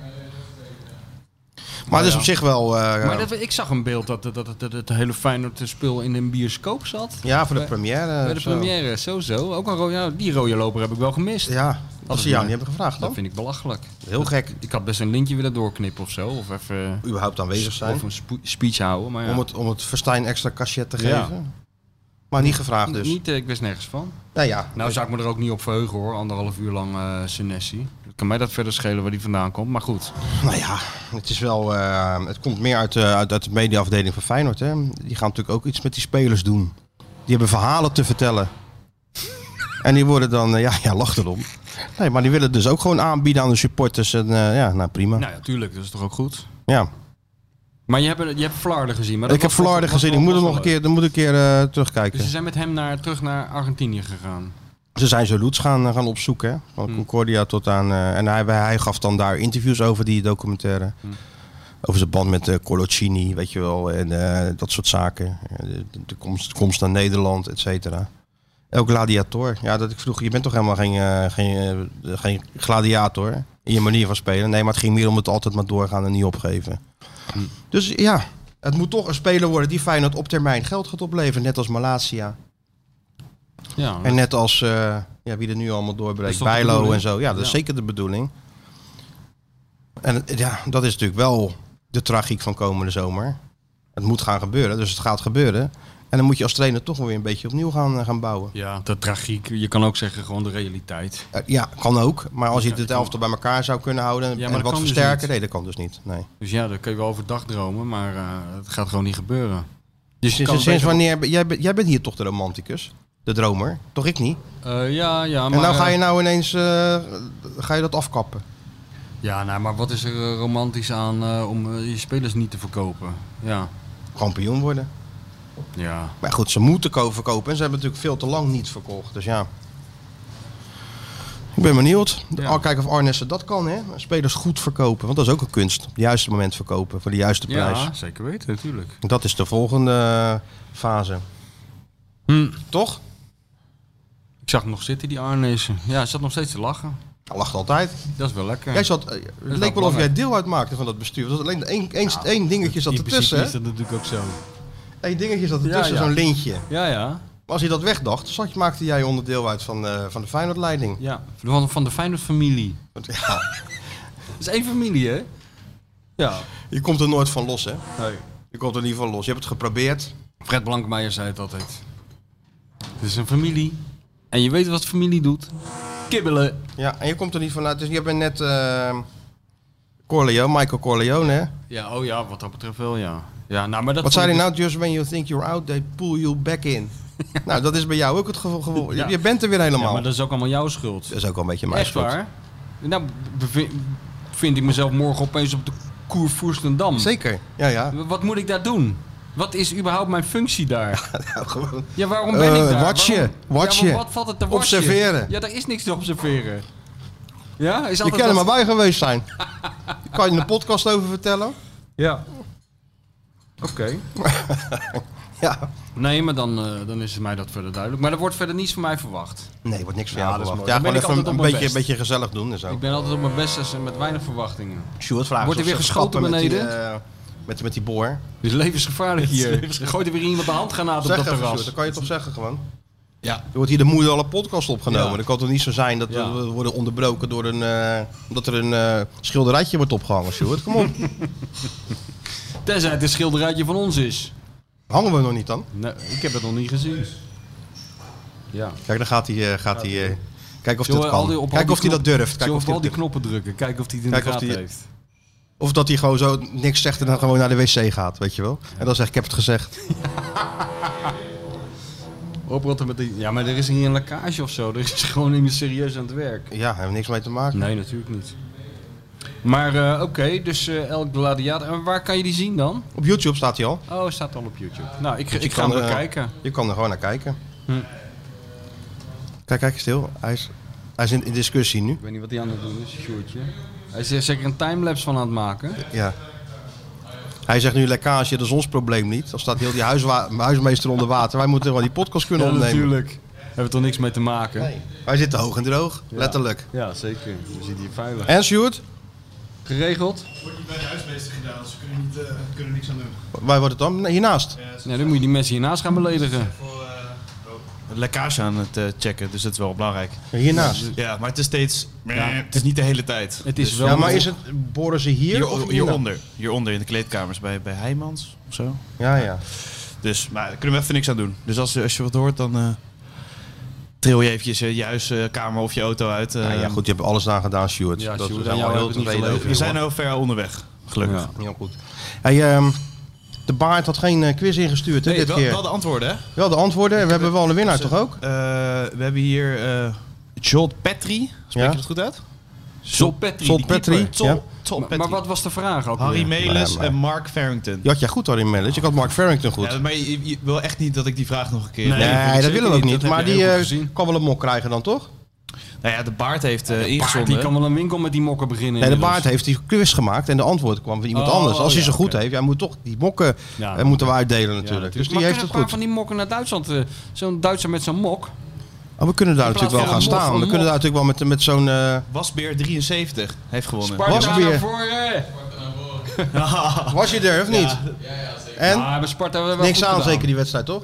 B: Maar het is op zich wel... eh,
C: Maar dat, ik zag een beeld dat, dat, dat, dat het hele Feyenoord spul in een bioscoop zat.
B: Ja, voor de première.
C: Bij de
B: zo.
C: première, sowieso. Ook een rode, ja, die rode loper heb ik wel gemist.
B: Ja, als ze jou niet hebben gevraagd
C: Dat
B: dan.
C: vind ik belachelijk.
B: Heel gek.
C: Ik had best een lintje willen doorknippen of zo. Of even
B: Überhaupt aanwezig zijn.
C: of een spo- speech houden. Maar ja,
B: Om het, om het Verstijn extra cachet te
C: Ja.
B: geven. Maar niet gevraagd dus.
C: niet, eh, ik wist nergens van.
B: Nou ja.
C: Nou zou ik me er ook niet op verheugen hoor. Anderhalf uur lang eh Senesi. Kan mij dat verder schelen waar die vandaan komt. Maar goed.
B: nou ja, het is wel... eh, het komt meer uit, eh, uit, uit de mediaafdeling van Feyenoord. Hè. Die gaan natuurlijk ook iets met die spelers doen. Die hebben verhalen te vertellen. en die worden dan... eh, ja, ja, lach erom. Nee, maar die willen het dus ook gewoon aanbieden aan de supporters. En eh, ja, nou prima.
C: Nou ja, tuurlijk. Dat is toch ook goed.
B: Ja.
C: Maar je hebt, je hebt Vlaarden gezien. Maar dat
B: Ik heb
C: was toch-
B: Vlaarden
C: was
B: gezien. Ik
C: wel-
B: moet er
C: was
B: nog een
C: wel
B: keer, dan moet ik een keer eh, terugkijken.
C: Dus ze zijn met hem naar, terug naar Argentinië gegaan.
B: Ze zijn zo roots gaan, gaan opzoeken. Hè? Van Concordia tot aan. eh, en hij, hij gaf dan daar interviews over die documentaire. Over zijn band met eh Colocini, weet je wel. En eh, dat soort zaken. Eh, De, de komst, de komst naar Nederland, et cetera. El Gladiator. Ja, dat ik vroeg. Je bent toch helemaal geen, eh, geen, eh, geen gladiator in je manier van spelen? Nee, maar het ging meer om het altijd maar doorgaan en niet opgeven. Dus ja, het moet toch een speler worden die Feyenoord op termijn geld gaat opleveren. Net als Malasia.
C: Ja,
B: En net als eh, ja, wie er nu allemaal doorbreekt,
C: Dat is toch de
B: Bijlo en
C: bedoeling?
B: zo. Ja, dat is
C: Ja.
B: zeker de bedoeling. En eh, ja, dat is natuurlijk wel de tragiek van komende zomer. Het moet gaan gebeuren, dus het gaat gebeuren. En dan moet je als trainer toch wel weer een beetje opnieuw gaan, eh, gaan bouwen.
C: ja, de tragiek. Je kan ook zeggen gewoon de realiteit.
B: Eh, ja, kan ook. Maar als je het elftal bij elkaar zou kunnen houden
C: maar
B: en
C: dat
B: wat
C: kan dus
B: versterken,
C: niet.
B: nee, dat kan dus niet. Nee.
C: Dus ja, daar kun je wel over dagdromen, maar eh, het gaat gewoon niet gebeuren.
B: Dus
C: kan
B: sinds,
C: beter
B: sinds wanneer, ben- jij, bent- jij bent hier toch de romanticus? De dromer? Toch ik niet?
C: Eh, ja, ja, maar...
B: en nou ga je
C: eh,
B: nou ineens eh, ga je dat afkappen.
C: Ja, nou, maar wat is er eh, romantisch aan eh, om eh, je spelers niet te verkopen? Ja,
B: Kampioen worden.
C: ja.
B: Maar goed, ze moeten ko- verkopen en ze hebben natuurlijk veel te lang niet verkocht. Dus ja. Ik ben benieuwd.
C: Ja.
B: Al kijken of Arnessen dat kan, hè? Spelers goed verkopen. Want dat is ook een kunst. Op het juiste moment verkopen voor de juiste prijs.
C: Ja, zeker weten, natuurlijk.
B: Dat is de volgende eh, fase.
C: Hm.
B: Toch?
C: Ik zag hem nog zitten, die Arnezen. Ja, hij zat nog steeds te lachen.
B: Hij lacht altijd.
C: Dat is wel lekker.
B: Jij zat, eh, het leek wel of jij
C: belangrijk.
B: deel uitmaakte van dat bestuur. Dat was alleen één, één, één dingetje zat
C: In principe
B: ertussen.
C: is
B: hè?
C: dat natuurlijk ook zo.
B: Eén dingetje zat ertussen,
C: Ja, ja.
B: zo'n lintje.
C: Ja, ja.
B: Maar als hij dat wegdacht, zat, maakte jij onderdeel uit van, eh, van de Feyenoord-leiding.
C: ja. Van, van de Feyenoord-familie.
B: Want <laughs> Ja,
C: Dat is één familie, hè? Ja.
B: je komt er nooit van los, hè?
C: Nee.
B: Je komt er niet van los. Je hebt het geprobeerd.
C: Fred Blankmeijer zei het altijd. Het is een familie. En je weet wat familie doet. Kibbelen.
B: Ja, en je komt er niet vanuit. Dus je bent net eh, Corleone, ehm, Michael Corleone, hè?
C: Ja, oh ja, wat dat betreft wel, ja. ja nou, maar dat
B: Wat
C: vond
B: zei hij
C: ik
B: nou? Just when you think you're out, they pull you back
C: <laughs>
B: in. Nou, dat is bij jou ook het geval. geval- je-
C: Ja.
B: Je bent er weer
C: dus- Ja,
B: helemaal. dat...
C: maar dat is ook allemaal jouw schuld.
B: is ook wel een beetje mijn
C: Echt
B: schuld.
C: waar? Nou, bevin- vind ik mezelf morgen opeens op de Koer Voerstendam.
B: Zeker, ja,
C: <laughs>
B: ja.
C: Wat moet ik daar doen? Wat is überhaupt mijn functie daar?
B: Nou, gewoon.
C: Ja, waarom ben ik
B: Eh,
C: daar?
B: watchen,
C: Waarom-
B: watchen.
C: Ja, maar wat valt het te watchen?
B: Observeren.
C: Ja, daar is niks te observeren. Ja, is
B: Je
C: altijd
B: kan er maar
C: wat-
B: bij geweest zijn.
C: <laughs>
B: Ik kan je een podcast over vertellen?
C: Ja. Oké.
B: Ja.
C: Nee, maar dan, eh, dan is het mij dat verder duidelijk. Maar er wordt verder niets van mij verwacht.
B: Nee, wordt niks van
C: Ja,
B: jou
C: dat is
B: verwacht. Ja,
C: mooi. Dan ben
B: gewoon
C: ik
B: even een,
C: altijd op mijn
B: beetje, een
C: best.
B: beetje gezellig doen en zo.
C: Ik ben altijd op mijn best en met weinig verwachtingen.
B: Sjoerd vraagt
C: Wordt
B: of
C: er weer
B: ze
C: geschoten
B: grappen Met die,
C: beneden?
B: eh, met, met die boor.
C: <laughs> Het is levensgevaarlijk hier. Gooit er weer iemand de handgranaat op
B: Zeg
C: dat
B: even, Sjoerd,
C: terras.
B: dat kan je toch zeggen gewoon?
C: Ja.
B: Er wordt hier de moeder al een podcast opgenomen.
C: Ja.
B: Dat kan toch niet zo zijn dat
C: Ja.
B: we worden onderbroken door een, eh, dat er een eh, schilderijtje wordt opgehangen, Sjoerd? Kom
C: <laughs>
B: op.
C: Tenzij het een schilderijtje van ons is.
B: Hangen we nog niet dan?
C: Nee, ik heb het nog niet gezien. Ja.
B: Kijk, dan gaat hij... eh, gaat hij eh, kijk of
C: Zullen
B: dat
C: we al die-
B: kan.
C: op al
B: Kijk
C: die
B: of hij dat
C: knop-
B: durft. Kijk
C: Zullen we
B: of,
C: op
B: hij
C: al die
B: dat durft.
C: knoppen drukken? Kijken of hij het in
B: Kijken
C: de
B: of
C: gaten
B: die-
C: heeft.
B: of dat hij gewoon zo niks zegt en dan gewoon naar de wc gaat, weet je wel. En dan zeg ik, ik heb het gezegd.
C: Oprotten met die... Ja, maar er is hier een lekkage of zo. Er is <laughs> gewoon niet meer serieus aan het werk.
B: Ja, daar hebben we niks mee te maken.
C: Nee, natuurlijk niet. Maar eh, oké, dus eh Elk Gladiator. En waar kan je die zien dan?
B: Op YouTube staat hij al.
C: Oh, staat al op YouTube. Nou, ik,
B: Dus je
C: ik ga
B: kan
C: hem
B: er, eh,
C: bekijken.
B: Je kan er gewoon naar kijken.
C: Hm.
B: Kijk, kijk stil. Hij is, hij is in, in discussie nu.
C: Ik weet niet wat hij aan het doen is, Sjoerdje. Hij is er zeker een timelapse van aan het maken.
B: Ja. Hij zegt nu lekkage, dat is ons probleem niet. Dan staat heel die huiswa- huismeester onder water. Wij moeten gewoon die podcast kunnen opnemen.
C: natuurlijk. Hebben we toch niks mee te maken?
B: Nee. Wij zitten hoog en droog,
C: Ja.
B: letterlijk.
C: Ja, zeker. We zitten hier veilig.
B: En Sjoerd,
C: Geregeld?
D: Wordt niet bij de huismeester gedaan, dus ze kunnen, niet, kunnen niks aan doen.
B: waar wordt het dan? Nee, Hiernaast.
C: Nee, dan moet je die mensen hiernaast gaan beledigen.
H: Een lekkage aan het eh, checken, dus dat is wel belangrijk. Dus,
B: Hiernaast.
H: Ja, maar het is steeds... het is niet de hele tijd.
C: Het is wel...
B: Ja, maar is het, boren ze hier?
H: Hier,
B: of hierna-
H: hieronder. Hieronder in de kleedkamers bij, bij Heijmans of zo.
B: Ja, ja.
H: Dus, maar daar kunnen we even niks aan doen. Dus als, als je wat hoort, dan eh tril je eventjes eh, je huiskamer of je auto uit. eh.
B: Nou ja, goed, je hebt alles aan gedaan, Sjoerd.
C: Ja,
B: Dat-
C: Sjoerd,
B: we
C: aan
B: zijn
C: jou
B: wel heel
C: heb ik niet
B: tevreden over.
H: We zijn al ver onderweg, gelukkig.
C: Ja.
B: Heel goed. Hey, ehm, de baard had geen eh, quiz ingestuurd hè,
H: Nee,
B: dit
H: wel,
B: keer.
H: wel de antwoorden, hè?
B: Wel de antwoorden. en We hebben wel een winnaar, toch ook?
H: Eh, we hebben hier eh Jolt Petri. Spreek
B: Ja.
H: je dat goed uit?
C: Zolpetri.
B: Zol Petri. Ja.
H: Jolt
C: Maar, maar wat was de vraag ook weer?
H: Harry Melis
B: Nee, maar-
H: en Mark Farrington.
B: Je had jij goed, Harry Mellis. Ik had Mark Farrington goed.
H: Ja, maar je, je wil echt niet dat ik die vraag nog een keer...
C: Nee.
B: Nee, dat
C: zeker
B: willen we ook
C: niet.
B: niet.
C: Dat
B: Maar
C: heb je
B: die
C: heel
B: eh,
C: goed gezien.
B: kan wel een mok krijgen dan, toch?
H: Nou ja, de baard heeft eh
C: Baart,
H: ingezonden.
C: die kan wel een winkel met die mokken beginnen.
B: Nee, de
C: inmiddels.
B: baard heeft die quiz gemaakt en de antwoord kwam van iemand
C: Oh,
B: anders. Als
C: oh,
B: hij
C: ja,
B: ze goed
C: oké.
B: heeft, hij moet toch die mokken
C: Ja,
B: eh, moeten we uitdelen natuurlijk.
C: Ja,
B: Dus die
C: maar
B: heeft
C: kunnen
B: het
C: een paar
B: goed.
C: van die mokken naar Duitsland? eh, Zo'n Duitser met zo'n mok?
B: Oh, we kunnen daar
C: In
B: natuurlijk
C: plaats
B: wel gaan
C: van een mop,
B: staan. We
C: een
B: kunnen daar
C: mop.
B: natuurlijk wel met, met zo'n... eh,
H: Wasbeer 73 heeft gewonnen. <laughs>
C: Sparta eh,
B: Was
C: naar
B: weer.
C: voren.
B: was je er of niet? En?
C: Ah, maar Sparta hebben we wel
B: Niks
C: goed
B: aan
C: gedaan.
B: zeker die wedstrijd, toch?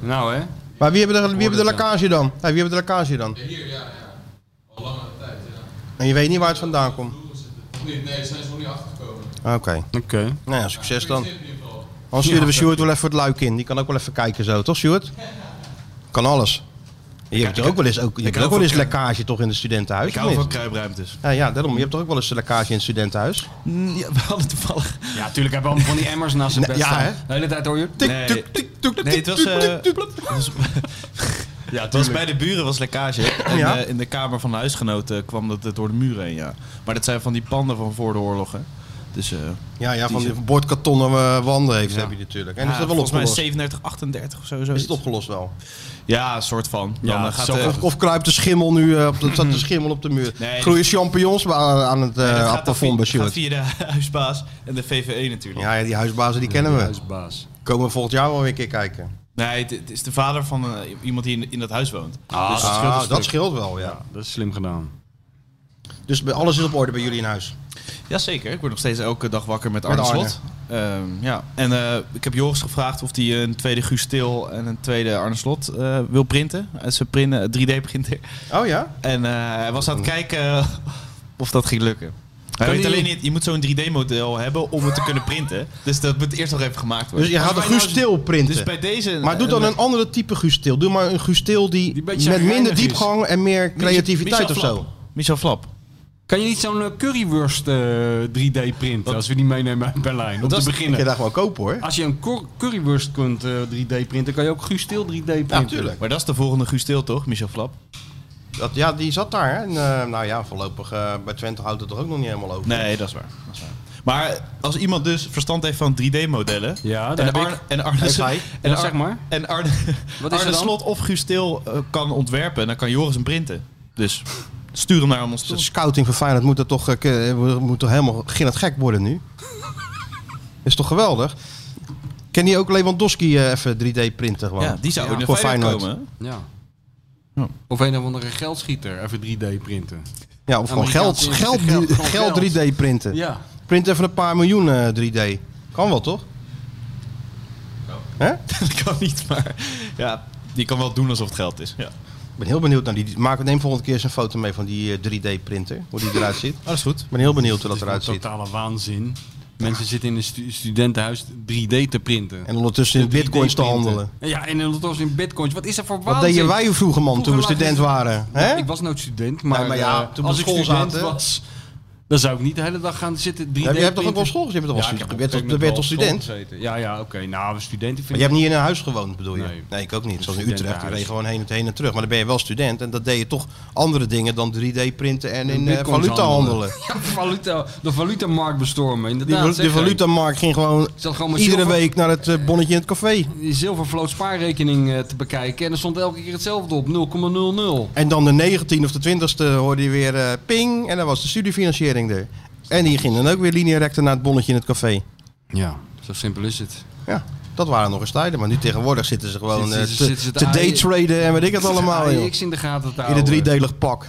C: Nou hè.
B: Maar wie hebben de, wie hebben de
C: het, ja.
B: lekkage dan? Hé, wie hebben de lekkage dan? Hier, ja. Al langere tijd, En je weet niet waar het vandaan komt? Nee, daar zijn ze nog niet achtergekomen. Oké.
C: Oké.
B: Nou ja, succes dan. Anders sturen we Sjoerd wel even het luik in. Die kan ook wel even kijken zo, toch Sjoerd? Kan alles. Je hebt er ook wel eens, ook, je hebt
H: hou
B: ook wel
H: van
B: eens
H: kru-
B: lekkage toch in het studentenhuis?
H: Ik hou
B: of
H: van
B: niet?
H: kruipruimtes.
B: Ja, ja, daarom. Je hebt toch ook wel eens lekkage in het studentenhuis?
H: Ja, we hadden toevallig...
C: Ja, tuurlijk hebben we allemaal van die emmers naast zijn
B: Nee,
C: bed
B: ja,
C: staan.
B: hè?
C: De hele tijd hoor je... tik.
H: Nee.
B: Tuk, tuk, tuk, tuk,
H: Nee, het was, <laughs>
B: tuk,
H: eh,
B: tuk, tuk, tuk.
H: Ja, het was bij de buren was lekkage. En
B: Ja.
H: eh, in de kamer van de huisgenoten kwam dat eh, door de muren heen, ja. Maar dat zijn van die panden van voor de oorlog, hè. Dus eh
B: Ja, ja, van die bordkartonnen eh, wanden heeft,
C: Ja.
B: heb je natuurlijk. En
H: ja,
B: is dat wel
H: volgens mij
B: opgelost?
H: 37, 38 of zo.
B: Is
H: zoiets.
B: het opgelost wel?
H: Ja, een soort van. Dan
C: Ja,
H: eh, gaat
C: zo-
H: de,
B: Of, of kruipt de schimmel nu, eh, op de, staat de schimmel op de muur?
H: Hmm. Nee, dat-
B: Groeien champignons aan, aan het eh,
H: dat gaat, dan
B: plafond bij
H: via, gaat
B: Sjoerd?
H: via de <laughs> huisbaas en de VVE natuurlijk.
B: Ja, ja, die huisbazen die kennen we.
C: Huisbaas.
B: Komen we volgend jaar wel weer een keer kijken.
H: Nee, het, het is de vader van eh, iemand die in, in dat huis woont.
C: Ah,
H: dat scheelt een
B: Ah,
H: stuk.
B: dat scheelt wel, ja.
C: dat is slim gedaan.
B: Dus bij- alles is op orde bij jullie in huis.
H: Jazeker, ik word nog steeds elke dag wakker met
B: Met
H: Arne
B: Arne.
H: Slot. Ehm, ja. En eh, ik heb Joris gevraagd of hij een tweede Guus Stil en een tweede Arne Slot eh, wil printen. Uit zijn printen, eh, 3D-printer.
B: Oh ja?
H: En eh, hij was aan het kijken eh, of dat ging lukken. Hij weet
C: hij-
H: alleen niet, je moet zo'n 3D-model hebben om het te kunnen printen. Dus dat moet eerst nog even gemaakt
B: Dus
H: worden.
B: je gaat een
H: Als wij
B: Guus
H: nou-
B: Til printen.
H: Dus bij deze...
B: maar doe dan een andere type Guus Til. Doe maar een Guus Til die,
C: Die beetje
B: met minder
C: reinig is.
B: diepgang en meer creativiteit
H: Michel
B: of
H: Flap.
B: zo.
H: Michel Flap.
C: Kan je niet zo'n eh, currywurst eh, 3D printen als we die meenemen uit Berlijn? Om te
B: Kun je
C: beginnen.
B: daar gewoon kopen hoor.
C: Als je een cor- currywurst kunt eh, 3D printen, kan je ook Guus Til 3D printen.
B: tuurlijk.
H: Maar dat is de volgende Gusteel toch, Michel Flap?
B: Dat, ja, die zat daar. Hè? En, eh, nou ja, voorlopig eh, bij Twente houdt het er ook nog niet helemaal over.
H: Nee, dat is waar. Dat is waar. Maar als iemand dus verstand heeft van 3D-modellen...
C: Ja, dat
H: en
C: heb
H: Arne,
C: ik.
H: en Arne,
B: Heeft hij.
H: en
C: Ja,
H: Ar-
C: zeg maar.
H: En Arne,
C: Wat is er
H: Arne
C: dan?
H: Slot of Gusteel kan ontwerpen, dan kan Joris hem printen. Dus stuur hem naar ons
B: De
H: toe.
B: scouting van Feyenoord moet er toch, eh, ke- moet toch helemaal het gek worden nu? <laughs> is toch geweldig? Kan die ook Lewandowski eh, even 3D printen gewoon?
H: Ja, die zou in de
B: Voor
H: Feyenoord
B: Feyenoord.
H: komen. <laughs>
C: Ja. Of een of andere geldschieter even 3D printen.
B: Ja, of gewoon geld,
C: Amerikaanse
B: geld,
H: <laughs>
C: geld, gewoon
B: geld,
C: geld.
B: 3D printen.
C: Ja.
B: Print even een paar miljoen eh, 3D. Kan wel toch? Hè?
H: Dat kan niet, maar ja, die kan wel doen alsof het geld is. Oh, Ja.
B: Ik ben heel benieuwd naar die. Maak, neem volgende keer eens een foto mee van die eh, 3D-printer. Hoe die eruit ziet.
H: dat is goed.
B: Ik ben heel benieuwd hoe dat
C: Dat
B: eruit
C: is een
B: ziet.
C: totale waanzin. Mensen zitten in een stu- studentenhuis 3D te printen.
B: En ondertussen in bitcoins te
C: 3D printen.
B: handelen.
C: Ja, en ondertussen in bitcoins. Wat is er voor
B: Wat
C: waanzin?
B: deden wij vroeger, man, toen we
C: Vroeger
B: student
C: lagen
B: waren? Hè?
C: Ik was nooit student, maar,
B: Nee, maar ja,
C: eh,
B: toen we
C: als
B: op
C: ik
B: school
C: student
B: zaten.
C: was, dan zou ik niet de hele dag gaan zitten
B: Ja,
C: 3D
B: je hebt toch ook
C: printen.
B: wel school gezeten? Je bent toch wel
C: ik
B: student? Je
C: heb op
B: bent toch-
C: een
B: je bent toch
C: gegeven moment
B: student?
C: wel op school gezeten. Ja, ja, oké. Nou, student vind
B: Maar
C: ik...
B: je hebt niet in een huis gewoond, bedoel je? Nee,
C: Nee.
B: ik ook niet. Zoals in Utrecht,
C: Een
B: ik
C: studentenhuis.
B: reed gewoon heen, heen en terug. Maar dan ben je wel student en dat deed je toch andere dingen dan 3D printen en in eh,
C: bitcoins
B: valuta handelen.
C: <laughs> Ja, valuta, de valutamarkt bestormen,
B: Die,
C: inderdaad.
B: val-
C: Nou, zeg
B: de
C: jij.
B: valutamarkt ging gewoon
C: zat gewoon met
B: iedere
C: zilver-
B: week naar het eh, bonnetje in het café.
C: Die zilvervloot spaarrekening eh, te bekijken en er stond elke keer hetzelfde op, 0,00.
B: En dan de 19 of de 20ste hoorde je weer eh, ping en dan was de studiefinanciering er. En die ging dan ook weer linea recta naar het bonnetje in het café.
C: Ja, zo simpel is het.
B: Ja, dat waren nog eens tijden. Maar nu tegenwoordig zitten ze gewoon
C: Zitten ze-
B: eh, te-
C: zitten ze te
B: te
C: aaien.
B: daytraden en weet ik het allemaal. joh.
C: Ik in de gaten te
B: In een
C: houden. <laughs>
B: driedelig pak.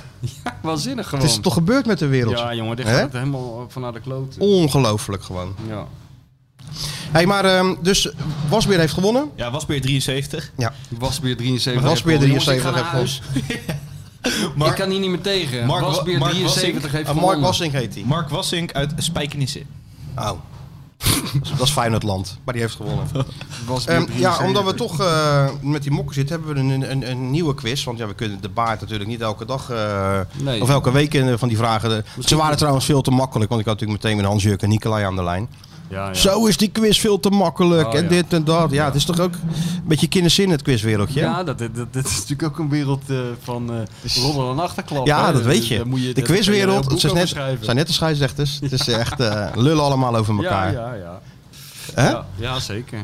C: Waanzinnig gewoon.
B: Het is toch gebeurd met de wereld?
C: Ja, jongen, dit
B: Hè?
C: gaat helemaal vanuit de kloten.
B: Ongelooflijk gewoon.
C: Ja.
B: hey, maar ehm, dus Wasbeer heeft gewonnen.
H: Ja, was weer 73.
C: Wasbeer 73.
B: Wasbeer
C: heeft
B: 73
C: gewonnen. Jongens, ik ga naar
B: heeft
C: huis. ik kan hier niet meer tegen.
H: Mark-
C: Wasbeer
H: Mark
C: 73 heeft
B: En Eh, Mark
C: gewonnen.
B: Wassink heet hij.
H: Mark Wassink uit Spijkenisse.
B: Oh. <laughs> Dat is- dat is Feyenoordland, maar die heeft gewonnen.
C: Wasbeer
B: Ehm, ja,
C: 73.
B: omdat we toch eh, met die mokken zitten, hebben we een, een, een nieuwe quiz. Want ja, we kunnen de baard natuurlijk niet elke dag eh,
C: Nee.
B: of elke week eh, van die vragen. eh, Ze waren trouwens veel te makkelijk, want ik had natuurlijk meteen met Hans-Jurk en Nicolai aan de lijn.
C: Ja, ja.
B: Zo is die quiz veel te makkelijk
C: Oh,
B: en
C: ja.
B: dit en dat. Ja, het is toch ook een beetje kinderzin het quizwereldje. hè?
C: Ja, dat, dat, dat is natuurlijk ook een wereld eh, van eh roddel en achterklap.
B: Ja,
C: hè.
B: dat weet
C: Daar
B: je.
C: eh, moet
B: De
C: daar kun je eh, een
B: quizwereld,
C: boek
B: het zijn
C: over
B: net,
C: schrijven.
B: zijn net de scheidsrechters. Het is echt eh, lullen allemaal over elkaar.
C: Ja, ja, ja.
B: Hè?
C: Ja, ja, zeker.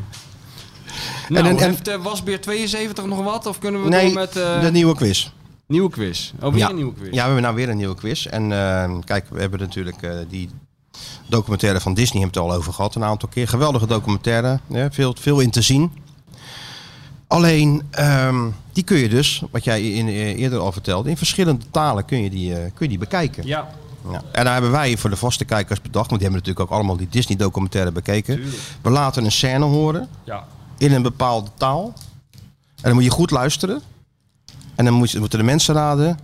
C: Nou,
B: en- en-
C: heeft eh, Wasbeer 72 nog wat? Of kunnen we
B: Nee,
C: door met eh,
B: de nieuwe quiz.
C: nieuwe quiz? Oh, weer
B: ja.
C: een nieuwe quiz.
B: Ja, we hebben nou weer een nieuwe quiz. En eh, kijk, we hebben natuurlijk eh, die documentaire van Disney hebben we het al over gehad. Een aantal keer. Geweldige documentaire. hè, veel, veel in te zien. Alleen, ehm, die kun je dus, wat jij in, eh, eerder al vertelde, in verschillende talen kun je die, eh, kun je die bekijken.
C: Ja,
B: Ja. En daar hebben wij voor de vaste kijkers bedacht, want die hebben natuurlijk ook allemaal die Disney-documentaire bekeken. We laten een scène horen
C: ja.
B: in een bepaalde taal. En dan moet je goed luisteren. En dan moet je- moeten de mensen raden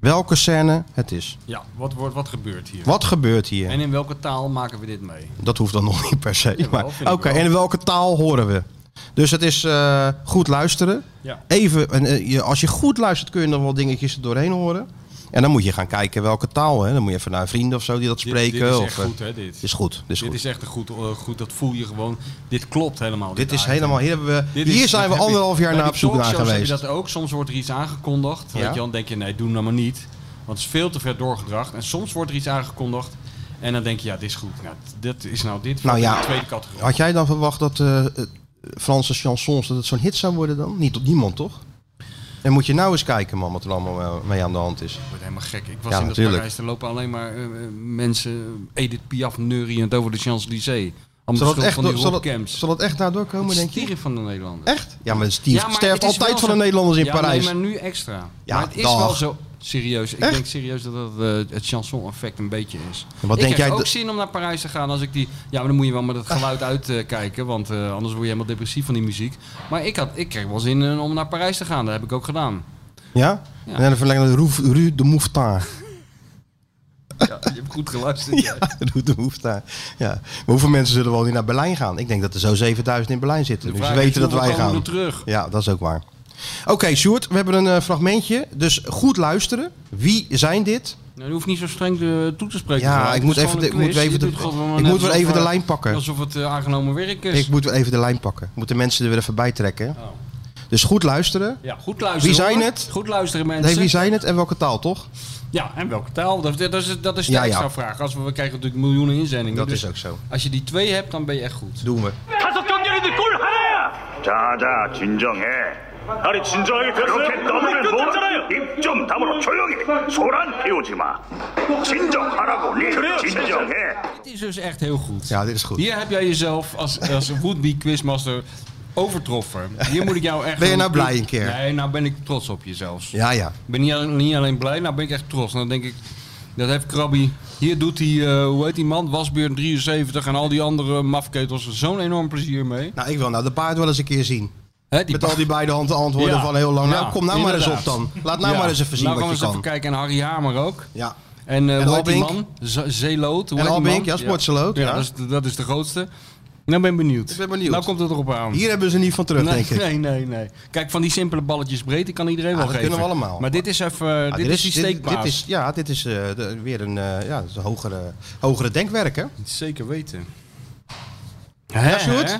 B: welke scène het is.
C: ja. Wat, wordt, wat gebeurt hier?
B: Wat gebeurt hier?
C: En in welke taal maken we dit mee?
B: Dat hoeft dan nog niet per se.
C: Jawel,
B: maar-
C: vind
B: Oké,
C: ik wel.
B: en in welke taal horen we? Dus het is eh, goed luisteren.
C: Ja.
B: Even, en, eh, je, als je goed luistert kun je nog wel dingetjes er doorheen horen. En dan moet je gaan kijken welke taal. Hè. Dan moet je even naar vrienden of zo die dat
C: Dit-
B: spreken.
C: dit is
B: of,
C: echt
B: eh,
C: goed, hè? Dit,
B: Dit is goed. Dit is
C: Dit
B: goed.
C: is echt een goed, eh, goed, dat voel je gewoon. Dit klopt helemaal.
B: Dit is
C: item.
B: helemaal. Hier, hebben we,
C: Dit is-
B: hier zijn we
C: dat heb je-
B: anderhalf jaar
C: bij
B: naar
C: die
B: op zoek naar
C: talkshows
B: geweest.
C: Heb je dat ook? Soms wordt er iets aangekondigd.
B: Ja.
C: Weet je, dan denk je, nee, doe nou maar niet. Want het is veel te ver doorgebracht. En soms wordt er iets aangekondigd. En dan denk je, ja, dit is goed. Nou, dit is nou
B: Nou
C: dit. valt in
B: ja.
C: de tweede categorie.
B: Had jij dan verwacht dat eh, eh, Franse chansons dat het zo'n hit zou worden dan? Niet op niemand, toch? En moet je nou eens kijken, man, wat er allemaal eh, mee aan de hand is.
C: Ik word helemaal gek. Ik was
B: Ja,
C: in dat
B: natuurlijk.
C: Parijs. Er lopen alleen maar eh, eh, mensen Edith Piaf neuriënd over de Champs-Élysées. Allemaal
B: Zal dat,
C: schuld
B: echt,
C: van die
B: door- zal, dat,
C: rockcamps.
B: zal dat echt daar doorkomen, denk je?
C: Stieren van de Nederlanders.
B: Echt? Ja, maar Steve
C: Ja, maar
B: sterft
C: het is wel
B: altijd van de
C: zo-
B: Nederlanders in
C: ja,
B: Parijs.
C: Nee, maar nu extra.
B: Ja,
C: maar het is
B: dag.
C: wel zo serieus. Ik
B: Echt?
C: denk serieus dat dat, eh, het chanson-effect een beetje is.
B: En wat
C: ik
B: denk
C: heb
B: jij
C: ook
B: d-
C: zin om naar Parijs te gaan als ik die... Ja, maar dan moet je wel met het geluid uitkijken, want eh, anders word je helemaal depressief van die muziek. Maar ik, had, ik kreeg wel zin in om naar Parijs te gaan. Dat heb ik ook gedaan.
B: Ja?
C: Ja.
B: En dan verlengen naar de Roef- Rue de Mouffetard. <laughs>
C: Ja, je hebt goed geluisterd. ja.
B: Rue de Mouffetard. Ja. Maar hoeveel mensen zullen wel niet naar Berlijn gaan? Ik denk dat er zo 7000 in Berlijn zitten.
C: De
B: Dus ze
C: vraag is,
B: weten dat
C: hoeveel
B: wij
C: komen
B: gaan.
C: er terug.
B: Ja, dat is ook waar. Oké, Sjoerd, we hebben een eh, fragmentje. Dus goed luisteren. Wie zijn dit?
C: Nou, je hoeft niet zo streng eh, toe te spreken.
B: Ja,
C: Gerard.
B: ik
C: Het
B: moet
C: is
B: even
C: gewoon
B: de, ik
C: een
B: moet
C: quiz.
B: even
C: Je
B: de,
C: doet gewoon
B: ik moet
C: net
B: weer even de
C: alsof,
B: lijn
C: eh,
B: pakken.
C: Alsof het eh, aangenomen werk is.
B: Ik moet weer even de lijn pakken. Moeten mensen er weer even bij trekken.
C: Oh.
B: Dus goed luisteren.
C: Ja, goed luisteren.
B: Wie zijn
C: hoor.
B: het?
C: Goed luisteren mensen.
B: Nee, wie zijn het en welke taal, toch?
C: Ja, en welke taal? Dat, dat is, dat is de
B: Ja, ja.
C: extra vraag. Als we, we krijgen natuurlijk miljoenen inzendingen.
B: Dat
C: dus
B: is ook zo.
C: Als je die twee hebt, dan ben je echt goed.
B: Doen we.
I: 자자 진정해 아니 진정하게 됐어요? 그렇게 떠드는 뭐라 입좀 다물어 조용히 소란 피우지 마 진정하라고 니 진정해
C: Dit is dus echt heel goed.
B: Ja, dit is goed.
C: Hier heb jij jezelf als, als would-be quizmaster overtroffen. Hier moet ik jou
B: <laughs>
C: echt...
B: Ben je
C: een-
B: nou blij een keer?
C: Nee, nou ben ik trots op je zelfs.
B: Ja, ja.
C: Ik ben niet alleen, niet alleen blij, nou ben ik echt trots. En dan denk ik, dat heeft Krabby. Hier doet hij, eh, hoe heet die man? Wasbeer 73 en al die andere mafketels zo'n enorm plezier mee.
B: Nou, ik wil nou de paard wel eens een keer zien.
C: Hè, die
B: Met al die beide handen antwoorden
C: Ja.
B: van heel lang. Nou,
C: Ja,
B: kom nou maar eens op
C: inderdaad.
B: dan. Laat nou
C: Ja.
B: maar eens even zien
C: nou,
B: wat
C: gaan we
B: je
C: eens
B: kan.
C: even kijken. En Harry Hamer ook.
B: Ja.
C: En, eh
B: En
C: hoe heet die
B: Albink.
C: man? Z- Zeeloot. hoe
B: En
C: heet die man?
B: Albink, ja, sportzeeloot,
C: Ja,
B: ja.
C: Dat, is, de- dat is de grootste. Nou ben ik benieuwd.
B: Ik ben benieuwd.
C: Nou komt het erop aan.
B: Hier hebben ze niet van terug,
C: nee,
B: denk ik.
C: nee, nee, nee. Kijk, van die simpele balletjes breed, die kan iedereen wel
B: dat
C: geven.
B: kunnen we allemaal.
C: Maar dit is even, eh,
B: Ja,
C: dit, is die
B: dit,
C: steekpaas.
B: dit is, ja, dit is eh, de- weer een, eh, ja, dat is een hogere, hogere denkwerk, hè?
C: Zeker weten. Hè,
B: Ja, Sjoerd?
C: hè?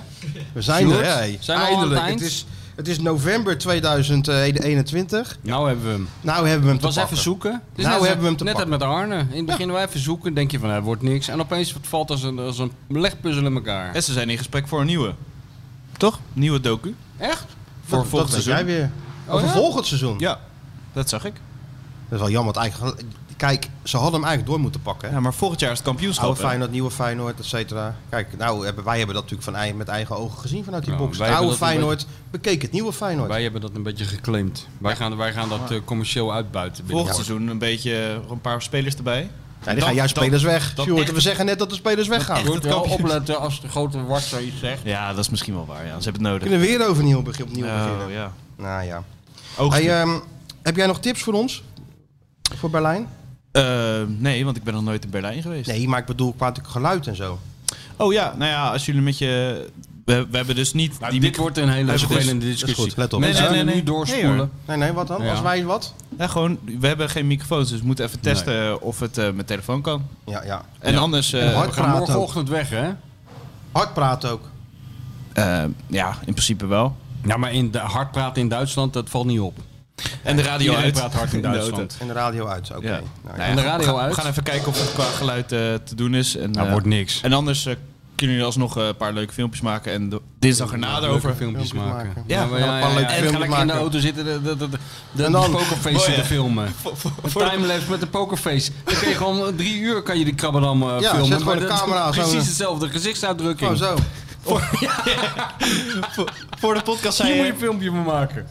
B: We zijn
C: Sjoerd,
B: er, hè?
C: zijn we al aan het
B: Eindelijk.
C: eind?
B: is, het is november 2021.
C: Nou hebben we hem.
B: Nou hebben we hem
C: Het was
B: te pakken.
C: even zoeken. Het is
B: Nou
C: net als-
B: hebben we hem te
C: Net als met Arne. In het begin wel even zoeken, denk je van, "Nou, het wordt niks. En opeens het valt als een, als een legpuzzel in elkaar.
H: En ze zijn in gesprek voor een nieuwe. Toch? Nieuwe docu.
C: Echt?
H: Voor
B: dat,
H: volgend
B: dat weet
H: seizoen.
B: jij weer.
C: Oh,
B: Over
C: ja?
B: volgend seizoen.
H: Ja, dat zag ik.
B: Dat is wel jammer. want Eigenlijk, kijk, ze hadden hem eigenlijk door moeten pakken. hè?
H: Ja, maar volgend jaar is het kampioenschap.
B: Oude
H: hè?
B: Feyenoord, nieuwe Feyenoord, et cetera. Kijk, nou hebben, wij hebben dat natuurlijk van, ei- met eigen ogen gezien vanuit die
C: Ja,
B: box.
C: wij
B: Het oude
C: hebben dat een
B: Feyenoord bekeek het nieuwe Feyenoord.
C: Wij hebben dat een beetje geclaimd. Wij gaan, wij gaan dat eh, commercieel uitbuiten. binnen-
H: Volgend seizoen een beetje eh, een paar spelers erbij.
B: Ja, Nou, die gaan juist
H: dan-
B: spelers weg.
H: dan
B: Sjoerd,
H: echt-
B: we zeggen net dat de spelers
C: Ja,
B: weggaan.
C: Je
B: We
C: moet wel opletten als de grote wart zoiets zegt.
H: Ja, dat is misschien wel waar. Ja. Ze hebben het nodig.
B: kunnen weer overnieuw begin- opnieuw
H: Oh,
B: beginnen.
H: ja.
B: Nou ja.
H: Oogst-
B: Hey, ehm, heb jij nog tips voor ons? Voor Berlijn?
H: Eh, nee, want ik ben nog nooit in Berlijn geweest.
B: Nee, maar ik bedoel qua natuurlijk geluid en zo.
H: Oh ja, nou ja, als jullie met je... We, we hebben dus niet...
C: Nou,
H: die
C: dit
H: micro-
C: wordt een hele
H: Dat is goed.
C: vervelende
B: Dat is
C: discussie.
B: goed, let op.
C: Mensen
H: Nee, nee,
C: kunnen
H: nee,
C: nu
H: nee. Nee, hoor.
C: doorspoelen.
B: Nee, nee, wat dan?
C: Ja.
B: Als wij wat?
H: Ja, gewoon, we hebben geen microfoons, dus we moeten even testen of het eh, met telefoon kan.
B: Ja, ja.
H: En anders... eh,
B: hard
C: we gaan
B: praten
C: morgenochtend weg, hè?
B: Hard praten ook.
H: eh, ja, in principe wel.
C: Ja, maar in de, hard praten in Duitsland, dat valt niet op.
H: En de radio
C: Iedereen
H: uit.
C: praat hard
H: <laughs>
C: in
H: De auto.
C: Duitsland.
B: En de radio uit. Oké.
H: Ja.
B: Nou,
H: Nou
B: ja.
H: ja,
C: En de
H: we
C: radio
H: gaan-
C: uit?
H: We gaan even kijken of het qua geluid eh, te doen is. En,
C: Nou,
H: eh,
C: wordt niks.
H: En anders eh, kunnen jullie alsnog eh, een paar leuke filmpjes maken. En de- dinsdag erna
C: Leuke
H: erover.
C: filmpjes
B: Filmpjes
C: maken.
B: maken.
C: Ja, maar
B: een paar
C: ja, ja,
B: leuke
C: En
B: filmpjes
C: gelijk in de
B: maken.
C: auto zitten, de, de, de, de, de
B: En dan- Oh
C: pokerface
H: Mooi,
C: zitten
H: hè?
C: filmen. Een
H: voor de-
C: timelapse met de pokerface. Dan kun je gewoon drie uur kan je die krabbedam eh,
B: Ja,
C: filmen.
B: zet gewoon
C: maar
B: de
C: dat-
B: camera, zo-
C: Precies hetzelfde gezichtsuitdrukking.
B: Oh, zo.
H: Voor de podcast
C: Hier
H: zei
C: moet je
H: je,
C: een filmpje van maken.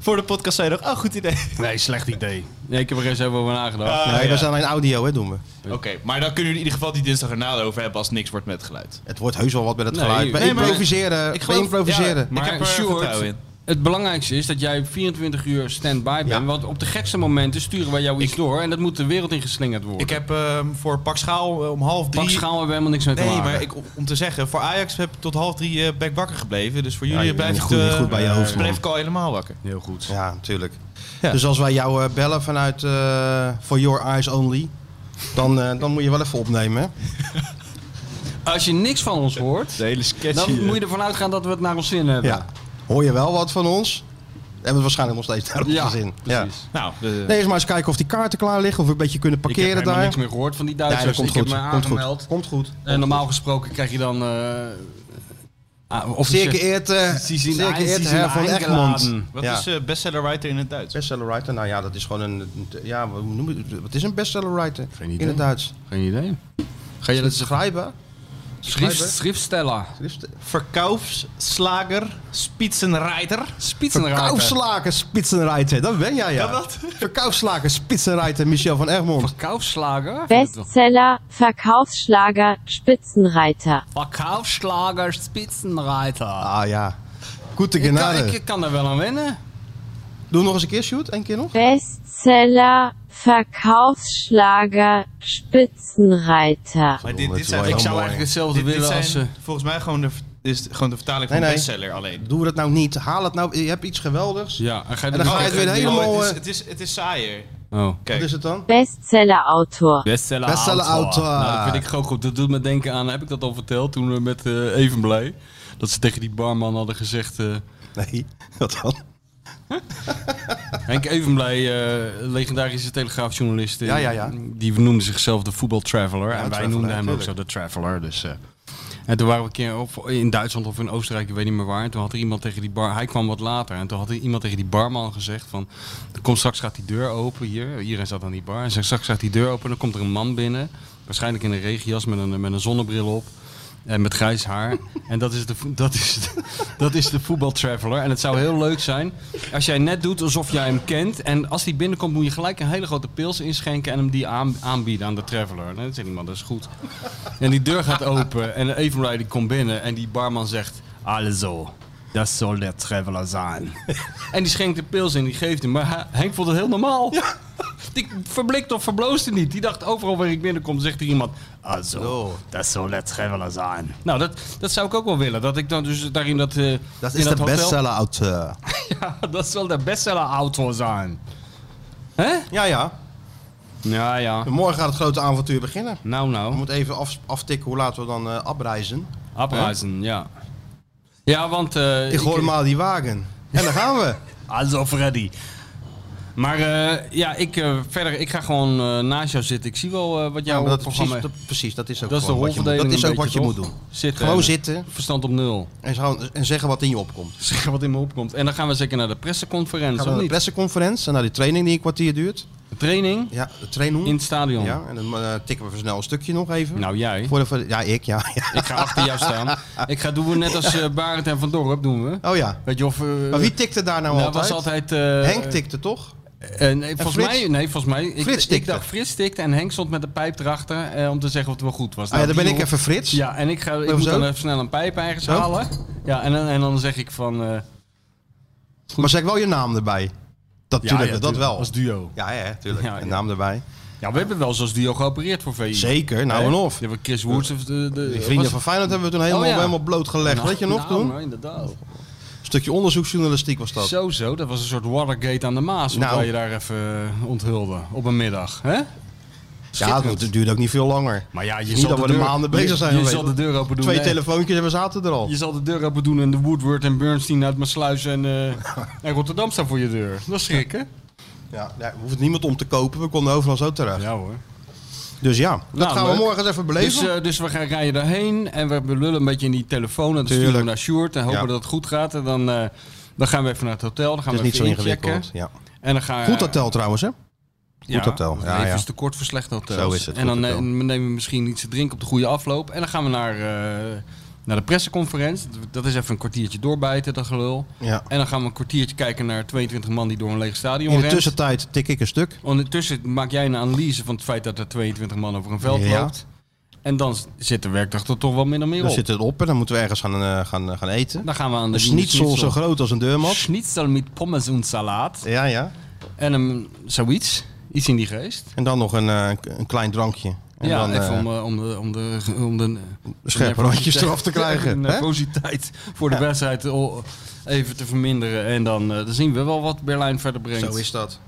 H: voor de podcast zei je nog, oh goed
B: <laughs>
H: idee.
C: Nee, slecht idee. Nee, ik heb er eens even over nagedacht.
B: nee,
H: ja.
B: we zijn alleen audio, hè, doen we.
H: Oké, maar dan kunnen jullie in ieder geval die dinsdag erna erover hebben als niks wordt met geluid.
B: Het wordt heus wel wat met het
C: Nee,
B: geluid. We
C: nee, maar-
B: improviseren.
H: Ik
B: we
H: geloof-
B: improviseren.
H: ja,
C: Maar
H: ik heb er
C: Sjoerd-
H: vertrouwen in.
C: Het belangrijkste is dat jij 24 uur stand-by bent.
B: Ja.
C: Want op de gekste momenten sturen wij jou iets door. En dat moet de wereld in geslingerd worden.
H: Ik
C: Ik
H: heb ehm, voor Pak Schaal eh, om half drie...
C: Pak schaal hebben we helemaal niks mee te
H: Nee,
C: maken.
H: maar ik, om te zeggen, voor Ajax heb ik tot half drie eh, ben ik wakker gebleven. Dus voor jullie
B: je bent
H: blijft
B: niet goed-
H: eh,
B: niet goed bij je
H: eh,
B: hoofd, man.
H: blijf ik al helemaal wakker.
C: Heel goed.
B: Ja, natuurlijk.
H: Ja.
B: Dus als wij jou eh, bellen vanuit eh, For Your Eyes Only, dan, eh, dan moet je wel even opnemen. Hè?
C: Als je niks van ons hoort,
H: hele sketch
C: dan moet je ervan uitgaan dat we het naar ons zin hebben.
B: Ja. Hoor je wel wat van ons? Hebben we waarschijnlijk nog steeds daar
C: Ja,
B: ja, zin. Ja.
C: precies.
H: Nou, de-
B: Nee, eens maar eens kijken of die kaarten klaar liggen. Of we een beetje kunnen
C: Ik heb
B: parkeren
C: helemaal
B: daar.
C: niks meer gehoord van die
B: Ja, dat
C: Duitsers.
B: komt
C: ik heb
B: goed.
C: me
B: Komt
C: aangemeld.
B: goed. Komt goed.
C: En normaal gesproken krijg je dan... eh ah, of
B: Zeer geëerd, eh,
C: Sie sind
B: zeer
C: ein-
B: geëerd
C: Sie sind
B: Herr van
C: eingeladen.
B: Egmond.
H: wat
B: Ja.
H: is eh, bestseller writer in het Duits?
B: Bestseller writer, nou ja, dat is gewoon een. een- Ja, hoe noem je het? Wat is een bestseller writer?
C: Geen idee.
B: In het Duits.
C: Geen idee. Ga je
B: Een
C: dat
B: schrijver?
C: schrift, schriftsteller?
H: Verkaufsslager, spitsenreiter.
C: Spitsenrater.
B: Verkoufslaken spitsenreiter, dat ben jij ja. Verkoufslaken spitsenreiter Michel van Egmond.
C: Verkaufsslager?
J: Bestseller, Verkaufsschlager, Spitzenreiter.
C: Verkaufsslager, Spitsenreiter.
B: Ah ja. Goede
C: ik, kan,
B: genade.
C: ik kan er wel aan wennen.
B: Doe nog eens een keer, shoot, één keer nog.
J: Bestseller, Verkaufsschlager, Spitzenreiter.
H: Maar
B: dit- dit zijn-
C: Ik
B: Heel
C: zou
B: mooi.
C: eigenlijk hetzelfde
H: Dit- dit
C: willen
H: zijn
C: als... eh,
H: Volgens mij gewoon de, is het gewoon de vertaling van
B: Nee, nee.
H: bestseller alleen.
B: Doe dat nou niet. Haal het nou. Je hebt iets geweldigs.
C: ja, en ga je
B: En dan
C: er-
B: ga je het weer
C: Oh,
B: helemaal-
H: Oh,
B: eh,
H: het, is, het, is, het is saaier.
C: Oh.
D: Kijk.
B: Wat is het dan?
J: Bestsellerautor.
C: Bestseller,
B: Bestseller autor.
C: Nou, dat vind ik gewoon goed. Dat doet me denken aan, heb ik dat al verteld toen we met eh Evenblij, dat ze tegen die barman hadden gezegd, eh,
B: Nee, <laughs> wat dan?
C: Henk Evenblij, eh, legendarische telegraafjournalist, eh,
B: Ja, ja, ja.
C: die noemde zichzelf de voetbaltraveler en wij
B: Traveler,
C: noemden hem ook
B: natuurlijk.
C: zo de traveler. Dus, eh, en toen waren we een keer op, in Duitsland of in Oostenrijk, ik weet niet meer waar. En toen had er iemand tegen die bar, hij kwam wat later. En toen had er iemand tegen die barman gezegd van, kom straks gaat die deur open hier. Iedereen zat aan die bar. En zegt, straks gaat die deur open en dan komt er een man binnen. Waarschijnlijk in een regenjas met een, eh, met een zonnebril op. En met grijs
B: <laughs>
C: haar. En dat is de, vo- dat is de, dat is de voetbaltraveler. En het zou heel leuk zijn als jij net doet alsof jij hem kent. En als die binnenkomt moet je gelijk een hele grote pils inschenken en hem die aan, aanbieden aan de traveler. Nou, dat zegt iemand, dat is goed. En die deur gaat open en Evenblij die komt binnen en die barman zegt... Also, dat zal de traveler zijn. en die schenkt de pils in, die geeft hem. Maar hij- Henk vond het heel normaal. Die verblikt of verbloosde niet. Die dacht overal waar ik binnenkom, zegt er iemand. Also, dat zal de traveler zijn. Nou, dat, dat zou ik ook wel willen. Dat ik dan dus daarin dat. eh,
B: Dat
C: in
B: is de eh,
C: hotel-
B: bestseller-auteur.
C: Ja, <laughs> dat zal de bestseller-auto zijn. Hè?
B: Ja, ja.
C: Ja, ja.
B: Morgen gaat het grote avontuur beginnen.
C: Nou,
B: We
C: nou.
B: moeten even af- aftikken hoe laten we dan eh afreizen.
C: Abreizen, ja. Ja, want. eh,
B: Ik hoor
C: ik-
B: maar die wagen. En daar gaan we.
C: Also Freddy. Maar eh, ja, ik, eh, verder, ik ga gewoon eh, naast jou zitten. Ik zie wel eh, wat
B: Ja,
C: jouw
B: maar dat,
C: programma
B: precies, dat, precies, dat is ook
C: Dat is de
B: gewoon wat je moet-
C: rolverdeling.
B: Dat is
C: een
B: ook wat je
C: beetje,
B: moet
C: toch?
B: doen.
C: Zitten.
B: Gewoon
C: en-
B: zitten
C: Verstand op
B: <laughs>
C: nul.
B: en, zo- en zeggen wat in je opkomt.
C: Zeggen wat in me opkomt. En dan gaan we zeker naar de
B: Gaan
C: presseconferentie.
B: we
C: of
B: naar de
C: niet?
B: presseconferentie en naar die training die een kwartier duurt.
C: De training
B: Ja, de training.
C: in het stadion.
B: Ja, en dan eh, tikken we voor snel een stukje nog even.
C: Nou, jij.
B: Voor de, voor de- ja, ik, ja, <laughs> ja.
C: Ik ga achter jou
B: <laughs>
C: staan. Ik ga doen we net als eh Barend en Van Dorp doen we.
B: Oh ja.
C: Weet je of... eh,
B: Maar wie tikte daar nou,
C: nou,
B: altijd?
C: was altijd... eh,
B: Henk tikte toch?
C: eh, nee, volgens
B: Frits?
C: mij, nee, volgens mij. Ik,
B: Frits
C: ik
B: tikte.
C: dacht Frits tikte en Henk stond met de pijp erachter eh, om te zeggen of het wel goed was.
B: Ah, ja,
C: Nou,
B: dan ben
C: die
B: ik
C: jongen-
B: even Frits.
C: Ja, en ik, ga, ik
B: Even
C: moet
B: zo?
C: dan even snel een pijp ergens
B: Zo?
C: halen. Ja, en, dan- en dan zeg ik van... eh,
B: Maar zeg wel je naam erbij. Dat,
C: ja,
B: tuurlijk,
C: ja,
B: dat
C: tuurlijk,
B: wel.
C: Als duo.
B: Ja, ja, tuurlijk.
C: Ja,
B: Een
C: ja.
B: naam erbij.
C: Ja, we hebben wel zoals duo geopereerd voor VI.
B: Zeker, nou
C: Hè?
B: en of.
C: Die hebben Chris Woods of de... de
B: Die vrienden
C: was-
B: van Feyenoord hebben we toen helemaal,
C: Oh, ja.
B: helemaal blootgelegd.
C: Nou,
B: Weet je nog
C: nou,
B: toen?
C: maar inderdaad.
B: Een stukje onderzoeksjournalistiek was dat.
C: Zo, zo. Dat was een soort Watergate aan de Maas.
B: Nou.
C: Nou. je daar even eh, onthulde. Op een middag. Hè?
B: ja,
C: Schitterend.
B: het duurde ook niet veel langer.
C: Maar ja, je
B: Niet
C: zal
B: dat
C: de
B: we er
C: deur-
B: maanden bezig zijn
C: Je, je
B: geweest.
C: zal de deur open doen.
B: Twee
C: nee.
B: telefoontjes en we zaten er al.
C: Je zal de deur open doen en de Woodward en Bernstein uit Maasluis en, eh, en Rotterdam staan voor je deur. Dat is schrikken.
B: Ja, daar hoeft niemand om te kopen. We konden overal zo terecht.
C: Ja hoor.
B: Dus ja, dat
C: Nou,
B: gaan we
C: leuk.
B: morgen eens even beleven.
C: Dus, eh, dus we gaan rijden daarheen en we lullen een beetje in die telefoon. En dan sturen we
B: Tuurlijk.
C: naar Sjoerd en hopen
B: Ja.
C: dat het goed gaat. En dan, eh, dan gaan we even naar het hotel. Dan gaan
B: het is
C: we
B: niet zo
C: even Eh, inchecken.
B: ingewikkeld. Ja.
C: En dan gaan,
B: Goed hotel trouwens, hè?
C: Ja,
B: Goed hotel, ja,
C: even
B: ja.
C: is te kort voor slecht hotel.
B: Zo is het,
C: En dan
B: goed
C: eh,
B: hotel.
C: nemen we misschien iets te drinken op de goede afloop. En dan gaan we naar, eh, naar de presseconferentie. Dat is even een kwartiertje doorbijten, dat gelul.
B: Ja.
C: En dan gaan we een kwartiertje kijken naar 22 man die door een leeg stadion
B: In de
C: rent.
B: tussentijd tik ik een stuk.
C: Ondertussen maak jij een analyse van het feit dat er 22 man over een veld
B: Ja.
C: loopt. En dan s- zit de werkdag er toch wel min of meer
B: Dan
C: op.
B: zit Dus het op en dan moeten we ergens gaan, eh, gaan, gaan eten.
C: Dan gaan we aan de
B: Een schnitzel zo groot als een deurmat.
C: Schnitzel met pommes en salaat.
B: Ja, ja.
C: En een, zoiets. Iets in die geest.
B: En dan nog een, eh, een klein drankje. En
C: ja,
B: dan, eh,
C: even om, eh, om de, om de, om de
B: scherpe randjes eraf te krijgen,
C: <laughs> De
B: hè?
C: nervositeit voor de wedstrijd o- even te verminderen. En dan, eh, dan zien we wel wat Berlijn verder brengt.
B: Zo is dat.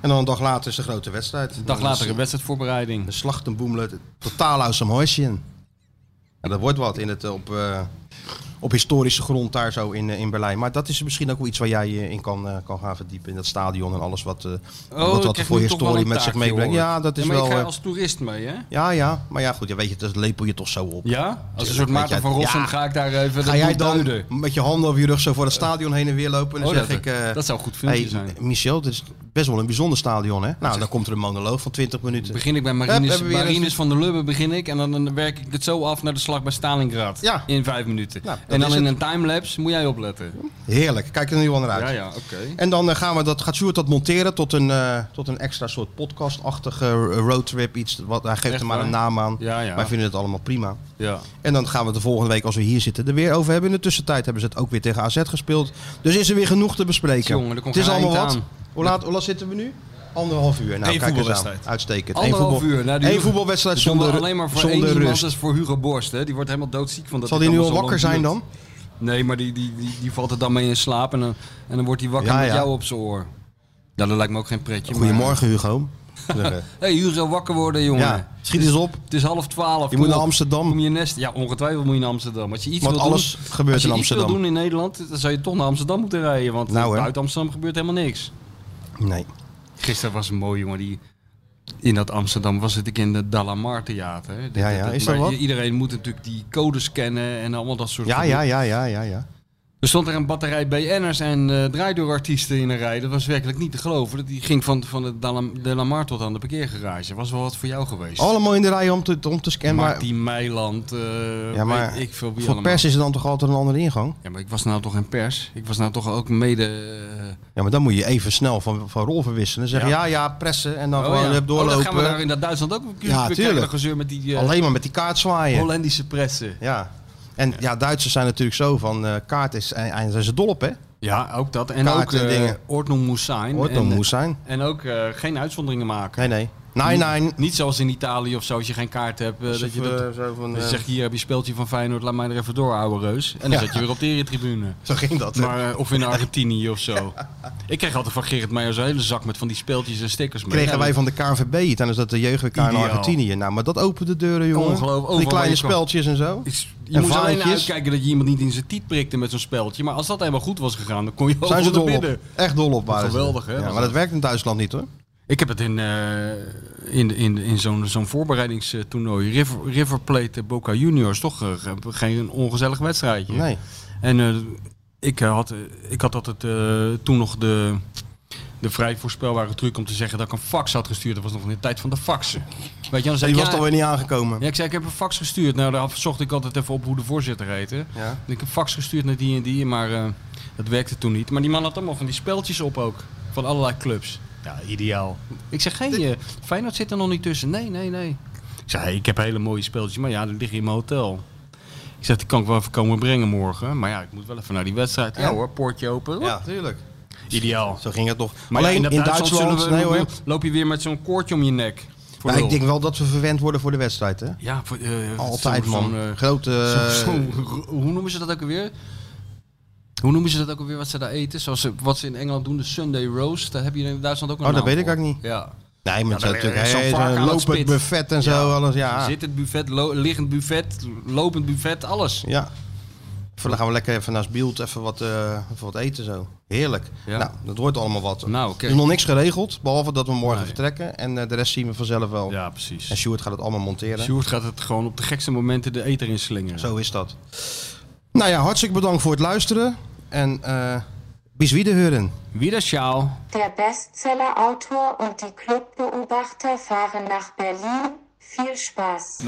B: En dan een dag later is de grote wedstrijd.
C: Een eh, dag later een
B: De
C: wedstrijdvoorbereiding.
B: slachtenboemelen totaal uit zijn huisje. En dat wordt wat in het, eh, op, eh, op historische grond daar zo in, eh, in Berlijn. Maar dat is misschien ook wel iets waar jij je in kan, eh, kan gaan verdiepen. In dat stadion en alles wat, eh
C: Oh, ik
B: wat, wat
C: krijg
B: voor
C: nu toch wel
B: historie
C: een
B: met zich
C: taakje,
B: meebrengt.
C: hoor.
B: Ja, dat is
C: maar
B: wel...
C: Ik ga
B: eh,
C: als toerist mee, hè?
B: Ja, ja. Maar ja, goed. Ja, weet je, dat lepel je toch zo op.
C: Ja? Als een soort
B: Tuurlijk,
C: Maarten
B: weet
C: van
B: jij-
C: Rossum
B: Ja.
C: ga ik daar even
B: Ga
C: de
B: jij
C: boel
B: dan
C: duiden.
B: met je handen over je rug zo voor het stadion heen en weer lopen? En dan
C: Oh,
B: zeg
C: dat-
B: ik... eh,
C: dat zou een goed filmpje
B: Hey,
C: zijn.
B: Michel, dit is best wel een bijzonder stadion, hè? Nou, dan komt er een monoloog van 20 minuten.
C: Begin ik bij
B: Hup,
C: Marines,
B: hebben we weer
C: Marines
B: eens-
C: van der Lubbe begin ik en dan, dan werk ik het zo af naar de slag bij Stalingrad
B: Ja.
C: in vijf minuten.
B: Nou, dat
C: en dan
B: is
C: in
B: het.
C: een timelapse moet jij opletten.
B: Heerlijk. Kijk er nu wel naar uit.
C: Ja, ja, oké.
B: En dan eh, gaan we dat, gaat Sjoerd dat monteren tot een, eh, tot een extra soort podcast-achtige eh, roadtrip. Iets wat, hij geeft
C: Echt
B: er maar
C: waar?
B: een naam aan.
C: Ja, ja.
B: Wij vinden het allemaal prima.
C: Ja.
B: En dan gaan we het de volgende week, als we hier zitten, er weer over hebben. In de tussentijd hebben ze het ook weer tegen AZ gespeeld. Dus is er weer genoeg te bespreken.
C: Jongen, er komt
B: het is
C: geen
B: allemaal
C: eind
B: wat.
C: aan.
B: Hoe, laat, hoe laat zitten we nu? Anderhalf uur. Nou,
D: Eén
B: kijk eens aan.
D: voetbalwedstrijd.
B: Uitstekend. Eén
C: Anderhalf
B: voetbal-
C: uur. Nou, die
B: één
C: Hugo-
B: voetbalwedstrijd
C: dat doen we
B: zonder,
C: alleen maar voor
B: zonder
C: één
B: rust.
C: iemand, dat is voor Hugo Borst. Hè. Die wordt helemaal doodziek van dat.
B: Zal
C: dit
B: die nu al
C: allemaal zo
B: wakker
C: lang
B: zijn
C: duurt.
B: dan?
C: Nee, maar die, die, die, die valt er dan mee in slaap en dan, en dan wordt hij wakker
B: Ja,
C: met
B: ja.
C: jou op zijn oor. Ja, dat lijkt me ook geen pretje. maar-
B: Goedemorgen,
C: <laughs>
B: Hugo. Zeggen.
C: Hé, Hugo, wakker worden, jongen.
B: Ja, schiet eens op.
C: Het is half twaalf.
B: Je moet
C: kom
B: naar
C: op.
B: Amsterdam.
C: Kom je nest. Ja, ongetwijfeld moet je naar Amsterdam. Als je iets
B: Want
C: wil
B: alles
C: doen,
B: gebeurt
C: als je
B: in
C: iets wil
B: Amsterdam.
C: doen in Nederland, dan zou je toch naar Amsterdam moeten rijden. Want
B: Nou, hè.
C: uit Amsterdam gebeurt helemaal niks.
B: Nee.
C: Gisteren was een mooi jongen die... In dat Amsterdam was het ik in het Dalamar Theater. Dat-
B: Ja, ja,
C: dat-
B: is dat
C: maar
B: wat?
C: Iedereen moet natuurlijk die codes kennen en allemaal dat soort
B: Ja,
C: gedoe.
B: ja, ja, ja, ja, ja.
C: Er stond er een batterij BN'ers en eh draaidoorartiesten in een rij. Dat was werkelijk niet te geloven. Dat Die ging van, van de Dalam- de Lamar tot aan de parkeergarage. Was wel wat voor jou geweest.
B: Allemaal in de rij om te, om te scannen. Maar,
C: Martien Meiland, eh,
B: ja, maar
C: weet ik veel wie
B: voor
C: allemaal.
B: pers is er dan toch altijd een andere ingang?
C: Ja, maar ik was nou toch geen pers. Ik was nou toch ook mede... eh,
B: Ja, maar dan moet je even snel van, van rol verwisselen. Zeggen ja, ja, pressen en dan
C: oh,
B: gewoon
C: ja.
B: eh,
C: Oh,
B: doorlopen.
C: dan gaan we daar in dat Duitsland ook weer
B: Ja,
C: krijgen
B: tuurlijk.
C: dat gezeur met die eh,
B: Alleen maar met die kaart zwaaien.
C: Hollandische pressen.
B: Ja. En ja. Duitsers zijn natuurlijk zo van eh, kaart is en, en zijn ze dol op, hè?
C: Ja, ook dat. En
B: Kaarten
C: ook
B: en
C: eh,
B: dingen.
C: Ordnung moest zijn.
B: Hoort dan
C: En-
B: moest zijn.
C: En ook eh, geen uitzonderingen maken.
B: Nee, nee. Nee, nee.
C: Niet zoals in Italië of zo, als je geen kaart hebt. eh, dat je dat,
B: eh, zo van,
C: dat je
B: eh,
C: zegt, hier heb je speeltje van Feyenoord, laat mij er even door, ouwe reus. En dan
B: Ja.
C: zet je weer op de eretribune.
B: Zo ging dat. hè?
C: Maar, eh, of in Argentinië of
B: <laughs>
C: zo. Ik kreeg altijd van Gerrit Meijer zo'n hele zak met van die speeltjes en stickers mee.
B: Kregen
C: Ja,
B: wij
C: dat-
B: van de KNVB tijdens dat de jeugd-WK in
C: Ideaal.
B: Argentinië. Nou, maar dat opent de deuren, jongen.
C: Ongeloof- overal
B: die
C: waar
B: kleine
C: je kwam.
B: speltjes en zo.
C: Is- je
B: En
C: moest alleen
B: vaantjes.
C: uitkijken dat je iemand niet in zijn tiet prikte met zo'n speldje. Maar als dat helemaal goed was gegaan, dan kon je ook
B: Zijn ze
C: wel
B: dol
C: naar
B: op.
C: binnen.
B: Echt dol op. waren ze.
C: Geweldig, hè,
B: Ja,
C: was
B: maar dat
C: dat.
B: werkt in Duitsland niet, hoor.
C: Ik heb het in, eh, in, in, in zo'n zo'n voorbereidingstoernooi, River, River Plate eh, Boca Juniors, toch eh, geen ongezellig wedstrijdje.
B: Nee.
C: En eh, ik, eh, had, eh, ik had altijd eh, toen nog de, de vrij voorspelbare truc om te zeggen dat ik een fax had gestuurd. Dat was nog in de tijd van de faxen. Weet je, dan zei
B: Die
C: ik,
B: was
C: ja,
B: toch weer niet aangekomen.
C: ja, ik zei, ik heb een fax gestuurd. Nou, daar zocht ik altijd even op hoe de voorzitter heette.
B: Ja.
C: Ik heb een fax gestuurd naar die en die, maar eh, dat werkte toen niet. Maar die man had allemaal van die speltjes op ook. Van allerlei clubs. Ja, ideaal. Ik zeg, hé, eh, Feyenoord zit er nog niet tussen. Nee, nee, nee. Ik zei, hey, ik heb hele mooie speltjes, maar ja, die liggen in mijn hotel. Ik zeg, die kan ik wel even komen brengen morgen. Maar ja, ik moet wel even naar die wedstrijd. Ja,
B: Ja.
C: hoor, poortje open.
B: Ja, tuurlijk.
C: Ideaal.
B: Zo ging het toch.
C: Maar ja,
B: Alleen
C: dat
B: in Duitsland,
C: zullen
B: nee,
C: we-
B: hoor.
C: loop je weer met zo'n koordje om je nek. Voor
B: Ja, ik
C: lul.
B: denk wel dat we verwend worden voor de wedstrijd, hè?
C: Ja, voor, eh,
B: Altijd,
C: zo'n-
B: man.
C: zo'n, eh,
B: Grote...
C: Zo- zo- ro- hoe noemen ze dat ook alweer? Hoe noemen ze dat ook alweer wat ze daar eten? Zoals ze, wat ze in Engeland doen, de Sunday roast. Daar heb je in Duitsland ook een
B: Oh, dat
C: naam
B: weet ik
C: voor.
B: eigenlijk niet.
C: Ja.
B: Nee, maar het
C: dan
B: is natuurlijk
C: weer zo'n
B: hey,
C: vark
B: zo'n
C: aan het
B: lopend
C: spit.
B: buffet en zo. Alles, ja.
C: Zit het buffet, lo- liggend buffet, lopend buffet, alles.
B: ja. Voor dan gaan we lekker even naast Bielt even wat, eh, even wat eten zo. Heerlijk.
C: Ja.
B: Nou, dat wordt allemaal wat.
C: Nou, oké.
B: Er is nog niks geregeld, behalve dat we morgen
C: Nee.
B: vertrekken. En eh, de rest zien we vanzelf wel.
C: Ja,
B: En
C: precies.
B: Stuart gaat het allemaal monteren.
C: Sjoerd gaat het gewoon op de gekste momenten de eter in slingeren.
B: Zo is dat. Nou ja, hartstikke bedankt voor het luisteren. En eh bis wiederhören.
C: Wieder sjaal.
K: Der Bestsellerautor und die Clubbeobachter fahren nach Berlin. Viel Spaß.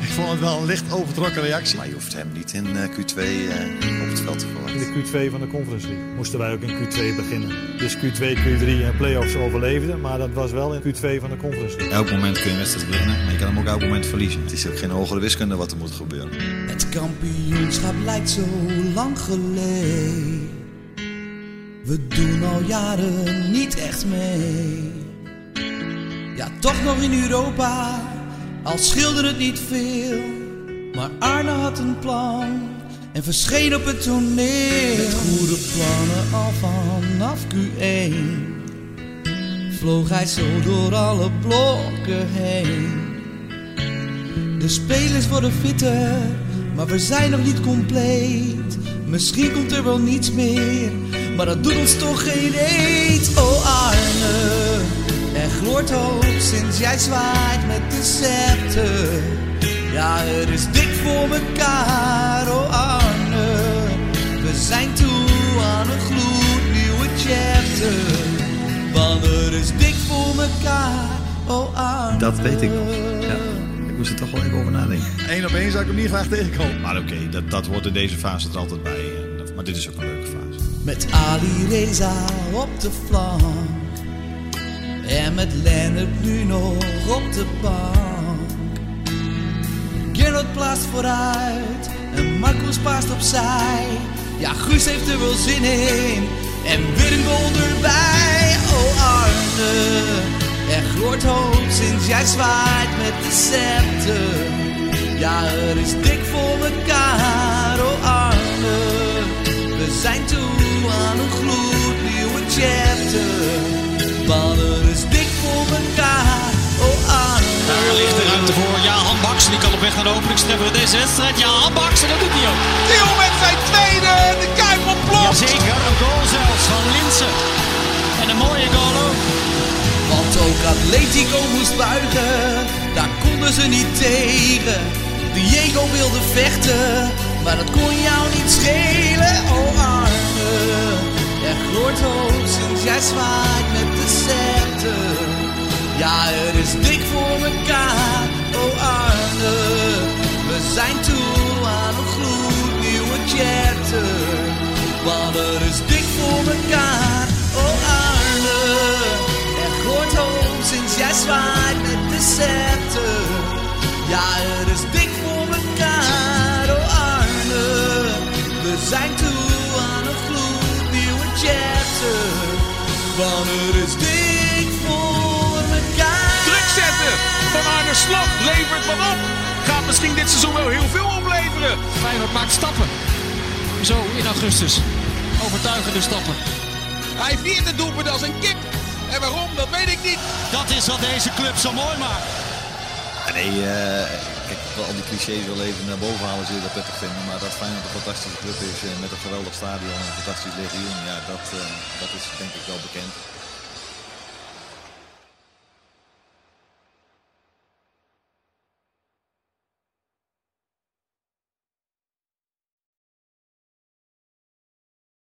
L: Ik vond het wel een licht overtrokken reactie.
M: Maar je hoeft hem niet in eh, Q2 eh, op het veld te verwachten.
N: In de Q2 van de Conference League moesten wij ook in Q2 beginnen. Dus Q2, Q3 en playoffs overleefden, maar dat was wel in Q2 van de Conference League.
M: Elk moment kun je een wedstrijd winnen, maar je kan hem ook elk moment verliezen. Het is ook geen hogere wiskunde wat er moet gebeuren.
A: Het kampioenschap lijkt zo lang geleden. We doen al jaren niet echt mee. Ja, toch nog in Europa, al schilderde het niet veel. Maar Arne had een plan en verscheen op het toneel. Met goede plannen al vanaf Q1 vloog hij zo door alle blokken heen. De spelers worden fitter, maar we zijn nog niet compleet. Misschien komt er wel niets meer, maar dat doet ons toch geen eet. Oh Arne, er gloort hoop sinds jij zwaait met de scepter. Ja, het is dik voor mekaar, oh Arne. We zijn toe aan een gloednieuwe chapter. Want het is dik voor mekaar, oh Arne.
M: Dat weet ik nog. Ja, ik moest er toch wel even over nadenken.
L: Eén op één zou ik hem niet graag tegenkomen.
M: Maar oké, dat, dat hoort in deze fase er altijd bij. En dat- Maar dit is ook een leuke fase.
A: Met Ali Reza op de flank. En met Lennart nu nog op de bank. Gerard plaatst vooruit. En Marcus paast opzij. Ja, Guus heeft er wel zin in. En Willem erbij. Oh Arne, er gloort hoop sinds jij zwaait met de scepter. Ja, er is dik voor mekaar, oh Arne. We zijn toe aan een gloednieuwe chapter. Oh,
F: Axel die kan op weg naar de openingstreffer van deze wedstrijd. Ja, Abbe Axel, dat doet hij ook. Theo met zijn tweede en de Kuip ontploft. Jazeker, een goal zelfs van Linsen. En een mooie goal ook.
A: Want ook Atletico moest buigen, daar konden ze niet tegen. Diego wilde vechten, maar dat kon jou niet schelen, oh arme. Er gloort hoop sinds jij zwaait met de scepter. Ja, het is dik voor elkaar, oh arme. We zijn toe aan een gloednieuwe chapter. Want het is dik voor elkaar, oh arme. Er gloort hoop sinds jij zwaait met de scepter. Ja, het is dik voor elkaar, oh Arne. We zijn toe aan een gloednieuwe chapter. Want het is dik voor elkaar.
C: Druk zetten van Arne Slot levert wat op. Gaat misschien dit seizoen wel heel veel opleveren.
F: Feyenoord maakt stappen. Zo, in augustus. Overtuigende stappen.
C: Hij viert het doelpunt als een kip. En waarom, dat weet ik niet.
F: Dat is wat deze club zo mooi maakt.
H: Ja, nee, eh, kijk, ik wil al die clichés wel even naar boven halen, zul je dat prettig vinden. Maar dat Feyenoord een fantastische club is eh, met een geweldig stadion en een fantastisch legioen, ja, dat, eh, dat is denk ik wel bekend.